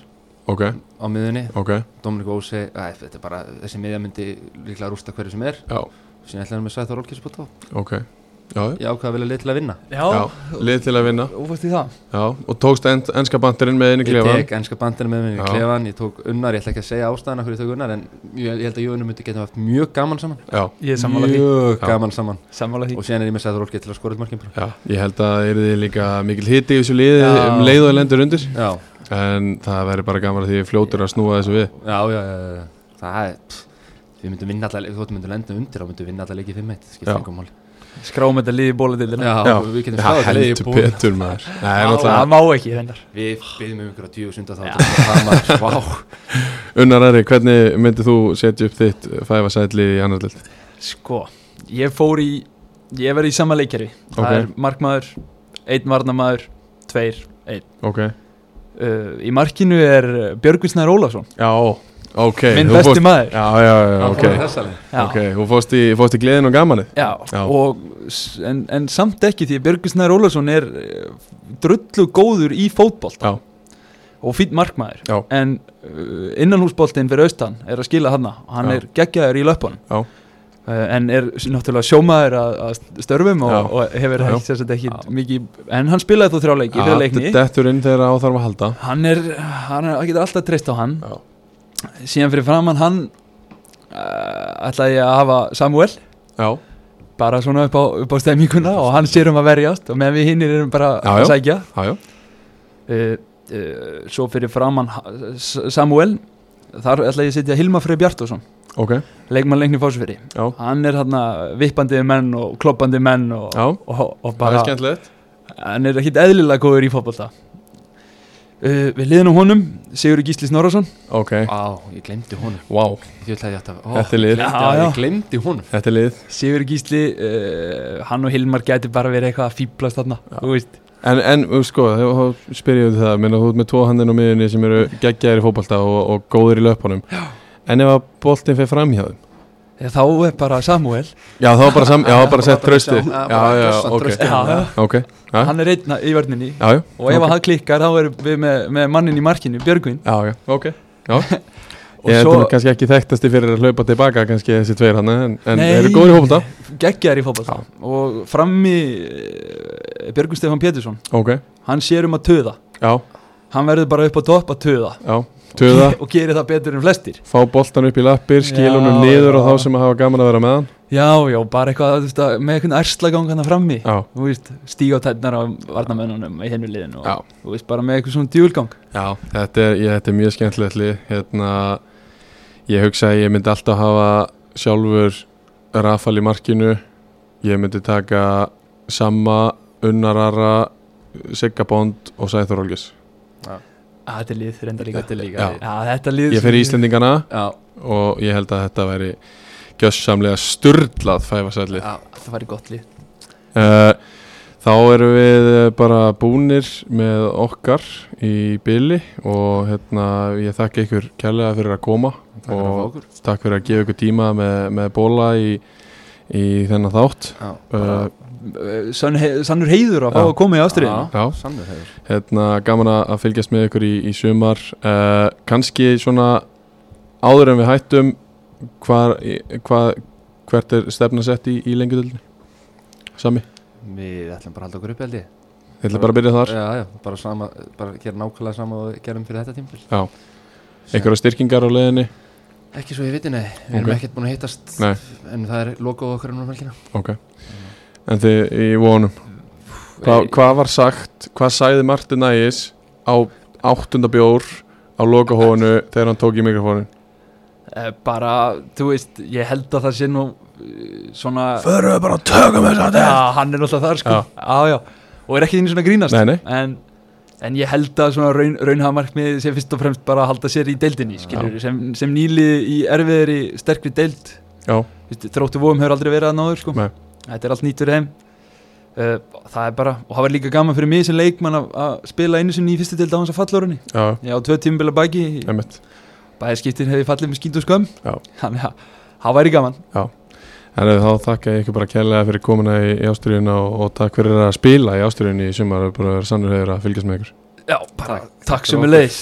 Speaker 2: ok,
Speaker 4: á miðunni
Speaker 2: ok,
Speaker 4: Dominic Vose, að, þetta er bara þessi miðja myndi líklega rústa hverju sem er
Speaker 2: já,
Speaker 4: síðan ætla hann með Sæþór Olkis upp á tó
Speaker 2: ok já, já,
Speaker 4: ég ákvað að vilja leið til að vinna
Speaker 2: já, lið til að vinna
Speaker 3: og fórst í það
Speaker 2: já, og tókst en, enska bandurinn með einu
Speaker 4: Ég
Speaker 2: klefan
Speaker 4: tek ennska bandinu með minni
Speaker 2: Já.
Speaker 4: í klefan, ég tók unnar, ég ætla ekki að segja ástæðan af hverju ég tók unnar en ég, ég held að Jónu myndi geta haft mjög gaman saman
Speaker 2: já,
Speaker 3: Ég er sammála því
Speaker 4: Mjög
Speaker 2: Já.
Speaker 4: gaman saman
Speaker 3: Sammála því
Speaker 4: Og síðan er ég með Sæður Olgeir til að skora upp markin bara
Speaker 2: Já, ég held að það er líka mikil hiti í þessu liði
Speaker 4: Já.
Speaker 2: um leið og lendur undir
Speaker 4: Já,
Speaker 2: en það verður bara gaman að því ég fljótur að snúa þessu við
Speaker 4: já, já, já, já. Það er, pff, við myndum vinna alla leiki, þóttum myndum lenda undir og myndum vinna alla leiki 5-1 Það
Speaker 2: Já.
Speaker 4: skiptir engum máli
Speaker 3: Skráum þetta liði í bóladildina
Speaker 4: Já, við getum skráð þetta liði í
Speaker 2: heldur
Speaker 4: búin
Speaker 2: betur maður Nei,
Speaker 3: Það
Speaker 2: náttúrulega,
Speaker 3: má ekki þennar
Speaker 4: Við byrjum um ykkur á djú og sunda þá Það maður, vá
Speaker 2: Unnar Ari, hvernig myndir þú setja upp þitt fæfasætli í annar lild?
Speaker 3: Sko, ég fór í Ég verði í sama leikjari
Speaker 2: Ok.
Speaker 3: Það er markmaður, einn varnamaður Tveir
Speaker 2: Ok
Speaker 3: uh, Í markinu er Björgvinsnær Ólafsson
Speaker 2: Já, ok
Speaker 3: Minn
Speaker 2: þú
Speaker 3: besti
Speaker 2: fórst-
Speaker 3: maður
Speaker 2: Já, já, já, ok
Speaker 4: Það er hressaleg.
Speaker 3: Já,
Speaker 2: Ok, þú fórst í, fórst í gleðin og gamanið
Speaker 3: já.
Speaker 2: Já.
Speaker 3: Og, s- en, en samt ekki því Björgvinsnær Ólafsson er uh, Drullu góður í fótbolt
Speaker 2: Já.
Speaker 3: Og fýtt markmaður
Speaker 2: Já.
Speaker 3: En uh, innanhúsboltinn fyrir austan Er að skila hana Hann
Speaker 2: Já.
Speaker 3: er geggjaður í löpunum
Speaker 2: Já.
Speaker 3: Uh, en er s- náttúrulega sjómaður að, að störfum og,
Speaker 2: Já.
Speaker 3: og hefur
Speaker 2: Já.
Speaker 3: helst þess að ekki mikið, en hann spilaði þó þrjá leiki fyrir leikni
Speaker 2: dettur inn þegar á þarf að halda
Speaker 3: hann er, hann er, getur alltaf treyst á hann
Speaker 2: Já.
Speaker 3: síðan fyrir framann hann uh, ætlaði ég að hafa Samuel
Speaker 2: Já,
Speaker 3: bara svona upp á, upp á stemminguna og hann sér um að verjast og meðan við hinnir erum bara
Speaker 2: Já, já.
Speaker 3: að sækja
Speaker 2: já, já
Speaker 3: uh, uh, svo fyrir framann Ha- S- Samuel þar ætla ég að setja Hilma Frey Bjartosson
Speaker 2: ok,
Speaker 3: leikmann leikni fásfyrir
Speaker 2: já,
Speaker 3: hann er hérna vippandi menn og kloppandi menn og,
Speaker 2: já,
Speaker 3: og, og
Speaker 2: það
Speaker 3: bara
Speaker 2: er skemmtilegt
Speaker 3: hann er ekkit eðlilega góður í fótbolta uh, við liðin á honum Sigur Gísli Snorarsson
Speaker 2: ok,
Speaker 4: Á, ég glemdi honum
Speaker 2: wow,
Speaker 4: Ég ætlaði ég alltaf
Speaker 2: Þetta er lið.
Speaker 3: Já, já.
Speaker 4: Ég glemdi honum
Speaker 2: þetta er lið
Speaker 3: Sigur Gísli, uh, hann og Hilmar gæti bara verið eitthvað að fýblast þarna þú veist.
Speaker 2: En, en uh, sko, þá spyr ég um það menn að þú ert með tvo handin á miðunni sem eru geggjæðir í fótbolta og, og góður í löpunum En ef að boltin fer fram hjá þeim
Speaker 3: Eða þá er bara Samuel
Speaker 2: Já, þá var bara, sam, já,
Speaker 4: Já,
Speaker 2: bara sett
Speaker 4: bara
Speaker 2: trösti
Speaker 4: sjá-
Speaker 2: Já,
Speaker 4: já, bara
Speaker 2: já,
Speaker 4: gjössan
Speaker 2: ok,
Speaker 4: traustið.
Speaker 3: já, já.
Speaker 2: ok Já,
Speaker 3: hann er einn í vörninni
Speaker 2: já, já,
Speaker 3: og ef
Speaker 2: ok.
Speaker 3: okay. hann klikkar þá erum við með, með mannin í markinu, Björgvin
Speaker 2: já, já, ok Já,
Speaker 3: Og
Speaker 2: ég er
Speaker 3: svo-
Speaker 2: svo... kannski ekki þekktasti fyrir að hlaupa tilbaka kannski þessi tveir hann en, en
Speaker 3: Nei.
Speaker 2: eru góður í fótbolta
Speaker 3: geggjar í fótballta og frammi eh, Björgvin Stefán Pétursson
Speaker 2: Ok,
Speaker 3: hann sér um að töða
Speaker 2: já,
Speaker 3: hann verður bara upp á topp að töða
Speaker 2: já, töða
Speaker 3: og gerir það betur en flestir
Speaker 2: Fá boltan upp í lappir, skil honum
Speaker 3: Já,
Speaker 2: niður og
Speaker 3: já.
Speaker 2: þá sem að hafa gaman að vera með hann
Speaker 3: já, já, bara eitthvað þú veist, að- með eitthvað ærslagang hann frammi
Speaker 2: Já,
Speaker 3: þú veist, stíga á tætnar á varnamennunum í hennu liðinu
Speaker 2: Já.
Speaker 3: og þú veist, bara með eitthvað svona djúlgang
Speaker 2: Já, þetta er, ég, þetta er mjög skemmtilegt lið hérna, ég hugsa að ég myndi alltaf hafa sjálfur Rafal í markinu ég myndi taka Samma, Unnarara Sigga Bond og Sæþur Olgis
Speaker 3: að þetta er lið reyndar líka
Speaker 4: Þetta er líka
Speaker 2: Já.
Speaker 4: lið.
Speaker 3: Já, þetta lið
Speaker 2: Ég fer í Íslendingana
Speaker 4: Já,
Speaker 2: og ég held að þetta væri gjössamlega sturlað fæfasæli
Speaker 4: já,
Speaker 3: það væri gott lið
Speaker 2: uh, Þá erum við eh, bara búnir með okkar í byli og hérna, ég þakka ykkur kærlega fyrir að koma
Speaker 4: takk fyrir að fá okkur
Speaker 2: Takk fyrir að gefa ykkur tíma með, með bóla í, í þennan þátt.
Speaker 4: Já,
Speaker 2: Uh,
Speaker 4: bara-
Speaker 3: Sönn, hei- sannur heiður að fá
Speaker 2: Já.
Speaker 3: að koma í ástriðinu
Speaker 4: Já,
Speaker 2: já.
Speaker 4: sannur hefur
Speaker 2: hérna, gaman að að fylgjast með ykkur í, í sumar. Uh, kanski svona áður en við hættum, hvar, í- hvað, hvert er stefna sett í, í lengjudöldinni? Sami,
Speaker 4: Við ætlum bara að halda okkur upp held ég
Speaker 2: ég ætla bara að byrja þar.
Speaker 4: Já, já, bara sama, bara gera nákvæmlega sama og við gerum fyrir þetta tímpil
Speaker 2: Já. Einhverja styrkingar á leiðinni?
Speaker 4: Ekki svo ég viti, nei, við erum
Speaker 2: Ok.
Speaker 4: ekkert búin að hittast
Speaker 2: Nei.
Speaker 4: En það er logo okkur um helgina
Speaker 2: Ok. En þið í vonum. Hva, hvað var sagt, hvað sagði Martin Ægis á áttunda bjór á lokahóinu þegar hann tók í mikrofónin?
Speaker 3: Eh, bara, þú veist, ég held að það sé nú eh, svona
Speaker 2: Förum við bara að tökum þess að
Speaker 3: já, hann er náttúrulega þar sko
Speaker 2: Já.
Speaker 3: já, já, og er ekki einu svona að grínast
Speaker 2: Nei, nei.
Speaker 3: En, en ég held að svona raun, raunhamarkmið sé fyrst og fremst bara að halda sér í deildinni skilur, sem, sem nýlið í erfiðri sterkri deild
Speaker 2: Já,
Speaker 3: Vist, þróttu vóum hefur aldrei verið að náður sko.
Speaker 2: Nei.
Speaker 3: þetta er allt nýtt fyrir þeim Uh, það er bara, og það var líka gaman fyrir mig sem leikmann að- að spila einu sinni í fyrstu deild á hans að fallorunni
Speaker 2: já,
Speaker 3: ég á tvö tímbil að baki, í-
Speaker 2: einmitt
Speaker 3: bæði skiptin hefði fallið með skýnd og skömm
Speaker 2: Já.
Speaker 3: þannig að það væri gaman
Speaker 2: En þá þakka ég ykkur bara kærlega fyrir komuna í, í ástriðuna og, og takk fyrir að spila í ástriðunni í sumar og bara verið sannur hefur að fylgjast með ykkur
Speaker 3: Já, bara takk,
Speaker 4: fyrir
Speaker 3: sem er leiðis